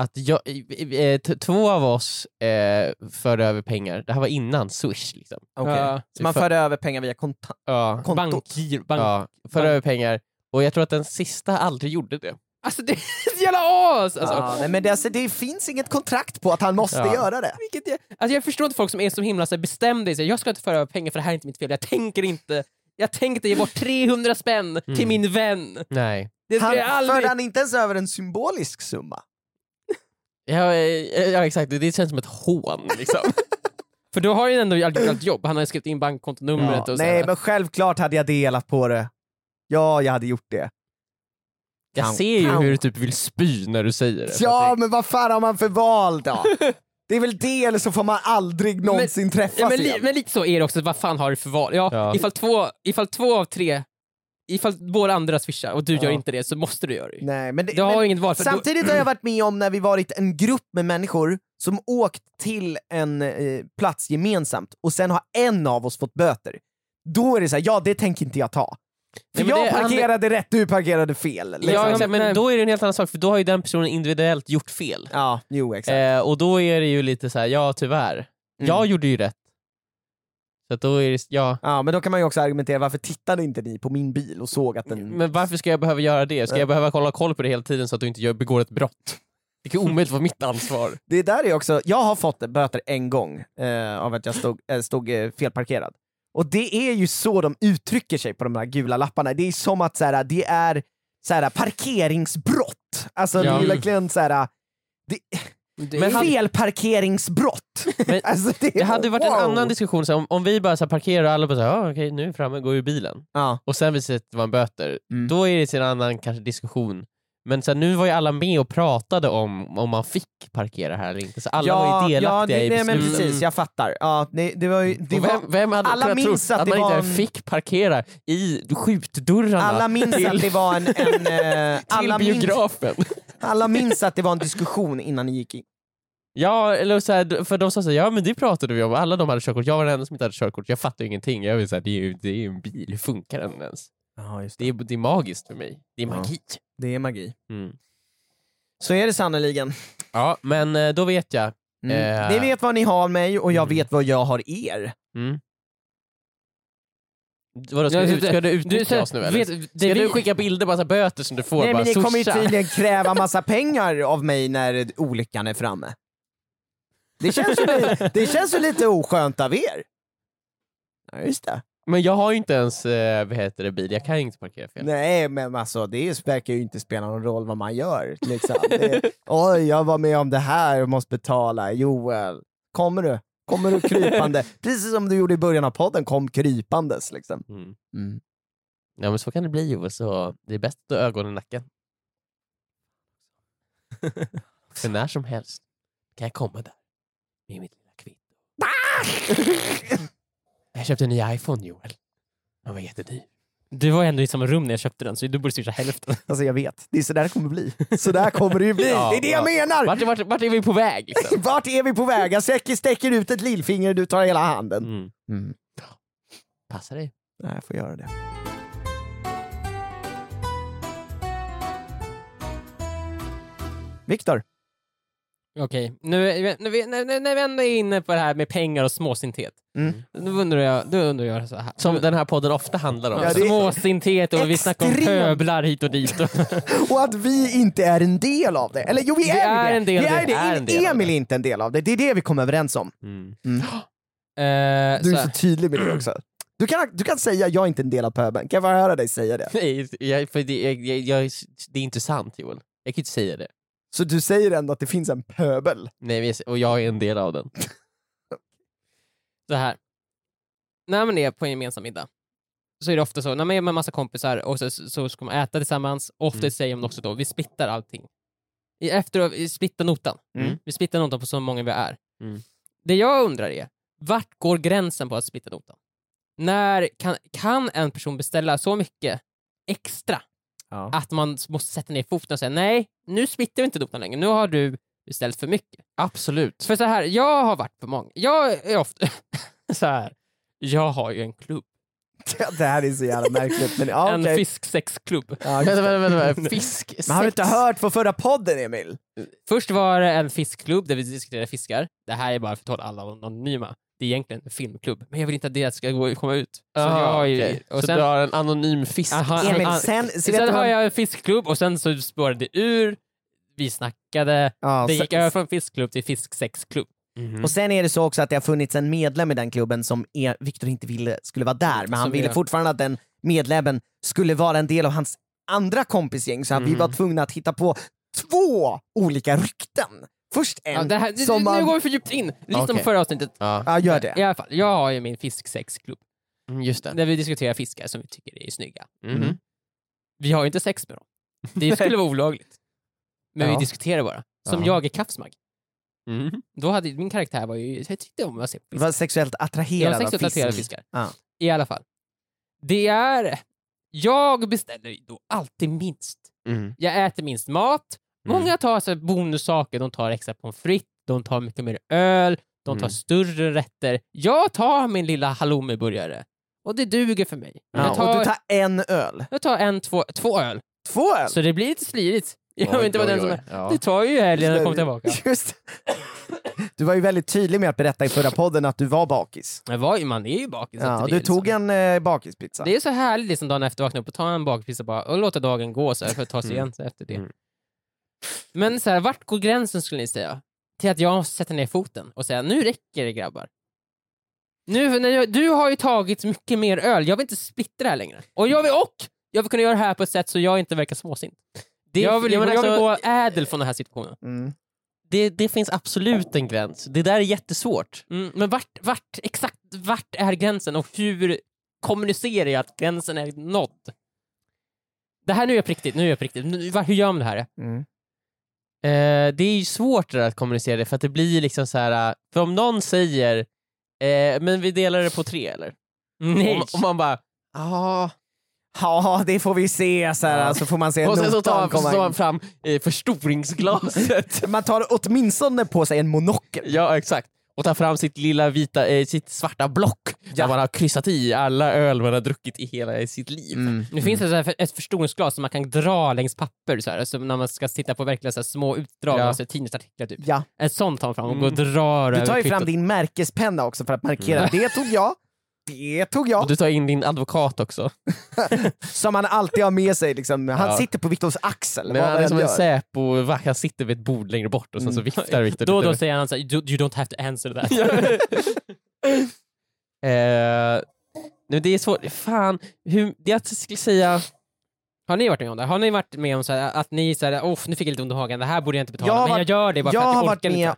[SPEAKER 2] att jag, eh, t- två av oss eh, förde över pengar. Det här var innan Swish. Liksom.
[SPEAKER 4] Ja,
[SPEAKER 3] Så man
[SPEAKER 2] För-
[SPEAKER 3] förde över pengar via kontant.
[SPEAKER 2] Ja,
[SPEAKER 3] kontot.
[SPEAKER 4] bankgir, bank.
[SPEAKER 2] ja, förde
[SPEAKER 4] bank-
[SPEAKER 2] över pengar. Och jag tror att den sista aldrig gjorde det.
[SPEAKER 4] Alltså det är ett jävla as! Alltså.
[SPEAKER 3] Ja, nej, men det, alltså, det finns inget kontrakt på att han måste
[SPEAKER 2] Ja.
[SPEAKER 3] göra det.
[SPEAKER 4] Vilket jag, alltså jag förstår inte folk som är så himla så här bestämda i sig. Jag ska inte föra över pengar för det här är inte mitt fel. Jag tänker inte jag tänkte ge bort 300 spänn
[SPEAKER 2] Mm.
[SPEAKER 4] till min vän.
[SPEAKER 2] Nej.
[SPEAKER 4] Det ska
[SPEAKER 3] Han,
[SPEAKER 4] jag aldrig...
[SPEAKER 3] Förde han inte ens över en symbolisk summa?
[SPEAKER 2] Ja, eh, ja exakt, det känns som ett hån. Liksom.
[SPEAKER 4] För då har ju ändå aldrig gjort jobb. Han har ju skrivit in bankkontonumret och så
[SPEAKER 3] Nej
[SPEAKER 4] här.
[SPEAKER 3] men självklart hade jag delat på det. Ja, jag hade gjort det.
[SPEAKER 2] Jag
[SPEAKER 3] Pound,
[SPEAKER 2] ser ju
[SPEAKER 3] pound.
[SPEAKER 2] hur du typ vill spy när du säger det.
[SPEAKER 3] Ja, men vad fan har man för val då? det är väl det eller så får man aldrig någonsin träffas
[SPEAKER 4] Ja, men, li,
[SPEAKER 3] igen.
[SPEAKER 4] men lite så är det också, vad fan har du för val? Ja,
[SPEAKER 2] Ja.
[SPEAKER 4] Ifall, två, ifall två av tre, ifall båda andra swishar och du gör inte det så måste du göra det.
[SPEAKER 3] Nej, men det,
[SPEAKER 4] Du har
[SPEAKER 3] men
[SPEAKER 4] ju inget val. För då,
[SPEAKER 3] samtidigt har jag varit med om när vi varit en grupp med människor som åkt till en eh, plats gemensamt och sen har en av oss fått böter. Då är det så här, ja det tänker inte jag ta. För
[SPEAKER 2] Nej, men det-
[SPEAKER 3] jag
[SPEAKER 2] han-
[SPEAKER 3] parkerade rätt, du parkerade fel.
[SPEAKER 2] Ja,
[SPEAKER 3] liksom.
[SPEAKER 2] exakt,
[SPEAKER 4] Nej.
[SPEAKER 2] men då är det en helt annan sak, för då har ju den personen individuellt gjort fel.
[SPEAKER 3] Ja, jo exakt.
[SPEAKER 2] Eh, och då är det ju lite så här, ja tyvärr. Jag gjorde ju rätt. Så att då är det, ja.
[SPEAKER 3] Ja, men då kan man ju också argumentera, varför tittade inte ni på min bil och såg att den...
[SPEAKER 2] Men varför ska jag behöva göra det? Ska jag behöva kolla koll på det hela tiden så att du inte gör, begår ett brott? Det är omöjligt vara mitt ansvar.
[SPEAKER 3] Det där är också, jag har fått böter en gång eh, av att jag stod, eh, stod eh, felparkerad. Och det är ju så de uttrycker sig på de här gula lapparna. Det är som att så här, det är så här, parkeringsbrott. Alltså
[SPEAKER 2] Ja.
[SPEAKER 3] det är verkligen så här,
[SPEAKER 4] det,
[SPEAKER 2] Men han-
[SPEAKER 3] felparkeringsbrott.
[SPEAKER 2] Men
[SPEAKER 3] alltså, det, är
[SPEAKER 2] Det hade ju varit en
[SPEAKER 3] wow.
[SPEAKER 2] annan diskussion, så här, om, om vi bara så här parkerar och alla bara så här, ah, okej nu är vi framme, går ur bilen.
[SPEAKER 3] Ja.
[SPEAKER 2] Och sen visar det sig att det var en böter.
[SPEAKER 3] Mm.
[SPEAKER 2] Då är det en annan kanske diskussion. Men så här, nu var ju alla med och pratade om om man fick parkera här eller inte, så alla var ju delaktiga
[SPEAKER 3] ja,
[SPEAKER 2] i
[SPEAKER 3] nej, nej, men
[SPEAKER 2] besluten. Mm.
[SPEAKER 3] precis, jag fattar. Ja, nej, det var ju, det
[SPEAKER 2] Och
[SPEAKER 3] var,
[SPEAKER 2] vem, vem hade
[SPEAKER 3] alla
[SPEAKER 2] alla kunnat tro
[SPEAKER 3] minns
[SPEAKER 2] att,
[SPEAKER 3] att det
[SPEAKER 2] man inte
[SPEAKER 3] var
[SPEAKER 2] ens
[SPEAKER 3] en-
[SPEAKER 2] fick parkera i skjutdörrarna
[SPEAKER 3] alla minns att det var en... en eh,
[SPEAKER 2] till
[SPEAKER 3] alla, minns,
[SPEAKER 2] biografen?
[SPEAKER 3] alla minns att det var en diskussion innan ni gick in.
[SPEAKER 2] Ja, eller så här, för de sa såhär, ja men det pratade vi om, alla de hade körkort, jag var den enda som inte hade körkort, jag fattar ju ingenting, jag vill säga, det, är ju- det är ju en bil, hur funkar den ens? Det är, det är magiskt för mig, det är
[SPEAKER 3] Ja.
[SPEAKER 2] magi.
[SPEAKER 3] Det är magi.
[SPEAKER 2] Mm.
[SPEAKER 3] Så är det sannerligen.
[SPEAKER 2] Ja, men eh, då vet jag.
[SPEAKER 3] Mm.
[SPEAKER 2] Eh.
[SPEAKER 3] Ni vet vad ni har mig och jag
[SPEAKER 2] Mm.
[SPEAKER 3] vet vad jag har er.
[SPEAKER 2] Mm. Vadå, ska,
[SPEAKER 4] Ja,
[SPEAKER 2] du,
[SPEAKER 4] det-
[SPEAKER 2] ska du
[SPEAKER 4] Du, så
[SPEAKER 2] utnyttja
[SPEAKER 4] här,
[SPEAKER 2] oss nu eller?
[SPEAKER 4] vet-
[SPEAKER 2] Ska
[SPEAKER 4] det vi-
[SPEAKER 2] du skicka bilder på massa böter som du får?
[SPEAKER 3] Nej
[SPEAKER 2] bara
[SPEAKER 3] men ni kommer ju
[SPEAKER 2] swisha?
[SPEAKER 3] tydligen kräva massa pengar av mig när olyckan är framme. Det känns ju, li- det känns ju lite oskönt av er. Ja just det.
[SPEAKER 2] Men jag har ju inte ens eh, vad heter det, bil, jag kan ju inte parkera fel.
[SPEAKER 3] Nej men alltså det verkar ju inte spela någon roll vad man gör. Liksom. Det, Oj, jag var med om det här och måste betala. Joel, kommer du? Kommer du krypande? Precis som du gjorde i början av podden, kom krypandes. Liksom.
[SPEAKER 2] Mm.
[SPEAKER 3] Mm.
[SPEAKER 2] Ja men så kan det bli Joel, så det är bäst att ha ögonen i nacken. För när som helst kan jag komma där med mitt lilla kvitto. jag köpte en ny iPhone Joel. Den var jättedyr.
[SPEAKER 4] Du var ändå i samma rum när jag köpte den, så du borde swisha hälften.
[SPEAKER 3] Alltså jag vet, det är sådär det kommer bli. Sådär kommer det ju bli,
[SPEAKER 2] Ja,
[SPEAKER 3] det är det jag menar!
[SPEAKER 2] Vart, vart, vart är vi på väg? Liksom?
[SPEAKER 3] Vart är vi på väg? Jag sträcker, sträcker ut ett lillfinger, du tar hela handen.
[SPEAKER 2] Mm.
[SPEAKER 3] Mm.
[SPEAKER 2] Passa dig.
[SPEAKER 3] Nej, jag får göra det. Viktor,
[SPEAKER 4] Okej, nu, nu, nu, nu, när vi ändå är inne på det här med pengar och småsinthet.
[SPEAKER 3] Mm.
[SPEAKER 4] Då undrar jag, då undrar jag så här.
[SPEAKER 2] Som den här podden ofta handlar om.
[SPEAKER 3] Ja, det-
[SPEAKER 4] Småsinthet och vi snackar om
[SPEAKER 3] Extremt.
[SPEAKER 4] pöblar hit och dit. Och
[SPEAKER 3] och att vi inte är en del av det. Eller jo, vi är,
[SPEAKER 4] är
[SPEAKER 3] det.
[SPEAKER 4] en del
[SPEAKER 3] vi
[SPEAKER 4] av det.
[SPEAKER 3] är det.
[SPEAKER 2] Är en del av
[SPEAKER 3] Emil är inte en del av det, det är det vi kom överens om.
[SPEAKER 2] Mm.
[SPEAKER 3] Du
[SPEAKER 4] Eh, så
[SPEAKER 3] är så
[SPEAKER 4] här.
[SPEAKER 3] tydlig med det också. Du kan, du kan säga jag är inte en del av pöbeln, kan jag bara höra dig säga det?
[SPEAKER 2] Nej, jag, för det, jag, jag, jag, det är inte sant Joel. Jag kan ju inte säga det.
[SPEAKER 3] Så du säger ändå att det finns en pöbel?
[SPEAKER 2] Nej, men jag- och jag är en del av den.
[SPEAKER 4] så här. När man är på en gemensam middag så är det ofta så, när man är med massa kompisar och så, så ska man äta tillsammans, ofta
[SPEAKER 2] Mm.
[SPEAKER 4] säger man också då, vi splittar allting. I efter, vi splittar notan.
[SPEAKER 2] Mm.
[SPEAKER 4] Vi splittar notan på så många vi är.
[SPEAKER 2] Mm.
[SPEAKER 4] Det jag undrar är, vart går gränsen på att splitta notan? När kan, kan en person beställa så mycket extra
[SPEAKER 3] Ja.
[SPEAKER 4] att man måste sätta ner foten och säga nej, nu splittar vi inte notan längre, nu har du beställt för mycket.
[SPEAKER 2] Absolut.
[SPEAKER 4] För så här, jag har varit på många, jag är ofta så här. jag har ju en klubb,
[SPEAKER 3] Det här är så jävla märkligt. Men, ja,
[SPEAKER 4] en
[SPEAKER 3] okej.
[SPEAKER 4] fisksexklubb.
[SPEAKER 3] Ja, just det.
[SPEAKER 2] Vänta, vänta, vänta. Fisk,
[SPEAKER 3] Men har du inte
[SPEAKER 2] sex.
[SPEAKER 3] hört på förra podden Emil?
[SPEAKER 4] Först var det en fiskklubb där vi diskuterade fiskar, det här är bara för att hålla alla anonyma, det är egentligen en filmklubb, men jag vill inte att det ska gå, komma ut. Så
[SPEAKER 2] Aha,
[SPEAKER 4] jag har ju,
[SPEAKER 2] okej.
[SPEAKER 4] och
[SPEAKER 2] Så
[SPEAKER 4] sen,
[SPEAKER 2] du har en anonym fisk?
[SPEAKER 4] Aha,
[SPEAKER 3] Emil,
[SPEAKER 4] aha.
[SPEAKER 3] sen... så vet du
[SPEAKER 4] sen har
[SPEAKER 3] vad-
[SPEAKER 4] jag en fiskklubb och sen så spårade det ur, vi snackade,
[SPEAKER 3] Ja,
[SPEAKER 4] det
[SPEAKER 3] sen-
[SPEAKER 4] gick över från fiskklubb till fisksexklubb.
[SPEAKER 2] Mhm.
[SPEAKER 4] Mm.
[SPEAKER 3] Och sen är det så också att det har funnits en medlem i den klubben som är, Victor inte ville skulle vara där, men han
[SPEAKER 4] Som
[SPEAKER 3] ville
[SPEAKER 4] är-
[SPEAKER 3] fortfarande att den medlemmen skulle vara en del av hans andra kompisgäng, så att vi
[SPEAKER 4] Mm.
[SPEAKER 2] Mhm.
[SPEAKER 3] var tvungna att hitta på två olika rykten. Först en
[SPEAKER 4] Ja, det här, nu,
[SPEAKER 3] som
[SPEAKER 4] nu
[SPEAKER 3] man...
[SPEAKER 4] går vi för djupt in, lyssna
[SPEAKER 2] Okej.
[SPEAKER 4] på förra avsnittet.
[SPEAKER 2] Ja,
[SPEAKER 3] Ja, gör det.
[SPEAKER 4] I alla fall, jag har ju min fisksexklubb.
[SPEAKER 2] mm, just det.
[SPEAKER 4] Där vi diskuterar fiskar som vi tycker är snygga.
[SPEAKER 2] Mhm.
[SPEAKER 3] Mm.
[SPEAKER 4] Vi har ju inte sex med dem. Det skulle vara olagligt. Men
[SPEAKER 3] Ja.
[SPEAKER 4] vi diskuterar bara. Som
[SPEAKER 2] Ja.
[SPEAKER 4] jag är kafsmagg.
[SPEAKER 2] Mhm.
[SPEAKER 4] Då hade min karaktär var ju, jag tyckte om att se på fiskar.
[SPEAKER 3] Var sexuellt
[SPEAKER 4] Jag
[SPEAKER 3] attraherad
[SPEAKER 4] har sexuellt
[SPEAKER 3] av fisk.
[SPEAKER 4] attraherade fiskar.
[SPEAKER 3] Ja.
[SPEAKER 4] I alla fall. Det är, jag beställer ju då alltid minst.
[SPEAKER 2] Mhm.
[SPEAKER 4] Jag äter minst mat.
[SPEAKER 2] Mm.
[SPEAKER 4] Många tar så här bonussaker, de tar extra pommes frites, de tar mycket mer öl, de tar
[SPEAKER 2] Mm.
[SPEAKER 4] större rätter. Jag tar min lilla halloumiburgare. Och det duger för mig.
[SPEAKER 2] Ja,
[SPEAKER 4] Jag
[SPEAKER 3] Ja, och
[SPEAKER 4] tar
[SPEAKER 3] du tar en öl.
[SPEAKER 4] Jag tar en, två, två öl.
[SPEAKER 3] Två öl?
[SPEAKER 4] Så det blir lite slirigt. Jag vill
[SPEAKER 2] Oj,
[SPEAKER 4] inte vara
[SPEAKER 2] oj,
[SPEAKER 4] den som
[SPEAKER 2] oj.
[SPEAKER 4] är...
[SPEAKER 2] Ja.
[SPEAKER 4] Det tar ju helgen att komma tillbaka.
[SPEAKER 3] Just. Du var ju väldigt tydlig med att berätta i förra podden att du var bakis.
[SPEAKER 4] Men vad- Man är ju bakis.
[SPEAKER 3] Ja,
[SPEAKER 4] efter
[SPEAKER 3] och
[SPEAKER 4] det,
[SPEAKER 3] du tog
[SPEAKER 4] liksom.
[SPEAKER 3] en eh, bakispizza.
[SPEAKER 4] Det är så härligt liksom dagen efter vakna upp och ta en bakpizza bara och låta dagen gå så här, för att ta sig igen så efter det.
[SPEAKER 2] Mm.
[SPEAKER 4] Men så här, vart går gränsen skulle ni säga? Till att jag sätter ner foten och säger nu räcker det grabbar. Nu, när jag, du har ju tagit mycket mer öl, jag vill inte splittra det här längre. Och jag vill, och jag vill kunna göra det här på ett sätt så jag inte verkar småsint.
[SPEAKER 2] Det-
[SPEAKER 4] jag, vill,
[SPEAKER 2] ja, men
[SPEAKER 4] jag vill
[SPEAKER 2] alltså-
[SPEAKER 4] gå ädel från den här situationen.
[SPEAKER 3] Mm.
[SPEAKER 2] det, det finns absolut en gräns. Det där är jättesvårt.
[SPEAKER 4] Mm, men vart, vart, exakt vart är gränsen och hur kommunicerar jag att gränsen är nådd? Det här nu är jag på riktigt, nu är jag på riktigt. Nu, var, hur gör man det här?
[SPEAKER 3] mm.
[SPEAKER 2] Eh, det är ju svårt det där att kommunicera det, för att det blir liksom så här. eh, För om någon säger eh, men vi delar det på tre eller?
[SPEAKER 4] Nej!
[SPEAKER 2] Och, och man bara ja.
[SPEAKER 3] Ja, det får vi se. Så här,
[SPEAKER 2] Ja.
[SPEAKER 3] så får man se
[SPEAKER 2] Och sen så
[SPEAKER 3] notan
[SPEAKER 2] tar, så
[SPEAKER 3] komma
[SPEAKER 2] tar
[SPEAKER 3] in.
[SPEAKER 2] man fram eh, förstoringsglaset.
[SPEAKER 3] Man tar åtminstone på sig en monokel.
[SPEAKER 2] Ja, exakt. Och ta fram sitt lilla vita, eh, sitt svarta block där man har kryssat i alla öl man har druckit i hela sitt liv.
[SPEAKER 3] Mm.
[SPEAKER 4] Nu finns det så här för- ett förstoringsglas som man kan dra längs papper så här, så när man ska titta på verkligen så här små utdrag
[SPEAKER 2] Ja.
[SPEAKER 4] av så här tidningsartiklar. Typ.
[SPEAKER 3] Ja.
[SPEAKER 4] Ett sånt tar man fram och går och drar
[SPEAKER 3] Mm. Du tar
[SPEAKER 4] över
[SPEAKER 3] ju fram
[SPEAKER 4] kvittot.
[SPEAKER 3] din märkespenna också för att markera. Det tog jag, Det tog
[SPEAKER 2] Och
[SPEAKER 3] jag.
[SPEAKER 2] Mm. du tar in din advokat också.
[SPEAKER 3] Som han alltid har med sig. Liksom. Han
[SPEAKER 2] Ja.
[SPEAKER 3] sitter på Viktors axel.
[SPEAKER 2] Men
[SPEAKER 3] vad
[SPEAKER 2] han är
[SPEAKER 3] än
[SPEAKER 2] som en
[SPEAKER 3] gör. Mm.
[SPEAKER 2] Säpo-vakt, han sitter vid ett bord längre bort och sen så viftar Viktor
[SPEAKER 4] Då och
[SPEAKER 2] lite.
[SPEAKER 4] då säger han såhär, you you don't have to answer that.
[SPEAKER 2] Eh, nu det är svårt, fan, hur, jag skulle säga,
[SPEAKER 4] Har ni varit med om det? Har ni varit med om så här, att ni såhär, åh nu fick jag lite ont i hagen, det här borde jag inte betala,
[SPEAKER 3] Jag har
[SPEAKER 4] men
[SPEAKER 3] varit-
[SPEAKER 4] jag gör det bara
[SPEAKER 3] jag
[SPEAKER 4] för att
[SPEAKER 3] har
[SPEAKER 4] jag
[SPEAKER 3] varit
[SPEAKER 4] orkar liksom."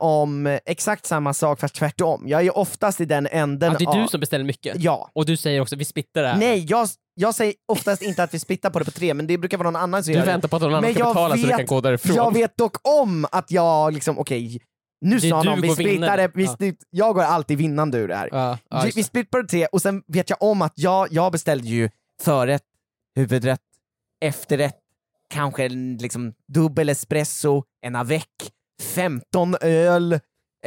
[SPEAKER 3] med
[SPEAKER 4] lite.
[SPEAKER 3] om eh, exakt samma sak fast tvärtom. Jag är oftast i den änden
[SPEAKER 4] Att det är
[SPEAKER 3] av-
[SPEAKER 4] du som beställer mycket.
[SPEAKER 3] Ja.
[SPEAKER 4] Och du säger också, vi splittar det här.
[SPEAKER 3] Nej, jag, jag säger oftast inte att vi splittar på det på tre, men det brukar vara någon annan som
[SPEAKER 2] du
[SPEAKER 3] gör det.
[SPEAKER 2] väntar på att någon annan
[SPEAKER 3] Men
[SPEAKER 2] ska
[SPEAKER 3] jag
[SPEAKER 2] betala så du
[SPEAKER 3] vet-
[SPEAKER 2] kan gå därifrån.
[SPEAKER 3] Jag vet dock om att jag liksom, okej, nu
[SPEAKER 4] Det är
[SPEAKER 3] sa
[SPEAKER 4] du
[SPEAKER 3] någon vi
[SPEAKER 4] går
[SPEAKER 3] splittar
[SPEAKER 4] vinnare.
[SPEAKER 3] det, vi
[SPEAKER 4] Ja.
[SPEAKER 3] split, jag går alltid vinnande ur det här.
[SPEAKER 4] Ja, ja,
[SPEAKER 3] vi
[SPEAKER 4] just
[SPEAKER 3] vi
[SPEAKER 4] det.
[SPEAKER 3] splittar på det tre och sen vet jag om att jag, jag beställde ju förrätt, huvudrätt, efterrätt, kanske en liksom dubbel espresso, en avec, 15 öl
[SPEAKER 2] och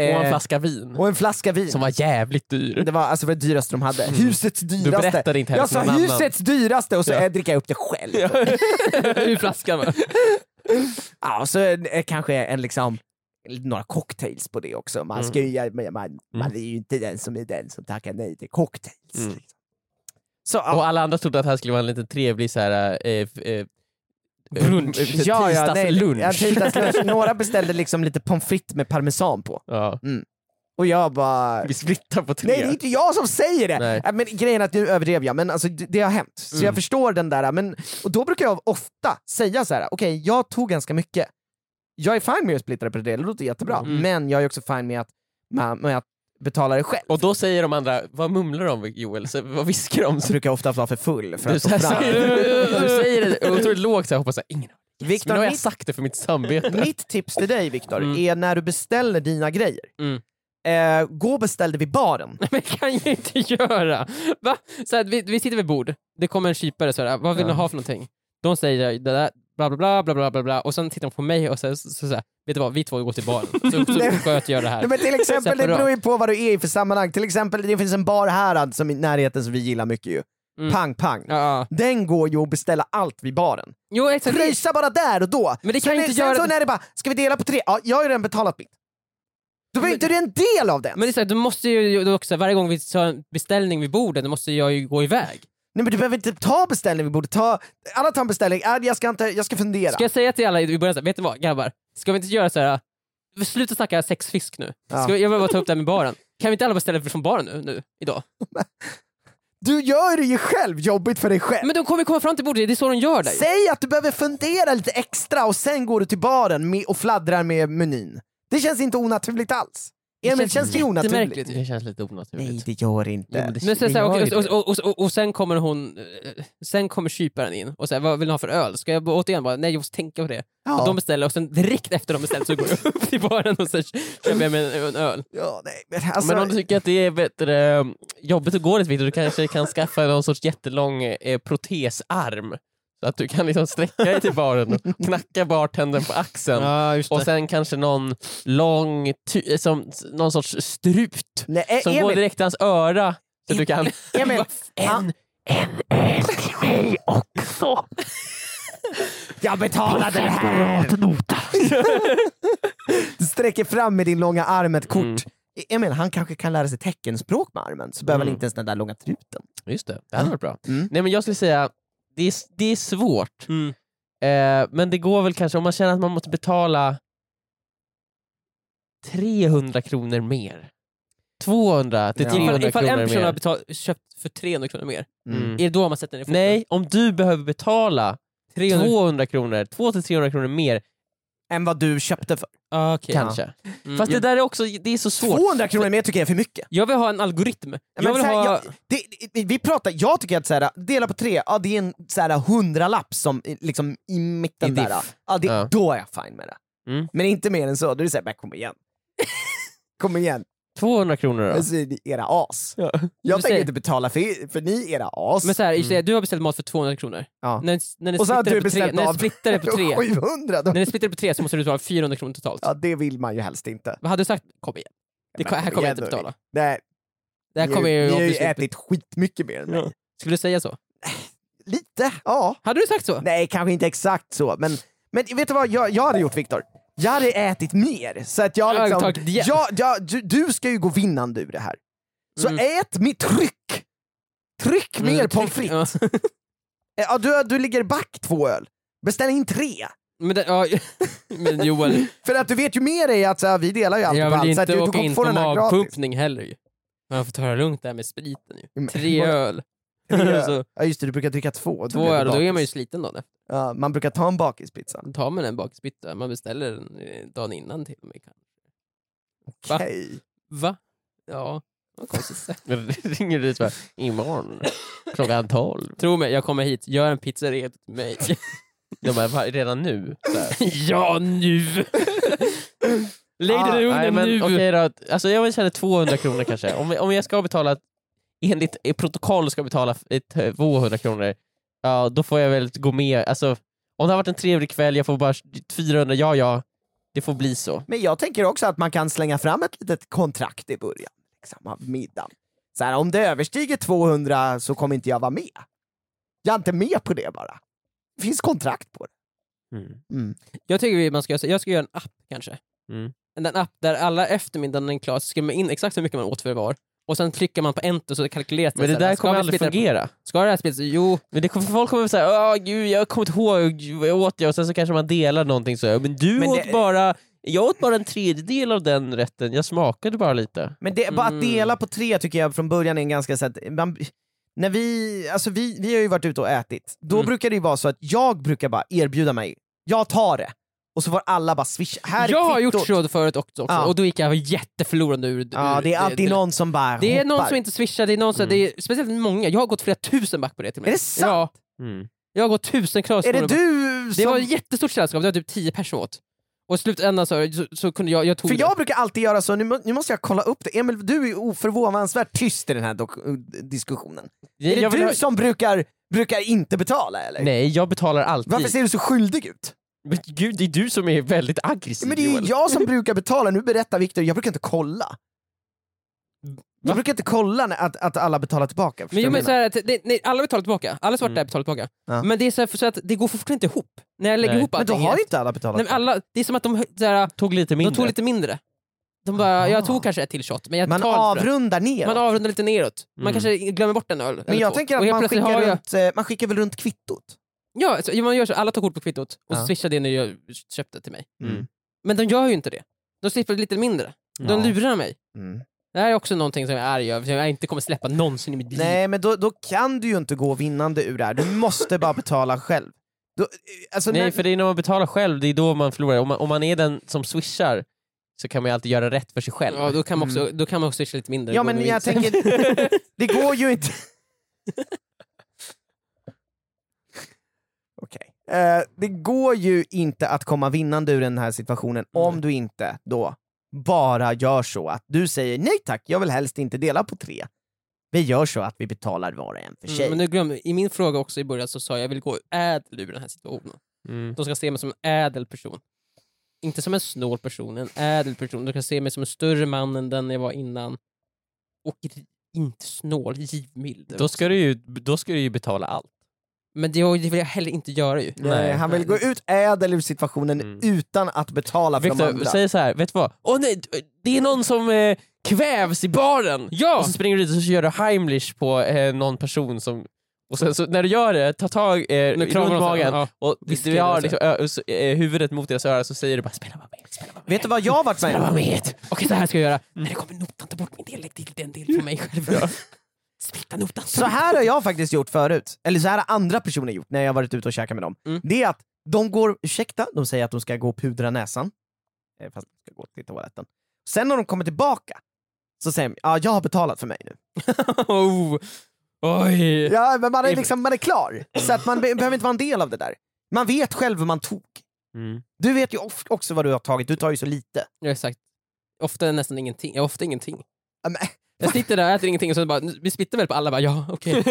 [SPEAKER 2] en
[SPEAKER 3] eh,
[SPEAKER 2] flaska vin,
[SPEAKER 3] och en flaska vin.
[SPEAKER 2] som var jävligt dyr.
[SPEAKER 3] Det var alltså det dyraste de hade. Husets
[SPEAKER 2] Du
[SPEAKER 3] dyraste.
[SPEAKER 2] berättade inte heller
[SPEAKER 3] Jag
[SPEAKER 2] för
[SPEAKER 3] sa
[SPEAKER 2] någon annan.
[SPEAKER 3] husets dyraste och så
[SPEAKER 2] Ja.
[SPEAKER 3] eh, dricker jag upp det själv.
[SPEAKER 2] Ur flaskan va?
[SPEAKER 3] Ja, och så eh, kanske en liksom några cocktails på det också. Man, ska ju, man, man, man är ju inte den som är den som tackar nej till cocktails.
[SPEAKER 2] Mm.
[SPEAKER 3] Liksom. Så, ja.
[SPEAKER 2] Och alla andra trodde att det här skulle vara en liten trevlig så här, eh, f- eh,
[SPEAKER 3] Brunch. Ja, ja, nej,
[SPEAKER 2] Tisdagslunch.
[SPEAKER 3] Ja, tisdagslunch. Några beställde liksom lite pommes frites med parmesan på.
[SPEAKER 2] Ja,
[SPEAKER 3] Och jag bara...
[SPEAKER 2] vi splittar på tre.
[SPEAKER 3] Nej, det är inte jag som säger det!
[SPEAKER 2] Nej.
[SPEAKER 3] Äh, Men grejen är att nu överdrev jag, men alltså, det det har hänt. Så jag förstår den där, men, och då brukar jag ofta säga så här: okej jag tog ganska mycket, jag är fine med att splittra på det, det låter jättebra,
[SPEAKER 4] Mm.
[SPEAKER 3] men jag är också fine med att, med, med att betala det själv.
[SPEAKER 2] Och då säger de andra, vad mumlar de Joel? Så, vad viskar de?
[SPEAKER 3] Jag
[SPEAKER 2] Så,
[SPEAKER 3] brukar ofta vara för full för
[SPEAKER 2] du,
[SPEAKER 3] att
[SPEAKER 2] så
[SPEAKER 3] få
[SPEAKER 2] här,
[SPEAKER 3] fram.
[SPEAKER 2] säger- du säger det otroligt lågt, så jag hoppas att ingen har Men nu
[SPEAKER 3] Viktor,
[SPEAKER 2] har jag
[SPEAKER 3] mitt,
[SPEAKER 2] sagt det för mitt samvete.
[SPEAKER 3] mitt tips till dig Viktor,
[SPEAKER 4] Mm.
[SPEAKER 3] är när du beställer dina grejer,
[SPEAKER 4] Mm.
[SPEAKER 3] eh, gå och beställ det vid baren.
[SPEAKER 4] Men kan jag inte göra! Va? Så här, vi, vi sitter vid bord, det kommer en kypare och sådär, vad vill ni
[SPEAKER 2] Ja.
[SPEAKER 4] ha för någonting? De säger det där, bla bla bla, bla bla bla bla, och sen tittar de på mig och säger så, så, så här, vet du vad, vi två går till baren, så, så,
[SPEAKER 3] Nej, men-
[SPEAKER 4] sköter jag det här.
[SPEAKER 3] Nej, men till exempel, det
[SPEAKER 4] Separat.
[SPEAKER 3] beror ju på vad du är i för sammanhang. Till exempel, det finns en bar här alltså, som i närheten som vi gillar mycket ju.
[SPEAKER 4] Mm.
[SPEAKER 3] Pang pang.
[SPEAKER 4] Ja, ja.
[SPEAKER 3] Den går ju att beställa allt vid baren.
[SPEAKER 4] Jo exakt, det-
[SPEAKER 3] Pröjsa bara där och då.
[SPEAKER 4] men det kan
[SPEAKER 3] sen
[SPEAKER 4] jag
[SPEAKER 3] är-
[SPEAKER 4] inte
[SPEAKER 3] sen
[SPEAKER 4] göra.
[SPEAKER 3] så när det bara, ska vi dela på tre? Ja, jag har ju redan betalat mitt. Då är
[SPEAKER 4] Men-
[SPEAKER 3] ju inte du en del av den.
[SPEAKER 4] Men det är så här, du måste ju du också, varje gång vi tar en beställning vid bordet, då måste jag ju gå iväg.
[SPEAKER 3] Nej men du behöver inte ta beställning vi borde ta, alla tar en beställning, äh, jag ska, inte, jag ska fundera.
[SPEAKER 4] Ska jag säga till alla i början såhär, vet ni vad grabbar? Ska vi inte göra så här. äh, sluta snacka sexfisk nu. Ska
[SPEAKER 3] Ja.
[SPEAKER 4] vi, jag vill bara ta upp det här med baren. Kan vi inte alla beställa från baren nu, nu idag?
[SPEAKER 3] Eh. Du gör det ju själv jobbigt för dig själv.
[SPEAKER 4] Men de kommer komma fram till bordet, det är så de gör där ju.
[SPEAKER 3] Säg att du behöver fundera lite extra och sen går du till baren med, och fladdrar med menyn. Det känns inte onaturligt alls.
[SPEAKER 4] Det
[SPEAKER 3] Ja, men det
[SPEAKER 4] känns
[SPEAKER 3] känns Eh. ju onaturligt.
[SPEAKER 4] jättemärkligt.
[SPEAKER 2] Det känns lite onaturligt.
[SPEAKER 3] Nej det gör det
[SPEAKER 2] Jo, men
[SPEAKER 3] inte.
[SPEAKER 2] det-
[SPEAKER 4] Men sen,
[SPEAKER 2] det
[SPEAKER 4] så här,
[SPEAKER 2] gör ju
[SPEAKER 4] och,
[SPEAKER 2] det.
[SPEAKER 4] och, och, och, och, och sen kommer hon, eh, sen kommer kyparen in och säger vad vill ni ha för öl? Ska jag bara- återigen bara, nej jag måste tänka på det.
[SPEAKER 3] Ja.
[SPEAKER 4] Och de beställer och sen direkt efter de beställt så går jag upp till baren och så köper jag mig en, en öl.
[SPEAKER 3] Ja, nej, men alltså,
[SPEAKER 2] Men om du tycker att det är bättre, eh, jobbigt att gå dit Victor, du kanske kan skaffa någon sorts jättelång eh, protesarm. Så att du kan liksom sträcka dig till baren och knacka bartendern på axeln. och sen kanske någon lång, ty- eh, som, någon sorts strut
[SPEAKER 3] nej, eh,
[SPEAKER 2] som går
[SPEAKER 3] Emil,
[SPEAKER 2] direkt till hans öra. Så att du kan...
[SPEAKER 3] Emil, han, jag betalade det här! du sträcker fram med din långa arm ett kort.
[SPEAKER 2] Mm.
[SPEAKER 3] Emil, han kanske kan lära sig teckenspråk med armen, så behöver han
[SPEAKER 2] Mm.
[SPEAKER 3] inte ens den där långa truten.
[SPEAKER 2] Just det, det hade varit bra.
[SPEAKER 3] Mm.
[SPEAKER 2] Nej men jag skulle säga, det är, det är svårt. Eh, men det går väl kanske, om man känner att man måste betala 300 kronor mer. 200 till
[SPEAKER 3] Ja.
[SPEAKER 2] 300
[SPEAKER 4] Ifall, ifall en
[SPEAKER 2] kronor
[SPEAKER 4] person har
[SPEAKER 2] mer.
[SPEAKER 4] betalt, köpt för 300 kronor mer,
[SPEAKER 3] Mm.
[SPEAKER 4] är det då man sätter ner foten?
[SPEAKER 2] Nej, om du behöver betala
[SPEAKER 4] 300.
[SPEAKER 2] 200 kronor, 200-300 kronor mer
[SPEAKER 3] Än vad du köpte för.
[SPEAKER 4] Ah, okej.
[SPEAKER 2] kanske.
[SPEAKER 4] Mm.
[SPEAKER 2] Fast det där är också det är så svårt.
[SPEAKER 3] 200 kronor mer tycker jag är för mycket.
[SPEAKER 4] Jag vill ha en algoritm.
[SPEAKER 3] men
[SPEAKER 4] jag vill
[SPEAKER 3] så här,
[SPEAKER 4] ha...
[SPEAKER 3] jag- Det, det, vi pratar, jag tycker att så här, dela på tre, ja, det är en så här, hundralapp som i- liksom, i mitten
[SPEAKER 2] I
[SPEAKER 3] där.
[SPEAKER 2] diff.
[SPEAKER 3] ja. Ja, det,
[SPEAKER 2] Ja.
[SPEAKER 3] Då är jag fine med det.
[SPEAKER 2] Mm.
[SPEAKER 3] Men inte mer än så, då är det såhär, kom igen. kom igen,
[SPEAKER 2] 200 kronor då?
[SPEAKER 3] alltså, ni är era as.
[SPEAKER 2] Ja.
[SPEAKER 3] Jag
[SPEAKER 4] Du
[SPEAKER 3] tänker
[SPEAKER 4] säger-
[SPEAKER 3] inte betala för, er- för ni är era as.
[SPEAKER 4] Men så här,
[SPEAKER 2] Mm.
[SPEAKER 4] mm. du har beställt mat för 200 kronor.
[SPEAKER 3] Ja.
[SPEAKER 4] När, när ni
[SPEAKER 3] Och så har
[SPEAKER 4] splittar det
[SPEAKER 3] du
[SPEAKER 4] på tre,
[SPEAKER 3] beställt
[SPEAKER 4] när
[SPEAKER 3] av
[SPEAKER 4] ni splittar det på tre,
[SPEAKER 3] 700 då.
[SPEAKER 4] när ni splittar det på tre så måste du betala 400 kronor totalt.
[SPEAKER 3] Ja, det vill man ju helst inte.
[SPEAKER 4] Vad hade du sagt? Kom igen, det
[SPEAKER 3] Men
[SPEAKER 4] ko- här
[SPEAKER 3] kom
[SPEAKER 4] kommer jag
[SPEAKER 3] igen
[SPEAKER 4] inte
[SPEAKER 3] nu.
[SPEAKER 4] betala.
[SPEAKER 3] Nej,
[SPEAKER 4] Det här
[SPEAKER 3] ni,
[SPEAKER 4] kommer
[SPEAKER 3] ni
[SPEAKER 4] jag
[SPEAKER 3] har
[SPEAKER 4] ju
[SPEAKER 3] ju
[SPEAKER 4] absolut-
[SPEAKER 3] ätit skitmycket mer än mig.
[SPEAKER 4] Ja. Skulle du säga så?
[SPEAKER 3] Lite, ja.
[SPEAKER 4] Hade du sagt så?
[SPEAKER 3] Nej, kanske inte exakt så, men, men vet du vad jag, jag hade gjort Viktor? Jag hade ätit mer, så att jag
[SPEAKER 4] Jag hade
[SPEAKER 3] liksom...
[SPEAKER 4] tagit igen.
[SPEAKER 3] jag, jag, du, du ska ju gå vinnande ur det här. Så ät mitt tryck! Tryck mer
[SPEAKER 4] Mm,
[SPEAKER 3] pommes
[SPEAKER 4] tryck-
[SPEAKER 3] frites! Eh, Ja, du, du ligger back två öl. Beställ in tre!
[SPEAKER 4] Men, den, ja, men Joel,
[SPEAKER 3] För att du vet ju med dig att så här, vi delar ju allt
[SPEAKER 4] jag
[SPEAKER 3] på
[SPEAKER 4] vill
[SPEAKER 3] allt, så
[SPEAKER 4] inte
[SPEAKER 3] att du, du
[SPEAKER 4] åka
[SPEAKER 3] kommer
[SPEAKER 4] in
[SPEAKER 3] få
[SPEAKER 4] på
[SPEAKER 3] den här gratis.
[SPEAKER 4] magpumpning heller ju. Man får ta det lugnt där med spriten ju.
[SPEAKER 3] Men-
[SPEAKER 4] Tre öl.
[SPEAKER 3] Tre öl.
[SPEAKER 4] Så,
[SPEAKER 3] Ja just det, du brukar dricka två. och då
[SPEAKER 4] två
[SPEAKER 3] blir det
[SPEAKER 4] öl, då är
[SPEAKER 3] bakis.
[SPEAKER 4] man ju sliten dagen efter.
[SPEAKER 3] ja, Man brukar ta en bakispizza.
[SPEAKER 4] Då tar man en bakisbytta, man beställer den eh, dagen innan till och med. Va?
[SPEAKER 3] Okej.
[SPEAKER 4] Va? Ja, vad konstigt. sagt.
[SPEAKER 2] ringer dit bara, imorgon klockan tolv.
[SPEAKER 4] Tro mig, jag kommer hit, gör en pizzeria till mig.
[SPEAKER 2] De bara, "Va, redan nu? Så här.
[SPEAKER 4] ja, nu! Lägg
[SPEAKER 3] Ah,
[SPEAKER 2] Nej,
[SPEAKER 4] dig under
[SPEAKER 2] men
[SPEAKER 4] nu!
[SPEAKER 2] okej då. Alltså, jag känner 200 kronor kanske. Om, om jag ska betala, enligt eh, protokoll ska betala ett, eh, 200 kronor, ja, då får jag väl gå med. Alltså, om det har varit en trevlig kväll, jag får bara 400, ja ja. Det får bli så.
[SPEAKER 3] Men jag tänker också att man kan slänga fram ett litet kontrakt i början liksom, av middagen. Så här, om det överstiger 200 så kommer inte jag vara med. Jag är inte med på det bara. Det finns kontrakt på det.
[SPEAKER 4] Jag tycker vi- man ska, göra så- jag ska göra en app kanske.
[SPEAKER 2] Mm.
[SPEAKER 4] En en app där alla eftermiddagen är klar så skriver man in exakt hur mycket man åt för var. Och sen klickar man på enter så kalkyleras
[SPEAKER 2] Men det
[SPEAKER 4] så här,
[SPEAKER 2] där
[SPEAKER 4] ska
[SPEAKER 2] kommer
[SPEAKER 4] vi
[SPEAKER 2] aldrig
[SPEAKER 4] splitta det på-
[SPEAKER 2] fungera.
[SPEAKER 4] Ska det här spelet... Jo,
[SPEAKER 2] Men det kommer, folk kommer säga åh gud jag kommer inte ihåg, vad jag åt jag? Och sen så kanske man delar någonting så här, men du
[SPEAKER 3] Men
[SPEAKER 2] åt
[SPEAKER 3] det-
[SPEAKER 2] bara, jag åt bara en tredjedel av den rätten, jag smakade bara lite.
[SPEAKER 3] Men det, bara att
[SPEAKER 4] Mm.
[SPEAKER 3] dela på tre tycker jag från början är en ganska så att man, när vi, alltså vi, vi har ju varit ute och ätit, då
[SPEAKER 4] Mm.
[SPEAKER 3] brukar det ju vara så att jag brukar bara erbjuda mig, jag tar det, och så får alla bara swisha. Här
[SPEAKER 4] jag har
[SPEAKER 3] är
[SPEAKER 4] gjort
[SPEAKER 3] kvittot.
[SPEAKER 4] så förut också,
[SPEAKER 3] Ja.
[SPEAKER 4] och då gick jag jätteförlorande ur...
[SPEAKER 3] Ja,
[SPEAKER 4] ur-
[SPEAKER 3] det är alltid
[SPEAKER 4] det,
[SPEAKER 3] någon som bara
[SPEAKER 4] Det är
[SPEAKER 3] hoppar.
[SPEAKER 4] någon som inte swishar, det är någon som...
[SPEAKER 2] Mm.
[SPEAKER 4] Det är, speciellt många, jag har gått flera tusen back på det till och med.
[SPEAKER 3] Är det sant?
[SPEAKER 4] Ja,
[SPEAKER 2] Mm.
[SPEAKER 4] jag har gått tusen krav
[SPEAKER 3] Är det du
[SPEAKER 4] Det
[SPEAKER 3] som...
[SPEAKER 4] var ett jättestort sällskap, det var typ tio personer åt. Och i slutändan så, så, så kunde jag, jag tog
[SPEAKER 3] För
[SPEAKER 4] det.
[SPEAKER 3] jag brukar alltid göra så, nu, må- nu måste jag kolla upp det. Emil, du är oförvånansvärt tyst i den här dok- eh, diskussionen. Är det
[SPEAKER 2] jag vill
[SPEAKER 3] du
[SPEAKER 2] ha-
[SPEAKER 3] som brukar, brukar inte betala eller?
[SPEAKER 2] Nej, jag betalar alltid.
[SPEAKER 3] Varför ser du så skyldig ut?
[SPEAKER 2] Men gud, det är du som är väldigt aggressiv
[SPEAKER 3] Men det är ju
[SPEAKER 2] Joel.
[SPEAKER 3] jag som brukar betala, nu berättar Viktor, jag brukar inte kolla. Jag brukar inte kolla när, att, att alla betalar tillbaka.
[SPEAKER 4] Men,
[SPEAKER 3] förstår du
[SPEAKER 4] jo,
[SPEAKER 3] vad
[SPEAKER 4] men
[SPEAKER 3] jag
[SPEAKER 4] så här, att det, nej, alla betalar tillbaka, alla svarta
[SPEAKER 2] Mm.
[SPEAKER 4] betalar tillbaka.
[SPEAKER 3] Ja.
[SPEAKER 4] Men det är så, här, för så att det går fortfarande inte ihop. När jag lägger
[SPEAKER 2] Nej.
[SPEAKER 4] ihop
[SPEAKER 3] menar? men då
[SPEAKER 4] allting
[SPEAKER 3] har
[SPEAKER 4] igen.
[SPEAKER 3] ju inte alla betalat
[SPEAKER 4] nej, men
[SPEAKER 3] tillbaka.
[SPEAKER 4] alla, Det är som att de, så här,
[SPEAKER 2] tog lite mindre.
[SPEAKER 4] de tog lite mindre. De bara,
[SPEAKER 3] Aha.
[SPEAKER 4] jag tog kanske ett till shot, men jag
[SPEAKER 3] Man
[SPEAKER 4] tar inte för det.
[SPEAKER 3] avrundar ner.
[SPEAKER 4] Man avrundar lite neråt. Man
[SPEAKER 2] Mm.
[SPEAKER 4] kanske glömmer bort en öl. eller
[SPEAKER 3] men jag
[SPEAKER 4] två.
[SPEAKER 3] tänker
[SPEAKER 4] Och
[SPEAKER 3] att
[SPEAKER 4] helt
[SPEAKER 3] man
[SPEAKER 4] plötsligt
[SPEAKER 3] skickar,
[SPEAKER 4] har jag-
[SPEAKER 3] runt, eh, man skickar väl runt kvittot?
[SPEAKER 4] Ja, så, man gör så. Alla tar kort på kvittot och
[SPEAKER 3] Ja.
[SPEAKER 4] så swishar det när jag köpte till mig.
[SPEAKER 2] Mm.
[SPEAKER 4] Men de gör ju inte det. De slipper lite mindre. De
[SPEAKER 2] Ja.
[SPEAKER 4] lurar mig.
[SPEAKER 3] Mm.
[SPEAKER 4] Det här är också någonting som jag är arg över, som jag inte kommer släppa någonsin i mitt liv.
[SPEAKER 3] Nej, men då, då kan du ju inte gå vinnande ur det här. Du måste bara betala själv. Då, eh, alltså, när-
[SPEAKER 2] Nej, för det är när man betalar själv, det är då man förlorar. Om man, om man är den som swishar så kan man ju alltid göra rätt för sig själv.
[SPEAKER 4] Ja, då kan man också, då kan man också swisha lite mindre.
[SPEAKER 3] Ja
[SPEAKER 4] Det går
[SPEAKER 3] men
[SPEAKER 4] nog
[SPEAKER 3] jag
[SPEAKER 4] inte.
[SPEAKER 3] tänker, det går ju inte... Okej. Eh, det går ju inte att komma vinnande ur den här situationen om du inte då bara gör så att du säger nej tack, jag vill helst inte dela på tre. Vi gör så att vi betalar var och en för sig.
[SPEAKER 4] Mm, men nu glöm, I min fråga också i början så sa jag jag vill gå ädel ur den här situationen.
[SPEAKER 2] Mm.
[SPEAKER 4] De ska se mig som en ädel person. Inte som en snål person, en ädel person. De ska se mig som en större man än den jag var innan. Och ri- inte snål, givmild.
[SPEAKER 2] Då, ska du ju, då ska du ju betala allt.
[SPEAKER 4] Men det, det vill jag heller inte göra ju.
[SPEAKER 3] nej, Eh, han vill gå ut ädel ur situationen
[SPEAKER 2] Mm.
[SPEAKER 3] utan att betala för de
[SPEAKER 2] Viktor,
[SPEAKER 3] andra.
[SPEAKER 2] säg så här, vet du vad? Åh nej, det är någon som eh, kvävs i baren!
[SPEAKER 4] Ja!
[SPEAKER 2] Och så springer du dit och så gör du Heimlich på eh, någon person som... Och sen så när du gör det, ta tag eh,
[SPEAKER 4] Nu
[SPEAKER 2] runt
[SPEAKER 4] kramar de så-
[SPEAKER 2] magen
[SPEAKER 4] ja.
[SPEAKER 2] och
[SPEAKER 4] Viskar
[SPEAKER 2] du har
[SPEAKER 4] och så.
[SPEAKER 2] liksom, ö, så, eh, huvudet mot deras öra så säger du bara “spela bara med, spela bara med”.
[SPEAKER 3] Vet du vad jag har varit med Mm.
[SPEAKER 2] Spela bara
[SPEAKER 3] om?
[SPEAKER 2] med.
[SPEAKER 4] Okej, så här ska jag göra. När det kommer notan, ta bort min del, lägg till den del för mig själv. Splitta notan.
[SPEAKER 3] Så här har jag faktiskt gjort förut, eller så här har andra personer gjort när jag har varit ute och käkat med dem.
[SPEAKER 4] Mm.
[SPEAKER 3] Det är att de går, ursäkta, de säger att de ska gå och pudra näsan. Eh, Fast de ska gå till toaletten. Sen när de kommer tillbaka så säger de, ja jag har betalat för mig nu.
[SPEAKER 4] Oh. Oj!
[SPEAKER 3] Ja, men man är, liksom, man är klar, så att man be- behöver inte vara en del av det där. Man vet själv vad man tog.
[SPEAKER 2] Mm.
[SPEAKER 3] Du vet ju of- också vad du har tagit, du tar ju så lite.
[SPEAKER 4] Ja, exakt. Ofta nästan ingenting. Ja, ofta ingenting.
[SPEAKER 3] Ja, men-
[SPEAKER 4] Jag sitter där och äter ingenting och så bara, vi splittar väl på alla. Bara, ja, okej.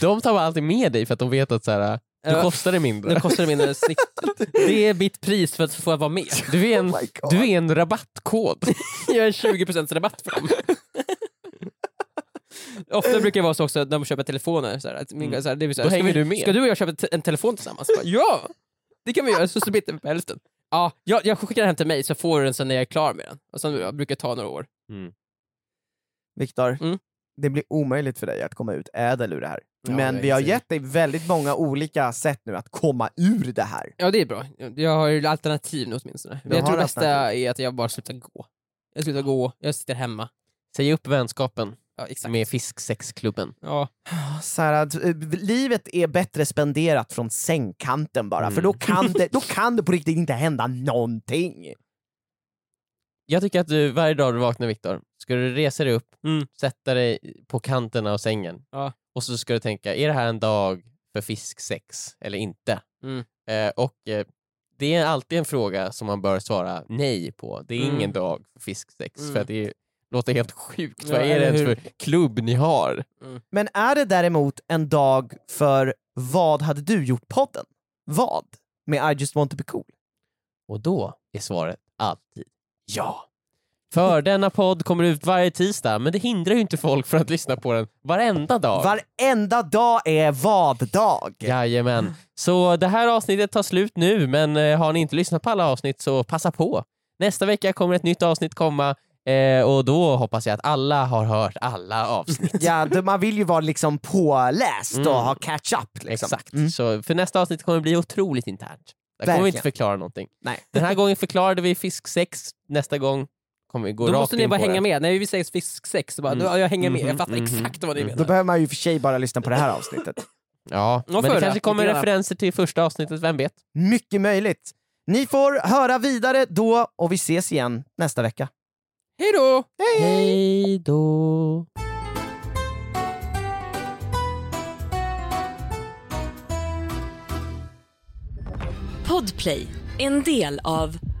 [SPEAKER 2] De tar bara alltid med dig för att de vet att så här, du
[SPEAKER 4] Ja.
[SPEAKER 2] kostar det
[SPEAKER 4] Nu
[SPEAKER 2] mindre.
[SPEAKER 4] kostar det mindre snitt. Det är mitt pris för att få vara med.
[SPEAKER 2] Du är en,
[SPEAKER 3] Oh my God.
[SPEAKER 2] du är en rabattkod.
[SPEAKER 4] Jag är 20% rabatt för dem. Ofta brukar det vara så också när de köper telefoner. Så här, att min,
[SPEAKER 2] Mm.
[SPEAKER 4] så här, det blir så här,
[SPEAKER 2] Då
[SPEAKER 4] ska
[SPEAKER 2] hänger
[SPEAKER 4] vi,
[SPEAKER 2] du med.
[SPEAKER 4] Ska du och jag köpa te- en telefon tillsammans? Bara, ja! Det kan vi göra, så splittar vi på hälften. Ja, jag, jag skickar den hem till mig så får du den sen när jag är klar med den. Och sen jag brukar ta några år.
[SPEAKER 3] Viktor,
[SPEAKER 4] Mm.
[SPEAKER 3] det blir omöjligt för dig att komma ut ädel ur det här.
[SPEAKER 2] Ja,
[SPEAKER 3] Men
[SPEAKER 2] jag
[SPEAKER 3] vi har
[SPEAKER 2] inser.
[SPEAKER 3] gett dig väldigt många olika sätt nu att komma ur det här.
[SPEAKER 4] Ja, det är bra. Jag har ju alternativ nu åtminstone.
[SPEAKER 3] Du
[SPEAKER 4] Men jag tror
[SPEAKER 3] har
[SPEAKER 4] det bästa
[SPEAKER 3] alternativ.
[SPEAKER 4] är att jag bara slutar gå. Jag slutar gå, jag sitter hemma.
[SPEAKER 2] Säg upp vänskapen
[SPEAKER 4] Ja, exakt.
[SPEAKER 2] med fisksexklubben.
[SPEAKER 4] Ja.
[SPEAKER 3] Så här, att, eh, livet är bättre spenderat från sängkanten bara, för
[SPEAKER 2] Mm.
[SPEAKER 3] då kan, det, då kan det på riktigt inte hända någonting.
[SPEAKER 2] Jag tycker att du varje dag du vaknar Viktor, ska du resa dig upp,
[SPEAKER 4] Mm.
[SPEAKER 2] sätta dig på kanten av sängen
[SPEAKER 4] Ja.
[SPEAKER 2] och så ska du tänka, är det här en dag för fisksex eller inte?
[SPEAKER 4] Mm.
[SPEAKER 2] Eh, och eh, det är alltid en fråga som man bör svara nej på. Det är
[SPEAKER 4] Mm.
[SPEAKER 2] ingen dag för fisksex
[SPEAKER 4] Mm.
[SPEAKER 2] för att det låter helt sjukt.
[SPEAKER 4] Ja,
[SPEAKER 2] Vad är det
[SPEAKER 4] eller
[SPEAKER 2] ens
[SPEAKER 4] hur?
[SPEAKER 2] för klubb ni har?
[SPEAKER 3] Men är det däremot en dag för vad hade du gjort-podden? Vad? Med I just want to be cool.
[SPEAKER 2] Och då är svaret alltid ja. För denna podd kommer ut varje tisdag, men det hindrar ju inte folk från att lyssna på den varenda dag.
[SPEAKER 3] Varenda dag är vad-dag.
[SPEAKER 2] Jajamän. Så det här avsnittet tar slut nu, men eh, har ni inte lyssnat på alla avsnitt så passa på. Nästa vecka kommer ett nytt avsnitt komma eh, och då hoppas jag att alla har hört alla avsnitt.
[SPEAKER 3] Ja, det- man vill ju vara liksom påläst
[SPEAKER 2] Mm.
[SPEAKER 3] och ha catch up. Liksom.
[SPEAKER 2] Exakt.
[SPEAKER 3] Mm.
[SPEAKER 2] Så för nästa avsnitt kommer bli otroligt internt. Där kommer vi inte
[SPEAKER 3] Verkligen.
[SPEAKER 2] förklara någonting.
[SPEAKER 3] Nej.
[SPEAKER 2] Den här gången förklarade vi fisksex, nästa gång kommer vi gå
[SPEAKER 4] Då
[SPEAKER 2] rakt
[SPEAKER 4] måste ni
[SPEAKER 2] in
[SPEAKER 4] bara
[SPEAKER 2] på
[SPEAKER 4] hänga
[SPEAKER 2] det.
[SPEAKER 4] med. När vi säger fisksex, så bara,
[SPEAKER 2] Mm.
[SPEAKER 4] då, jag hänger med.
[SPEAKER 2] Mhm,
[SPEAKER 4] Jag fattar
[SPEAKER 2] mhm,
[SPEAKER 4] exakt vad ni
[SPEAKER 2] mhm.
[SPEAKER 3] Då
[SPEAKER 4] menar.
[SPEAKER 3] behöver man ju för sig bara lyssna på det här avsnittet.
[SPEAKER 2] Ja, men
[SPEAKER 4] får
[SPEAKER 2] det
[SPEAKER 4] jag
[SPEAKER 2] kanske
[SPEAKER 4] det.
[SPEAKER 2] kommer
[SPEAKER 4] Lite grann.
[SPEAKER 2] referenser till första avsnittet, vem vet?
[SPEAKER 3] Mycket möjligt. Ni får höra vidare då och vi ses igen nästa vecka.
[SPEAKER 4] Hej då!
[SPEAKER 2] Hej då!
[SPEAKER 1] Podplay, en del av